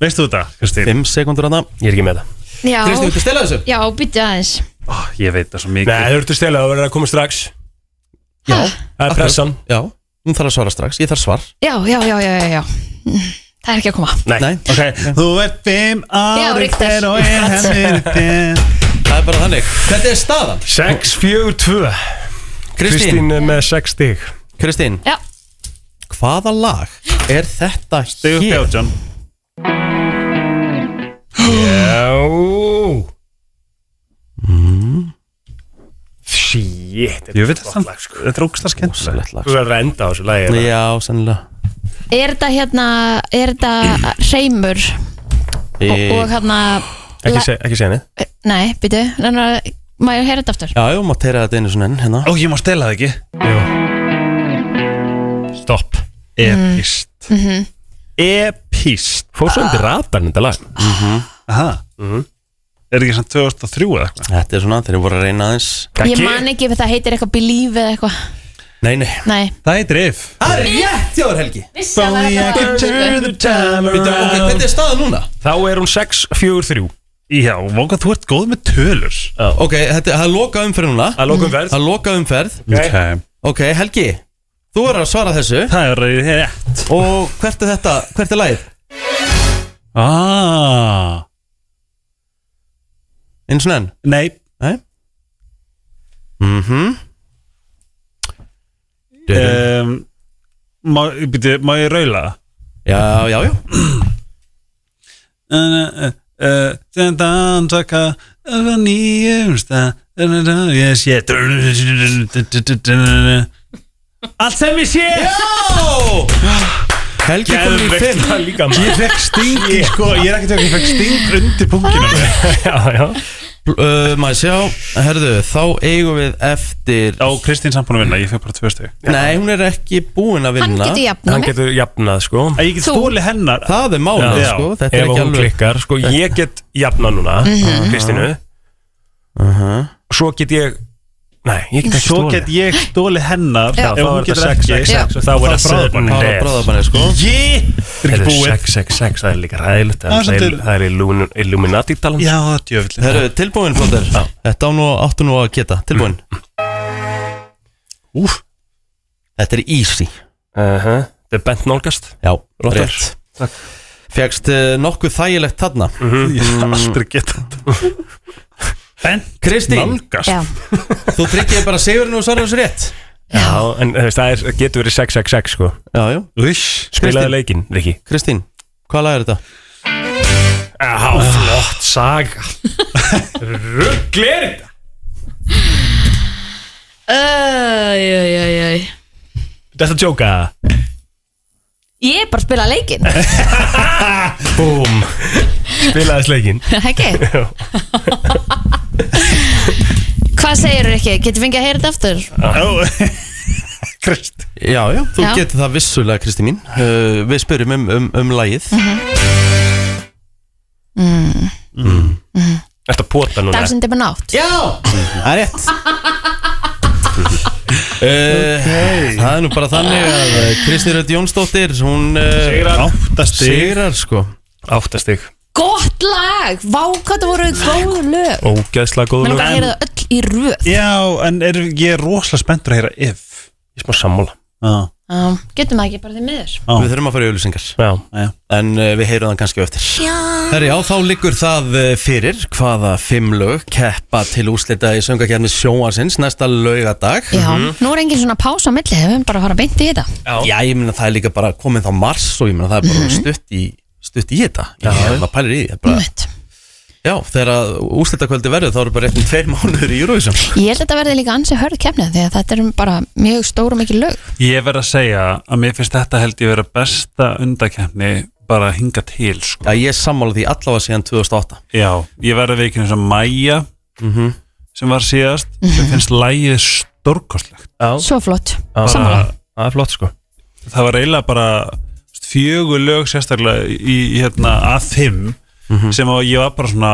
Speaker 7: Veistu þetta, Kristín?
Speaker 1: 5 sekundur hana
Speaker 3: Ég er ekki með það
Speaker 2: Já,
Speaker 1: Kristi, viltu stela þessu?
Speaker 2: já, bytja aðeins
Speaker 7: Ó, ég veit það svo mikið
Speaker 3: Nei, þú ertu stela, þú verður að koma strax
Speaker 2: Já,
Speaker 3: Það er pressan
Speaker 1: Já, hún þarf að svara strax, ég þarf svar
Speaker 2: já, já, já, já, já, já. Það er ekki að koma
Speaker 1: Nei,
Speaker 7: Ok, þú ert fimm
Speaker 2: Já,
Speaker 7: ári
Speaker 2: Ríktar.
Speaker 7: þegar og ég hef mér þér
Speaker 1: það er bara þannig Þetta er staðan
Speaker 3: 6, 4, 2
Speaker 1: Kristín,
Speaker 3: Kristín er með 6 stig
Speaker 1: Kristín,
Speaker 2: Já,
Speaker 1: hvaða lag er þetta
Speaker 7: Dugur
Speaker 1: hér?
Speaker 7: bjáttjón
Speaker 3: Já Shit þetta
Speaker 7: Ég
Speaker 3: er
Speaker 7: veit
Speaker 3: gott
Speaker 7: það
Speaker 3: lag, sko.
Speaker 7: Þetta er ógstast skemmtilega
Speaker 1: Rosalegt lag.
Speaker 3: Þú verður að enda á þessu lagi eða?
Speaker 1: Já, sennilega
Speaker 2: er þetta hérna Er þetta hreimur og,
Speaker 1: Í-
Speaker 2: og hérna
Speaker 3: Ekki se- ekki segja neitt
Speaker 2: Nei, bytja, þannig að maður heyra þetta aftur
Speaker 1: Já, ég má teyra þetta einu svona enn hérna
Speaker 7: Ó, ég má stela það ekki
Speaker 3: Stopp
Speaker 7: Epist Ah. Epist
Speaker 3: Fór svo undir ratarn þetta lag
Speaker 7: Aha Er ekki samt 2003 eða eitthvað?
Speaker 1: Þetta er svona, þeir eru voru að reyna aðeins
Speaker 2: Ég man ekki ef það heitir eitthvað believe eða eitthvað
Speaker 1: Nei, nei
Speaker 2: Nei,
Speaker 7: Það heitir if
Speaker 1: Það er rétt hjá þér Helgi Býtu, ok,
Speaker 7: Þá
Speaker 1: hvernig er staðan núna?
Speaker 3: Þá er hún 6, 4, 3
Speaker 7: Já, vanga þú ert góð með tölur
Speaker 1: Ok, þetta það er loka umferð núna
Speaker 3: Að lókum verð
Speaker 1: Það er loka umferð
Speaker 7: okay.
Speaker 1: Ok, Helgi, þú er að svara þessu
Speaker 7: Það er rétt
Speaker 1: Og hvert er þetta, hvert er lagið?
Speaker 7: ah.
Speaker 1: Einu svona enn
Speaker 7: Nei,
Speaker 1: Nei Mhm Já,
Speaker 7: um, má, byrju, má ég raula
Speaker 1: já,
Speaker 7: það?
Speaker 1: já
Speaker 7: eh, Þegar dansaka Það var nýjumsta eh, Ég sé Allt sem ég sé
Speaker 1: Helgi komin í fimm
Speaker 3: Það líka maður
Speaker 7: Ég fekk sting í sko Ég er ekki tjók, ég fekk sting undir punktinu
Speaker 3: Já, já
Speaker 1: uh, Maður sjá, herðu, þá eigum við eftir
Speaker 7: Á Kristín samt búin að vinna, ég fekk bara tvö stug
Speaker 1: Nei, hún er ekki búin að
Speaker 2: hann
Speaker 1: vinna
Speaker 2: getur jafna
Speaker 3: Hann
Speaker 2: mig
Speaker 3: getur jafnað sko
Speaker 7: Að ég get
Speaker 2: Þú.
Speaker 7: stóli hennar
Speaker 1: Það er málið,
Speaker 7: Já.
Speaker 1: sko Þetta er
Speaker 3: Ef
Speaker 1: ekki
Speaker 3: hún
Speaker 1: alveg
Speaker 3: klikkar Sko ég get jafnað núna Kristínu Svo get ég Nei, ég get ekki
Speaker 7: Svo
Speaker 3: stólið
Speaker 7: get ég stólið hennar
Speaker 2: Já.
Speaker 7: Ef hún getur ekki
Speaker 2: sex, sex,
Speaker 3: Þá er það
Speaker 7: bráðabann
Speaker 1: Þá er það bráðabanni, sko.
Speaker 7: Ég er ekki búið
Speaker 3: 666, það er líka ræðilegt
Speaker 7: Það er
Speaker 3: Það er-
Speaker 7: svolítið-
Speaker 3: það er Illumi- Illuminati talan
Speaker 7: Já, djöfullin
Speaker 1: Herru, tilbúin, Plóter Þetta á nú, áttu nú að geta, tilbúin Úf Þetta er easy
Speaker 3: Það er bent nálgast
Speaker 1: Já,
Speaker 3: Plóter.
Speaker 1: rétt Fegst eh, nokkuð þægilegt þarna
Speaker 7: Ég er aldrei geta
Speaker 1: Kristín,
Speaker 7: Nálgast
Speaker 2: Já,
Speaker 1: þú tryggir bara sigurinn og svarar þessu rétt
Speaker 3: Já, en þú veist, það er- getur verið 666 sko
Speaker 1: Já, já
Speaker 7: Uish
Speaker 3: Spilaðu leikinn, Riki
Speaker 1: Kristín, hvað lag er þetta?
Speaker 3: Já, flott saga Rugglir
Speaker 2: Æj, æj, æj, æj.
Speaker 3: Þetta tjóka
Speaker 2: Ég er bara að spila leikinn
Speaker 3: Búm Spilaðu leikinn
Speaker 2: Ekki? Hvað segir þú ekki? Getur fengið að heyra þetta aftur?
Speaker 7: Krist
Speaker 1: Já, já, þú
Speaker 2: Já.
Speaker 1: getur það vissulega, Kristín mín uh, Við spyrjum um, um, um lagið
Speaker 3: Þetta pota núna
Speaker 2: Dansinn er bara nátt
Speaker 1: Já, það er rétt Uh, Það er nú bara þannig að uh, Kristín Rödd Jónsdóttir hún uh,
Speaker 7: Áttasti
Speaker 1: sigrar sko
Speaker 3: Áttastig
Speaker 2: Gott lag! Vá, hvað það voru góð lög
Speaker 3: Ógæðslega góð
Speaker 2: Mér
Speaker 3: lög
Speaker 2: langar að heyra það öll í röð
Speaker 7: Já, en er, ég er rosalega spenntur að heyra if
Speaker 3: Ég er smá sammála
Speaker 7: Já,
Speaker 2: um, Getum það ekki bara því miður
Speaker 7: Já.
Speaker 1: Við þurfum að fara í auðlýsingar
Speaker 3: Já
Speaker 1: En uh, við heyrum það kannski á eftir Herri, já, þá liggur það uh, fyrir hvaða fimm lög keppa til úslita í söngakefni sjóansins næsta laugadag
Speaker 2: Já, nú er engin svona pása á milli Við höfum bara að fara beint í þetta
Speaker 1: Já, ég meina það er líka bara komið þá mars og ég meina það er bara stutt í stutt í þetta, ég meina það pælir í því, það er bara,
Speaker 2: Mhm. Einmitt.
Speaker 1: Já, þegar að úslitakvöldi verður þá eru bara réttin tveir mánuður í Eurovision
Speaker 2: Ég held að þetta verði líka ansi hörð kemnið Því að þetta er bara mjög stór og mikið lög
Speaker 7: Ég verð að segja að mér finnst þetta held ég vera besta undakefni bara að hinga til sko.
Speaker 1: Já, ég er sammála því allavega síðan 2008
Speaker 7: Já, ég verð að veikinu sem Maja sem var síðast sem finnst lægið stórkostlegt
Speaker 2: Svo flott
Speaker 1: Ah.
Speaker 7: Sammála.
Speaker 3: Það er flott sko
Speaker 7: það var eiginlega bara fjögur lög sérstaklega í í, hérna að fimm sem að ég var bara svona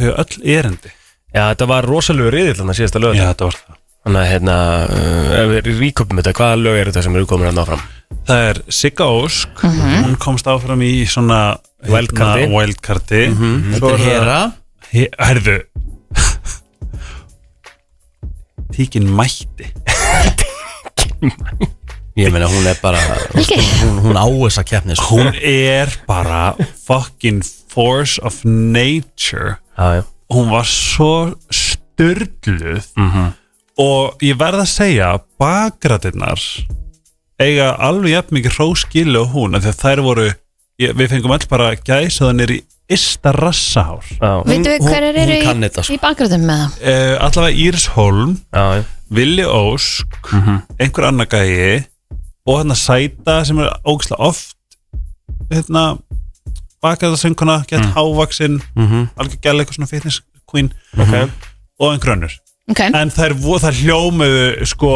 Speaker 7: þau eiga öll erindi
Speaker 3: Já, þetta var rosalegu riðill þannig síðasta lög
Speaker 7: Já, þetta var það
Speaker 3: Þannig að hérna uh, Ef við ríkupum þetta, hvaða lög eru þetta sem eru komin hérna áfram?
Speaker 7: Það er Sigga Ósk hún komst áfram í svona hérna,
Speaker 3: Wildcardi.
Speaker 7: wildcardi. Svo
Speaker 1: Mhm. Þetta er hera,
Speaker 7: He- Herðu Tíkin mætti
Speaker 1: ég meina hún er bara
Speaker 2: Ekki?
Speaker 1: hún, hún á þessa keppni sko.
Speaker 7: Hún er bara fucking force of nature
Speaker 3: Já, já
Speaker 7: Hún var svo styrluð og ég verð að segja bakgrætinnar eiga alveg jafn mikið hróskilu og hún af því að þær voru ég, við fengum all bara gæsaðanir í ysta rassahár
Speaker 3: Já,
Speaker 2: Veitum við
Speaker 1: hún-
Speaker 2: hverjar
Speaker 1: hún
Speaker 2: eru
Speaker 1: kann
Speaker 2: í,
Speaker 1: þetta, sko.
Speaker 2: í bakgröðum með það?
Speaker 7: uh, allavega Íris Holm
Speaker 3: já, já
Speaker 7: Villi Ósk einhver annar gæi og hérna Sæta sem er ógislega oft hérna bakaða sönguna, gett hávaksinn alveg gæla eitthvað svona fitness queen
Speaker 3: Ok.
Speaker 7: og einhver önnur
Speaker 2: Okay.
Speaker 7: en þær, vo- þær hljómuðu sko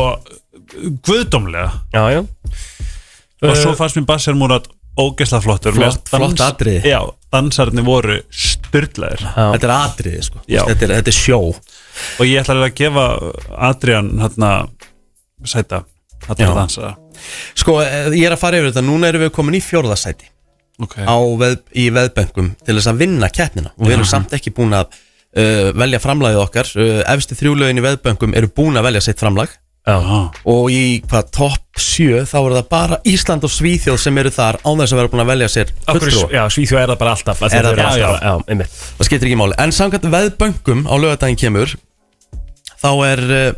Speaker 7: guðdómlega
Speaker 3: Já, já
Speaker 7: og svo fannst mér Bassir Múrat ógislega flottur
Speaker 1: Eh. Flott-
Speaker 7: Mér fannst
Speaker 1: flott atriði.
Speaker 7: já, dansarnir voru styrlaðir
Speaker 3: Já.
Speaker 1: Þetta er atriði sko,
Speaker 7: Já.
Speaker 1: þetta er, þetta er sjó
Speaker 7: og ég ætla að gefa Adrian hérna Sæta hérna
Speaker 1: Já.
Speaker 7: að dansa
Speaker 1: Sko, eh, ég er að fara yfir þetta, núna erum við komin í fjórðasæti
Speaker 7: okay.
Speaker 1: á veð, í veðböngum til þess að vinna keppnina og við erum samt ekki búin að uh, velja framlagið okkar uh, efstu þrjúlaugin í veðböngum eru búin að velja sitt framlag
Speaker 7: ah.
Speaker 1: og í hvað topp 7 þá eru það bara Ísland og Svíþjóð sem eru þar án þess að vera búin að velja sér
Speaker 3: Akkur,
Speaker 1: fulltrú
Speaker 3: já, Svíþjóð er það bara alltaf
Speaker 1: Er það bara
Speaker 3: alltaf
Speaker 1: alltaf?
Speaker 3: Já, einmitt
Speaker 1: það skiptir ekki máli en samkvæmt veðböngum á lögadaginn kemur þá er uh,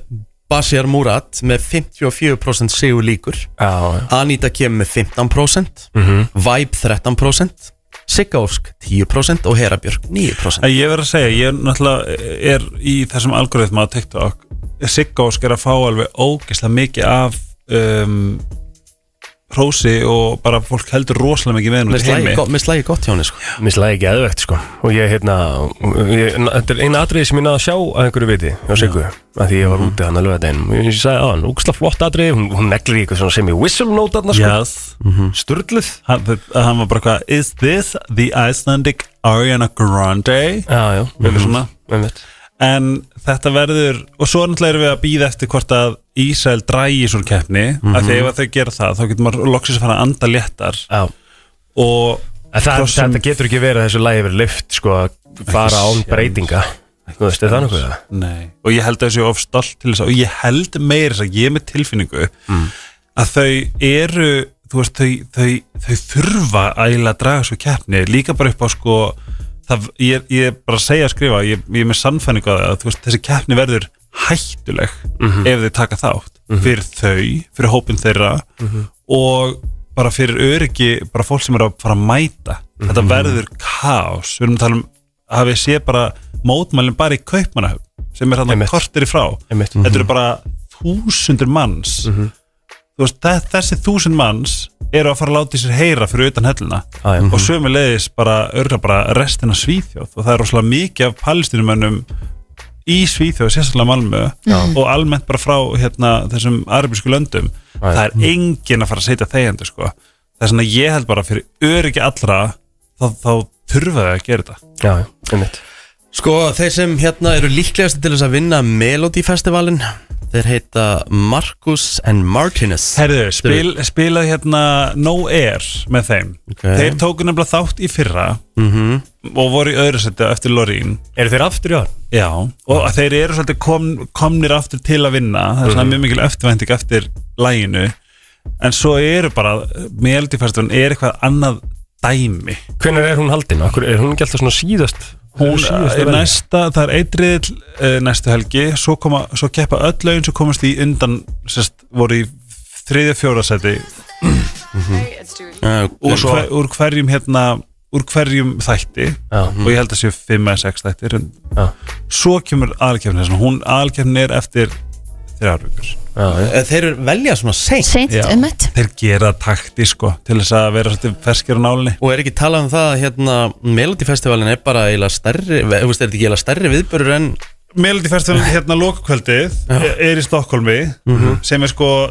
Speaker 1: Bashir Murat með 54% sigur líkur
Speaker 3: Já,
Speaker 1: Anita kemur með 15% Vibe 13% Sigga Ósk 10% og Hera Björk 9%
Speaker 7: En Ég verð að segja, ég er náttúrulega er í þessum algoritma á TikTok Sigga Ósk er að fá alveg ógeðslega mikið af um, hrósi og bara fólk heldur rosalega mikið með henni
Speaker 1: Mér
Speaker 7: út í heimi.
Speaker 1: slægi gott- mér slægi gott hjá henni sko
Speaker 3: Mér slæði ekki aðvegt sko Og ég hérna ég, Þetta er eina atriði sem ég náði að sjá að einhverju viti hjá Siggu að Því ég
Speaker 1: Mhm.
Speaker 3: var úti hann að löða þeim Ég ég sagði á hann, úksla flott atriði Hún, hún neglir í eitthvað svona sem ég whistle note þarna sko
Speaker 7: Yes.
Speaker 3: Sturluð
Speaker 7: Hann, hann var bara hvað Is this the Icelandic Ariana Grande?
Speaker 3: Já, já,
Speaker 1: Mhm.
Speaker 7: Eitthvað svona.
Speaker 3: einmitt
Speaker 7: en þetta verður og svo náttúrulega erum við að býða eftir hvort að Ísrael drægis úr keppni af
Speaker 3: Mhm.
Speaker 7: því ef að þau gera það þá getur maður loksins að fara að anda léttar
Speaker 3: Já.
Speaker 7: og
Speaker 3: En það,
Speaker 7: krossum-
Speaker 3: þetta getur ekki verið að þessu lægi verið lyft sko að fara án
Speaker 7: séns.
Speaker 3: breytinga Þú veist, er það nokkuð það?
Speaker 7: Nei, og ég held að þessu of stolt til þess að, og ég held meira þess að ég er með tilfinningu að þau eru þú veist, þau, þau, þau þurfa að eiginlega að draga svo keppni líka bara upp á sko það, ég, ég er bara að segja að skrifa, ég, ég er með sannfæningu að þú veist, þessi keppni verður hættuleg
Speaker 3: Mhm.
Speaker 7: ef þau taka þátt fyrir þau, fyrir hópin þeirra
Speaker 3: Mhm.
Speaker 7: og bara fyrir öryggi bara fólk sem er að fara að mæta
Speaker 3: Mhm.
Speaker 7: þetta verður kaos við erum að tala um að við sé bara mótmælin bara í kaupmanahöfn sem er þarna
Speaker 3: Einmitt.
Speaker 7: kortir í frá
Speaker 3: Einmitt. Mhm.
Speaker 7: þetta eru bara þúsundur manns þú veist, þe- þessi þúsund manns eru að fara að láta í sér heyra fyrir utan helluna
Speaker 3: Ah, já.
Speaker 7: og sömulegis bara, örgulega bara restina Svíþjóð og það er rosalega mikið af palestinumönnum í Svíþjóð, sérstaklega Malmö og almennt bara frá hérna, þessum arabísku löndum það
Speaker 3: Mhm.
Speaker 7: er engin að fara að setja þegjandi sko. það er svona ég held bara fyrir öryggi allra þá, þá þurfa þau að gera þetta
Speaker 3: Já, já, einmitt
Speaker 1: Sko, þeir sem hérna eru líklegast til þess að vinna Melody Festivalin Þeir heita Marcus and Martinez
Speaker 7: Herðu, spil, spilaði hérna No Air með þeim
Speaker 1: Ok.
Speaker 7: þeir tóku nefnilega þátt í fyrra
Speaker 3: Mhm.
Speaker 7: -hmm. og voru í öðru setja eftir Lorín
Speaker 3: Eru þeir aftur í ár?
Speaker 7: Já, og að þeir eru svolítið kom, komnir aftur til að vinna það er svona mjög mikil eftirvænting eftir læginu en svo eru bara meðaldífæstunum er eitthvað annað dæmi
Speaker 3: Hvenær er hún haldin? Akkur, er hún ekki alltaf svona síðast?
Speaker 7: hún
Speaker 1: eh,
Speaker 3: síðast
Speaker 7: er eh, næsta, það er eitriðil uh, næstu helgi, svo, koma, svo keppa öll lögin sem komast í undan sérst, voru í þriðja fjóra seti
Speaker 1: uh,
Speaker 7: úr, hver, úr hverjum hérna úr hverjum þætti
Speaker 3: Já.
Speaker 7: og ég held að séu 5 eða 6 þættir en
Speaker 3: Já.
Speaker 7: svo kemur aðalkefnin hún aðalkefnin er eftir þrjár vikur
Speaker 1: Ah, Þeir eru velja svona seint
Speaker 2: Seint
Speaker 7: Já.
Speaker 2: um þetta
Speaker 7: þeir gera takti sko til þess að vera svolítið ferskir á nálinni
Speaker 1: Og er ekki talað um það að hérna Melody Festivalin er bara eiginlega stærri ve- Þú veist, er þetta ekki eiginlega stærri viðbörur en
Speaker 7: Melody Festival hérna lokakvöldið er í Stokkólmi
Speaker 3: Mhm.
Speaker 7: sem er sko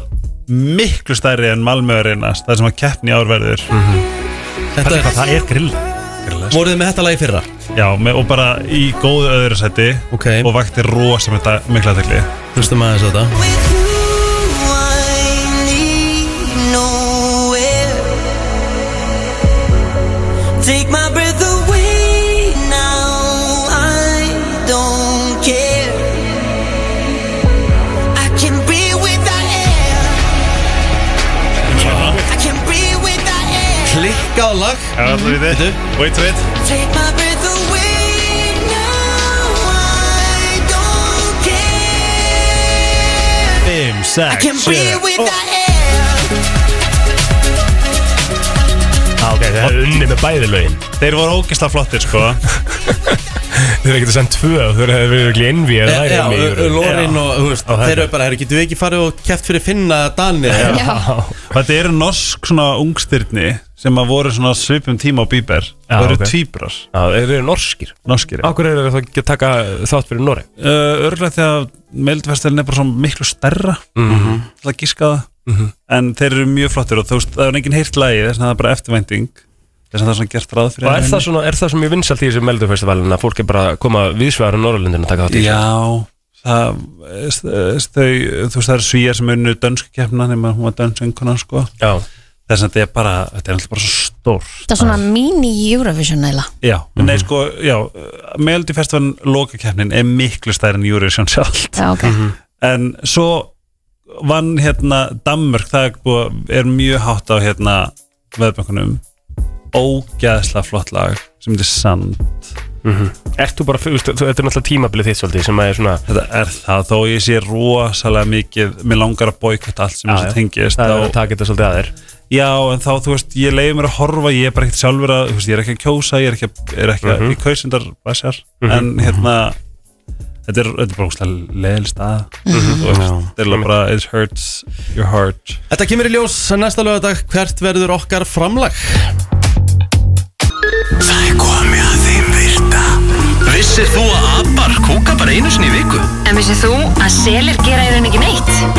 Speaker 7: miklu stærri en Malmö er einast það sem að keppni árverður mm
Speaker 3: Mhm.
Speaker 1: Þetta er,
Speaker 7: það er grill
Speaker 1: voruð þið með þetta lagi í fyrra
Speaker 7: Já, með, og bara í góðu öðru seti
Speaker 1: Ok.
Speaker 7: og vakti rosa með þetta mikla aðtekli
Speaker 1: Hlustum aðeins á þetta
Speaker 6: Take my breath away now. I don't care. I can breathe without air. I can breathe without air.
Speaker 1: Klikkað lag
Speaker 7: Já, það er þið Wait for it
Speaker 6: Take my breath away now. I don't care.
Speaker 7: 5, 6,
Speaker 6: I can breathe without air.
Speaker 3: Ok, þeir eru unni með bæði lögin
Speaker 7: Þeir voru ógisla flottir sko
Speaker 3: Þeir eru ekki að senda tvö og þeir eru verið ekki innví eða
Speaker 1: Eh, Já,
Speaker 3: það er
Speaker 1: Ö- Ö- Lorin og, þú veist,
Speaker 3: þetta.
Speaker 1: þeir eru bara, herru, getum við ekki farið og keft fyrir Finna Dani
Speaker 2: Já,
Speaker 7: Þetta eru norsk svona ungstyrni sem að voru svona svipum tíma á Bíber
Speaker 3: Já,
Speaker 7: Það eru
Speaker 3: ok.
Speaker 7: okay. tvíbrar,
Speaker 3: Já, þeir eru norskir
Speaker 7: norskir
Speaker 3: Akkur eru þeir þá ekki að taka þátt fyrir Noreg?
Speaker 7: uh, örgulega því að meldverðstælin er bara svona miklu stærra
Speaker 3: Mhm.
Speaker 7: til að gíska það en þeir eru mjög flottir og þú veist, það er enginn heyrt lagi þess að það er bara eftirvænting þess að það er svona gert ráð fyrir
Speaker 3: Og er
Speaker 7: henni.
Speaker 3: það svona, er það svona mjög vinsalt í þessu meldufestivalin að fólk er bara að koma viðsvegar á Norrlundin að taka þátt í þessu?
Speaker 7: Já, það eh, þau, þú veist, það eru svíjar sem unnu dönsku keppna nema hún var dönsk einhvern sko.
Speaker 3: Já,
Speaker 7: þess að þetta er bara, þetta er alltaf bara svo stórt
Speaker 2: þetta er
Speaker 1: Ah.
Speaker 2: svona mini Eurovision eila
Speaker 7: Já, nei
Speaker 3: Mhm.
Speaker 7: sko, já meldverðstælin lokakeppnin er miklu stærri en Eurovision sjálft
Speaker 2: Já, ok
Speaker 7: en svo vann hérna Danmörk það er, búið, er mjög hátt á hérna veðböngunum ógæðslega flott lag sem heitir Sand
Speaker 3: ert þú bara, þú veist, þú- þetta er náttúrulega tímabilið þitt svolítið sem að er svona
Speaker 7: þetta er það þó ég sé rosalega mikið mér langar að boykata allt sem
Speaker 3: Já,
Speaker 7: þessu
Speaker 3: já.
Speaker 7: tengist
Speaker 3: það er að
Speaker 7: þá,
Speaker 3: taka þetta svolítið að þér
Speaker 7: já en þá þú veist ég leiði mér að horfa ég er bara ekkert sjálfur að þú veist, ég er ekki að kjósa ég er ekki, að- er ekki mm
Speaker 3: Mhm.
Speaker 7: -hmm. í kausindar basjar, en hérna þetta er, þetta er bara ógæðslega leðil stað
Speaker 3: Mhm.
Speaker 7: þú veist, þetta er alveg bara it hurts your heart
Speaker 1: Þetta kemur í ljós næsta lögadag Hvert verður okkar framlag?
Speaker 5: Það er komið að þeim virta Vissir þú að abar kúka bara einu sinni í viku?
Speaker 10: En vissið þú að selir gera í rauninni ekki neitt?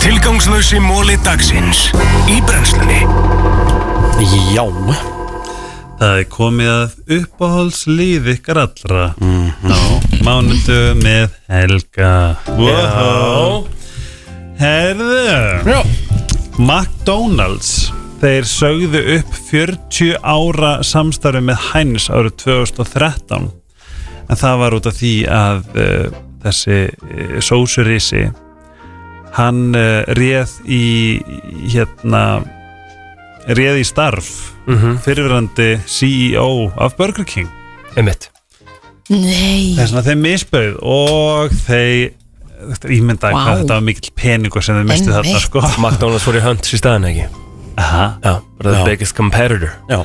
Speaker 5: Tilgangslösi móli dagsins Í brennslunni
Speaker 1: Já
Speaker 7: Það er komið að uppáhaldslíf ykkar allra á mánudu með Helga wow. Herðu Já. McDonalds Þeir sögðu upp 40 ára samstarfi með Heinz árið 2013 en það var út af því að uh, þessi uh, sósurísi hann uh, réð í hérna réð í starf
Speaker 3: Mhm.
Speaker 7: fyrirverandi CEO af E Burger King
Speaker 3: Einmitt.
Speaker 2: Nei
Speaker 7: þess að þeim misbauð og þeir ímyndaði
Speaker 2: Vá.
Speaker 7: hvað þetta var mikill peningur sem þeir mistu þarna
Speaker 2: Einmitt.
Speaker 7: sko
Speaker 3: McDonalds fór í hönd í staðan ekki
Speaker 7: Aha.
Speaker 3: Já, bara the
Speaker 7: Já.
Speaker 3: biggest competitor
Speaker 1: Já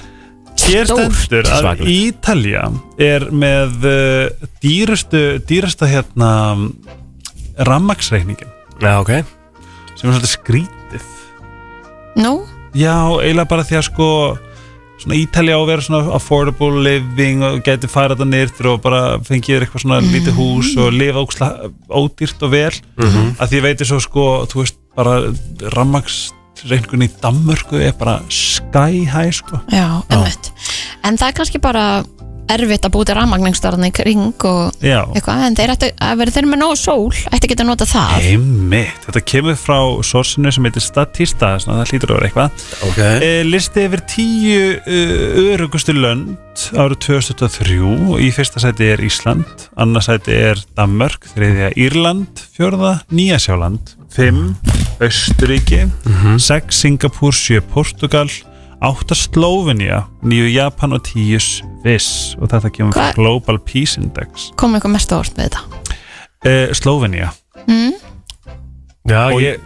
Speaker 7: Hér stendur að
Speaker 3: Svakalegt.
Speaker 7: Ítalja er með uh, dýrustu, dýrasta hérna rammaksreikningin
Speaker 3: Já, ok
Speaker 7: sem er svolítið skrítið
Speaker 2: Nú,
Speaker 7: Já, eiginlega bara því að sko svona Ítalja á að vera svona affordable living og gæti fara þetta nýrtur og bara fengið þér eitthvað svona lítið hús og lifa óksla, ódýrt og vel
Speaker 3: Mhm.
Speaker 7: að því ég veitir svo sko þú veist bara rammaksreikningun í Danmörku er bara sky high sko
Speaker 2: já, einmitt En það er kannski bara erfitt að búti rafmagningstarðan í kring og
Speaker 7: Já,
Speaker 2: eitthvað, en þeir ættu að vera þeir eru með nóg sól, ættu að geta nota það
Speaker 7: Einmitt, þetta kemur frá sorsinu sem heitir Statista, svona, það hlýtur að vera eitthvað
Speaker 1: Ok
Speaker 7: e, Listi yfir tíu uh, örugustu lönd árið 2023 í fyrsta sæti er Ísland, annars sæti er Danmörk, þriðja Írland fjörða Nýjasjáland fimm, Östuríki
Speaker 2: Mhm.
Speaker 7: sex, Singapúr, sjö, Portugal átta Slóvenja nýju Japan og tíu Sviss og þetta kemur frá
Speaker 2: Hvað-
Speaker 7: Global Peace Index
Speaker 2: Komum eitthvað mest á orð með þetta
Speaker 7: e, Slóvenja
Speaker 2: mm?
Speaker 3: Já,
Speaker 7: Og-
Speaker 3: ég,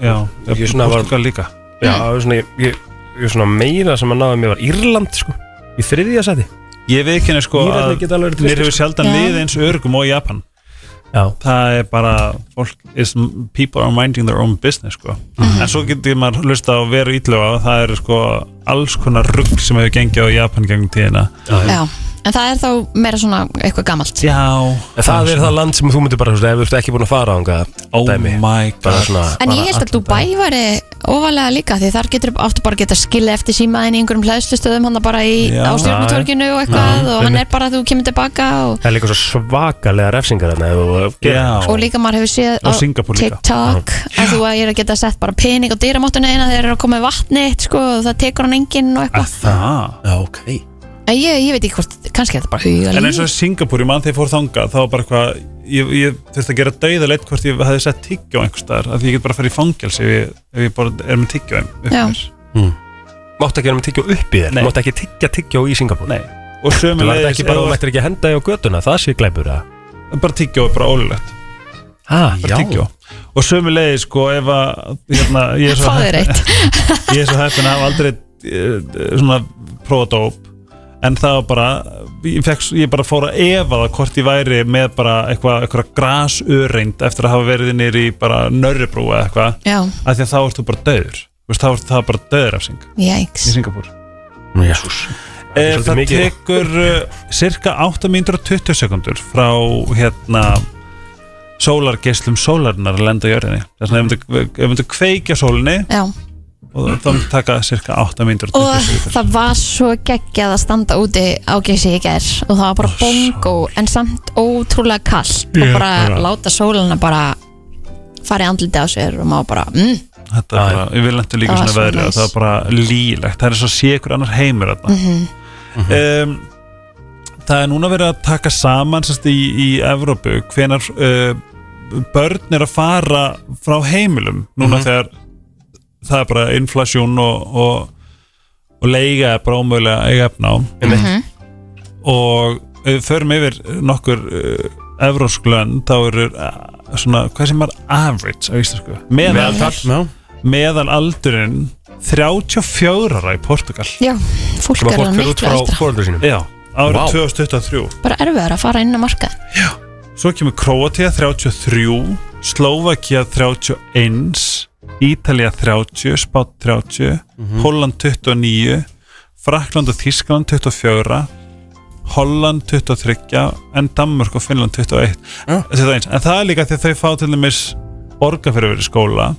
Speaker 7: Já,
Speaker 3: Ég svona var-
Speaker 7: Portugal líka
Speaker 3: já, svona, ég, ég, ég svona meira sem að náða mér var Írland sko Í þriðja seti
Speaker 7: Ég veikinu sko að
Speaker 3: Írland geta alveg verið
Speaker 7: mér
Speaker 3: tvistir,
Speaker 7: hefur sjaldan
Speaker 2: Já.
Speaker 7: liðið eins örgum og í Japan
Speaker 3: Já,
Speaker 7: Það er bara fólk, is, people are minding their own business sko.
Speaker 2: Mhm.
Speaker 7: en svo getur maður hlusta á veru ítlöfa og það eru sko alls konar rugg sem hefur gengið á Japan gegnum tíðina
Speaker 2: Já, en það er þá meira svona eitthvað gamalt
Speaker 7: Já,
Speaker 3: en það er það land sem þú myndir bara, þú veist, ef þú ert ekki búin að fara á
Speaker 7: Oh my
Speaker 3: Bara
Speaker 7: god
Speaker 3: svona
Speaker 2: En ég held að Dubai væri ofalega líka því þar getur áttu bara að geta skilja eftir símaðin í einhverjum hlæðslustöðum hann bara í
Speaker 7: Já.
Speaker 2: ástjórnutorkinu og eitthvað
Speaker 7: Já,
Speaker 2: og hann er bara að þú kemur tilbaka og,
Speaker 3: Það er líka svo svakalega refsingar þarna ef þú gerir
Speaker 7: Já.
Speaker 3: það, sko.
Speaker 2: og líka maður hefur séð
Speaker 7: Og Singapúr líka.
Speaker 2: TikTok að þú að ég er að geta sett bara pening á dýramáttuna eina þegar þeir eru að koma með vatni sko, og það tekur hann enginn og eitthvað
Speaker 7: Það
Speaker 1: Já, ok
Speaker 2: En ég, ég veit ekki hvort, kannski er þetta bara huga
Speaker 7: En eins og Singapúr, ég mann þegar ég fór þangað þá var bara eitthvað, ég, ég þurfti að gera dauðaleit hvort ég hefði sett tyggja á einhver staðar af því ég get bara að fara í fangjals ef ég, ef ég bara er með tyggja á
Speaker 2: Já.
Speaker 7: einhver
Speaker 3: Máttu ekki vera með tyggjó upp í þér
Speaker 7: Nei.
Speaker 3: Máttu ekki tyggja tyggjó í Singapúr
Speaker 7: Nei. og
Speaker 3: Þú verður
Speaker 7: sömulegis
Speaker 3: ekki bara, þú mættir ekki henda í á götuna Það sé glæpur að
Speaker 7: bara tyggjó er bara ólulegt
Speaker 3: Hæ,
Speaker 7: bara tyggjó og sömulegis sko ef að hérna, ég er svo
Speaker 2: Fáðu þér
Speaker 7: heppin-
Speaker 2: eitt
Speaker 7: ég er svo heppin að hafa aldrei eh, svona prófadóp en það var bara ég, fekk, ég bara fór að efa það hvort ég væri með bara eitthvað, eitthvað grasöreind eftir að hafa verið nýr í bara nörribrú eða eitthvað
Speaker 2: Já,
Speaker 7: af því að þá ertu bara döður Vist, þá ertu það bara döður af Sing
Speaker 2: jæks
Speaker 7: í Singapúr
Speaker 1: Jésús
Speaker 7: Eh,
Speaker 3: svolítið
Speaker 7: það
Speaker 3: mikið.
Speaker 7: tekur uh, cirka 8 mínútur og 20 sekundur frá hérna sólargeislum sólarinnar að lenda á jörðinni þess að ef myndu- ef við myndum kveikja sólinni
Speaker 2: Já,
Speaker 7: og þá myndi taka cirka 8 mínútur og
Speaker 2: og
Speaker 7: 20 sekundur
Speaker 2: það var svo geggjað að standa úti á geysi í gær og það var bara bongo en samt ótrúlega kallt og bara láta sólina bara fara í andliti á sér og maður bara mm,
Speaker 7: þetta er bara, við lendum líka
Speaker 2: Það var
Speaker 7: svona
Speaker 2: svo
Speaker 7: veðri
Speaker 2: næs.
Speaker 7: og það er bara lílegt, það er svo sé ykkur annar heimur þarna
Speaker 2: Mhm.
Speaker 7: um, það er núna verið að taka saman sérst, í, í Evrópu hvenar uh, börn er að fara frá heimilum núna þegar það er bara inflasjón og, og, og leiga er bara ómögulega að eiga efna á
Speaker 2: Mhm.
Speaker 7: og ef við förum yfir nokkur uh, evrósk lönd þá eru uh, svona, hvað sem er average á íslensku meðal,
Speaker 1: Já
Speaker 7: meðal aldurinn 34 ára í Portugal
Speaker 2: já, fólk
Speaker 3: Sem
Speaker 2: er
Speaker 3: að fólk
Speaker 2: alveg
Speaker 3: fyrir út
Speaker 2: miklu
Speaker 3: frá
Speaker 2: eldra
Speaker 3: fóröldur sínum
Speaker 7: Já, árið
Speaker 1: Vá.
Speaker 7: 2023
Speaker 2: bara erfiðar að fara inn á markað
Speaker 7: Svo kemur Kroatia 33 Slovakia 31 Ítalía 30 Spát 30
Speaker 1: Mhm.
Speaker 7: Holland 29 Frakland og Þískland 24 Holland 23 en Danmörk og Finnland 21
Speaker 1: Já.
Speaker 7: Þetta er eins. en það er líka því að þau fá til dæmis borga fyrir verið skóla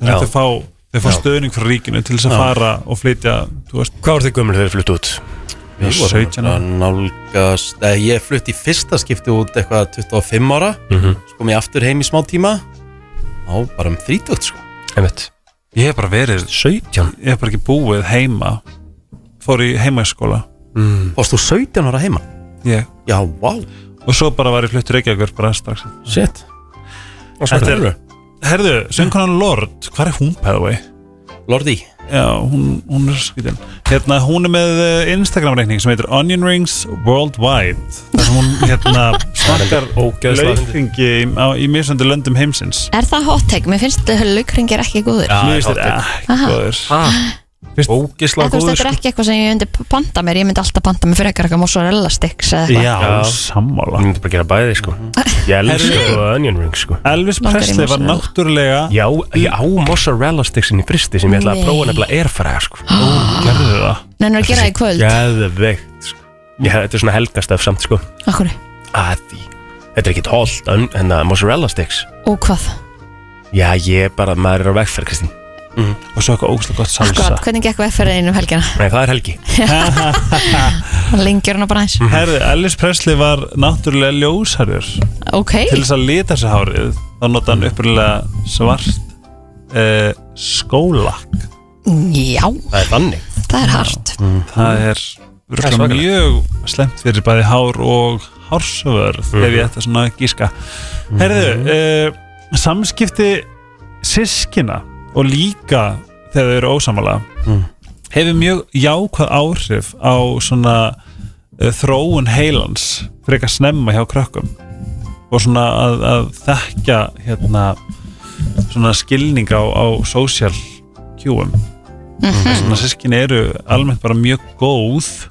Speaker 7: þannig
Speaker 3: Já.
Speaker 7: að þau fá, þau fá
Speaker 1: Já.
Speaker 7: stöðning frá ríkinu til þess að
Speaker 1: Já.
Speaker 7: fara og flytja þú veist,
Speaker 3: Hvað voru þið gömur þegar þið fluttu út?
Speaker 1: Við
Speaker 7: Já,
Speaker 1: vorum
Speaker 7: 17
Speaker 1: að nálgast eða, Ég flutti í fyrsta skipti út eitthvað 25 ára
Speaker 3: Mhm.
Speaker 1: Svo kom ég aftur heim í smá tíma Á, bara um 30 sko
Speaker 3: Einmitt.
Speaker 7: Ég hef bara verið
Speaker 3: 17
Speaker 7: Ég hef bara ekki búið heima Fór í heimaskóla
Speaker 1: mm. Varst þú 17 ára heima?
Speaker 7: Ég
Speaker 1: Já, vá wow.
Speaker 7: Og svo bara var ég fluttur ekki ekkur bara strax
Speaker 1: Shit
Speaker 7: Þetta er Herðu, söngkonan Lord, hvað er hún by the way?
Speaker 1: Lordi
Speaker 7: Já, hún, hún er skvítin Hérna, hún er með eh, Instagram reikning sem heitir Onion Rings Worldwide þar sem hún hérna smakkar
Speaker 3: Ógeðslega
Speaker 7: laukringi í, á- í misjöndi löndum heimsins
Speaker 2: Er það hot take? Mér finnst laukringir ekki góður
Speaker 7: Mér finnst þetta ekki
Speaker 2: Aha.
Speaker 7: góður
Speaker 2: En
Speaker 3: Ógislega
Speaker 2: þú veist, þetta er ekki eitthvað sko. sem ég myndi panta mér Ég myndi alltaf panta mér fyrir eitthvað mozzarella sticks eða eitthvað
Speaker 7: Já, sammála
Speaker 3: Ég myndi bara gera bæði sko Ég elska
Speaker 7: Herri.
Speaker 3: góða onion rings sko
Speaker 7: Elvis
Speaker 2: Langar í
Speaker 7: Presley var
Speaker 2: mozzarella.
Speaker 7: náttúrulega
Speaker 3: Já, ég á mozzarella sticksin í fristi sem ég ætlaði að
Speaker 2: Nei.
Speaker 3: prófa nefnilega erfæra sko
Speaker 7: Gerðu það
Speaker 2: Nennir að gera það í kvöld
Speaker 3: Gæðveikt sko Ég, þetta er svona helgastöf samt sko
Speaker 2: Akkur,
Speaker 3: að því Þetta er ekkit holdt en en að mozzarella sticks
Speaker 2: og hvað?
Speaker 3: Já, ég bara, maður er á vegferð, Kristín
Speaker 7: Og svo eitthvað ógustlega gott salsa
Speaker 2: Akkurat, hvernig gekk vegferðin um helgina?
Speaker 3: Nei, það er helgi
Speaker 2: Lengjur hana bara Mm. eins
Speaker 7: Herðu, Elvis Presley var náttúrulega ljósherður
Speaker 2: Ok,
Speaker 7: Til þess að lita sér hárið Þá nota hann upprunalega svart uh, skólakk
Speaker 2: já,
Speaker 3: Það er þannig
Speaker 2: það er hart
Speaker 7: Það er
Speaker 3: er
Speaker 7: örugglega
Speaker 3: svakalegt.
Speaker 7: mjög slemt fyrir bæði hár og hársvörð
Speaker 3: Mhm.
Speaker 7: Ef ég ætti svona að gíska Herðu, uh, samskipti sískina Og líka þegar þau eru ósamala
Speaker 3: Mhm.
Speaker 7: Hefur mjög jákvæð áhrif á svona uh, þróun heilans Frekar snemma hjá krökkum og svona að, að þekkja hérna svona skilning á, á social kjúum svona sískinni eru almennt bara mjög góð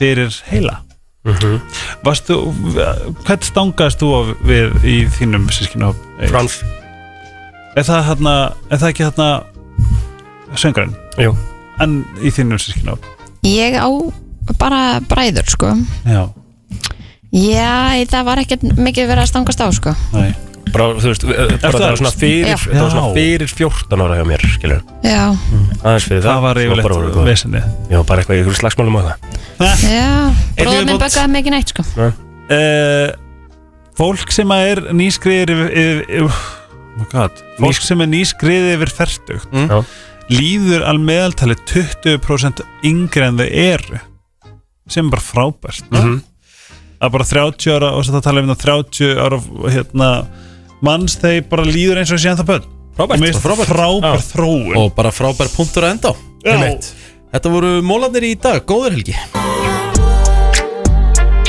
Speaker 7: fyrir heila
Speaker 3: Mhm.
Speaker 7: Varstu, hvern stangaðist þú á við í þínum sískinu?
Speaker 3: Franf
Speaker 7: Er það, hérna, er það ekki hérna söngarinn?
Speaker 3: Jú.
Speaker 7: En í þínum sískinu?
Speaker 2: Ég á bara bræður, sko
Speaker 7: Já,
Speaker 2: Já, það var ekkert mikið verið að stangast á, sko
Speaker 7: nei
Speaker 3: Bara, þú veist, eh, bara, það var svona fyrir
Speaker 2: Já.
Speaker 3: Það var svona
Speaker 7: Já.
Speaker 3: fyrir 14 ára hjá mér, skilur
Speaker 2: Já,
Speaker 3: Aðeins fyrir það
Speaker 7: Það var
Speaker 3: svo bara voru
Speaker 7: yfirleitt
Speaker 3: góð.
Speaker 7: vesinni
Speaker 3: Já, bara eitthvað, eitthvað slagsmálum á það
Speaker 2: já
Speaker 7: Einn
Speaker 2: Bróður minn
Speaker 7: viðbót.
Speaker 2: böggaði mikið neitt, sko
Speaker 7: uh, Fólk sem að er nýskriðir yfir, yfir, yfir oh my God, Fólk sem er nýskriðir yfir fertugt
Speaker 1: Mm.
Speaker 3: Já.
Speaker 7: líður al meðaltali 20% yngri en þau eru sem er bara frábært að bara 30 ára og svo það tala um það 30 ára hérna, manns þeir bara líður eins og séðan það bönn
Speaker 3: Frábært,
Speaker 7: frábært,
Speaker 3: frábært.
Speaker 7: frábært þróun
Speaker 1: Og bara frábær punktur að enda á.
Speaker 7: Já.
Speaker 1: Einmitt. Þetta voru mólarnir í dag, góður helgi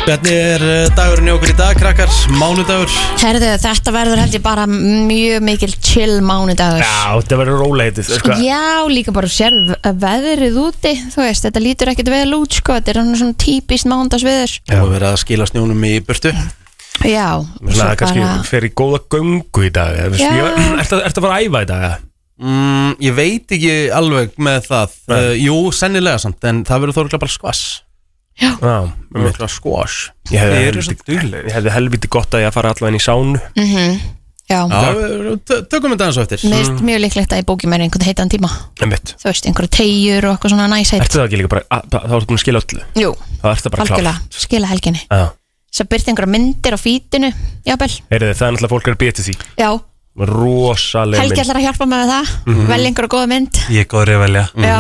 Speaker 1: Hvernig er eh, dagurinn í okkur í dag, krakkar? Mánudagur
Speaker 2: Herðu, þetta verður held ég bara mjög mikil chill mánudagur
Speaker 3: Já, þetta verður róleitið sko.
Speaker 2: Já, líka bara sér veðrið úti Þú veist, þetta lítur ekkert vel út, sko Þetta er hann svona típist mándagsveður
Speaker 1: Það voru verið að skila snjónum í burtu
Speaker 2: Já, og svo
Speaker 3: Svona, kannski
Speaker 2: bara-
Speaker 3: fer í góða göngu í dag eða, þú veist,
Speaker 2: Já.
Speaker 3: ég- Ertu ertu að fara að æfa í dag? eða?
Speaker 1: mm, Ég veit ekki alveg með það uh, Jú, sennilega samt, en það verður þorglega bara skvass
Speaker 3: Já,
Speaker 1: Það verður bara skvass
Speaker 3: ég hefði
Speaker 7: Þið eru
Speaker 3: helviti-
Speaker 7: svo duglegir.
Speaker 3: Ég hefði helviti gott að ég að fara allavega inn í sánu
Speaker 2: Mhm, Já,
Speaker 1: Já, við- tö- tökum þetta aðeins á eftir
Speaker 2: mér
Speaker 3: Mm.
Speaker 2: finnst mjög líklegt að ég bóki mér einhvern heitan tíma
Speaker 3: Einmitt.
Speaker 2: Þú veist, einhverju tegjur og eitthvað svona næsheit
Speaker 3: Ertu það ekki líka bara, að, bara- þá ertu búin að skila öllu
Speaker 2: Jú,
Speaker 3: Þá ertu bara klár
Speaker 2: algjörlega, skila helginni
Speaker 3: Já.
Speaker 2: Svo byrti einhverja myndir á fítinu Jábel,
Speaker 3: Heyrðu, það er náttúrulega fólk er að býja til því
Speaker 2: já,
Speaker 3: Rosaleg
Speaker 2: Helgi ætlar að hjálpa mig með það mm
Speaker 3: Mhm.
Speaker 2: Vel einhverja góða mynd
Speaker 7: Ég er góður að velja
Speaker 2: já.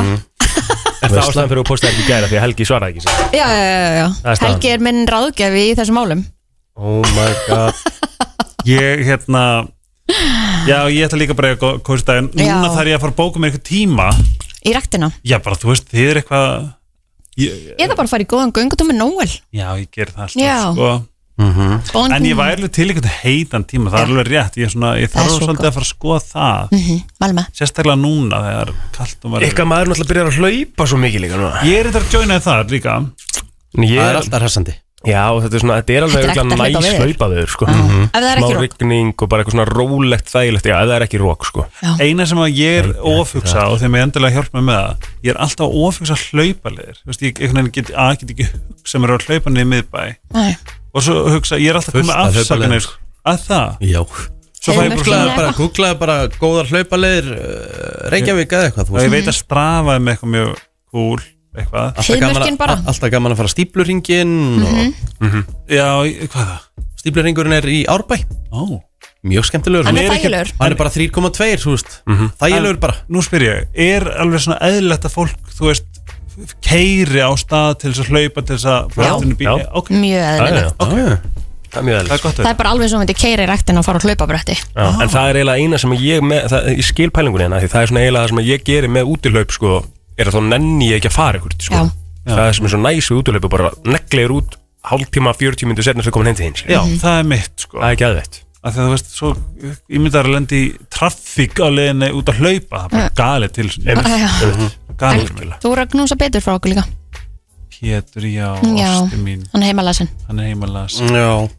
Speaker 3: Það er ástæðan fyrir að posta ekki í gæra því að Helgi svaraði ekki sér.
Speaker 2: já, já, já, já,
Speaker 3: Það er staðan.
Speaker 2: Helgi er minn ráðgjafi í þessum málum
Speaker 3: Oh my god
Speaker 7: Ég hérna Já, ég ætla líka bara að kóðst daginn Núna
Speaker 2: Já.
Speaker 7: þarf ég að fara að bóka mér eitthvað tíma
Speaker 2: Í ræktina,
Speaker 7: Já, bara þú veist, þið er eitthvað ég,
Speaker 2: eða bara fara í góðan göngutúr með Nóel
Speaker 7: Já, ég ger það
Speaker 2: Já.
Speaker 7: alltaf sko.
Speaker 2: góðan
Speaker 7: En ég væri alveg til eitthvað heitan tíma Það er alveg rétt, ég, er svona, ég
Speaker 2: Það er
Speaker 7: þarf
Speaker 2: svo
Speaker 7: svolítið
Speaker 2: gott.
Speaker 7: að fara að skoða það
Speaker 2: mm -hmm. Malma,
Speaker 7: Sérstaklega núna þegar kallt og maður
Speaker 3: Ykkar maður náttúrulega byrjar að hlaupa svo mikið líka núna
Speaker 7: Ég er þetta að joina það líka
Speaker 3: ég,
Speaker 1: Það er alltaf hressandi
Speaker 3: Já, þetta er svona, þetta er alveg
Speaker 2: Þetta er
Speaker 3: örugglega
Speaker 2: ekta
Speaker 3: næs
Speaker 2: hlaupaveður. Ah.
Speaker 3: hlaupaður sko.
Speaker 2: ef það er
Speaker 3: Smá
Speaker 2: ekki rók
Speaker 3: rigning og bara eitthvað svona rólegt þægilegt Já, ef það er ekki rók sko.
Speaker 7: Eina sem að ég er
Speaker 3: Nei, ekki
Speaker 7: ofugsa og þegar mér endilega hjálpa mér með það Ég er alltaf að ofugsa hlaupalegir Þú veist, ég einhvern veginn get, að, get ekki hugsa mér á hlaupanir í miðbæ Og svo hugsa, ég er alltaf
Speaker 1: Fullt
Speaker 7: komið
Speaker 1: af
Speaker 7: afsakanir
Speaker 1: hlaupaleiðum.
Speaker 7: Að það,
Speaker 1: Já
Speaker 7: svo fæ ég
Speaker 2: Heiðmörk
Speaker 1: Googlaði
Speaker 7: bara
Speaker 2: Nei,
Speaker 1: bara, googlaði bara
Speaker 2: eitthvað.
Speaker 1: góðar hlaupalegir uh, Reykjavík eða eitthvað, þú
Speaker 7: Og ég
Speaker 1: veist
Speaker 7: veit að strafaði með eitthvað mjög cool eitthvað
Speaker 1: Alltaf gaman
Speaker 2: Fiðmörkin
Speaker 1: að-
Speaker 2: bara.
Speaker 1: a- Alltaf gaman að fara stíplurringin
Speaker 2: Mhm.
Speaker 7: Já, í- hvað er það?
Speaker 1: Stíplurringurinn er í Árbæ
Speaker 7: Ó.
Speaker 1: Mjög skemmtilegur
Speaker 2: Hann er
Speaker 1: ekki-
Speaker 2: þægilegur.
Speaker 1: Hann er bara 3,2 þú veist. Þægilegur bara
Speaker 7: Nú spyr ég, er alveg svona eðlilegt að fólk, þú veist keiri á stað til þess að hlaupa til þess að
Speaker 3: Já. Já.
Speaker 7: okay.
Speaker 2: Mjög eðlilegt
Speaker 7: Ok.
Speaker 3: Það er mjög
Speaker 7: Það er
Speaker 3: eðlilegt
Speaker 7: gott að
Speaker 2: Það er bara alveg svo myndi keira í rættin og fara á hlaupabretti
Speaker 3: Já, en það er eiginlega eina sem ég með, það, ég skil pælingunni hérna, því það er svona eiginlega það sem ég geri með útilaup sko, er að þá nenni ég ekki að fara ykkur sko.
Speaker 2: Já.
Speaker 3: það er sem er svo næs við útilaup er bara neglir út hálftíma, 40 myndu setna sem komin heim til þín skilur.
Speaker 7: Já, það er mitt sko
Speaker 3: það er ekki aðveitt
Speaker 7: að því að þú veist, svo ímyndar að lendi í traffík á leiðinni út að hlaupa það er bara galið til
Speaker 3: Einmitt.
Speaker 2: Já.
Speaker 3: Einmitt.
Speaker 7: galið til
Speaker 3: Algjörlega.
Speaker 2: Þú eru að knúsa betur frá okkur líka
Speaker 7: Pétur, já,
Speaker 2: Já.
Speaker 7: ástu mín
Speaker 2: Hann er heimalæsin
Speaker 7: hann er heimalas
Speaker 1: Já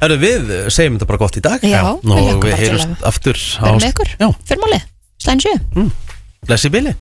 Speaker 1: Herru við eh, segjum þetta bara gott í dag
Speaker 2: Já, við
Speaker 1: Og við
Speaker 2: lökum bara til
Speaker 1: heyrumst aftur á
Speaker 2: Verðum með ykkur,
Speaker 1: Já,
Speaker 2: fyrir málið, slæðin sjö
Speaker 1: blessi bili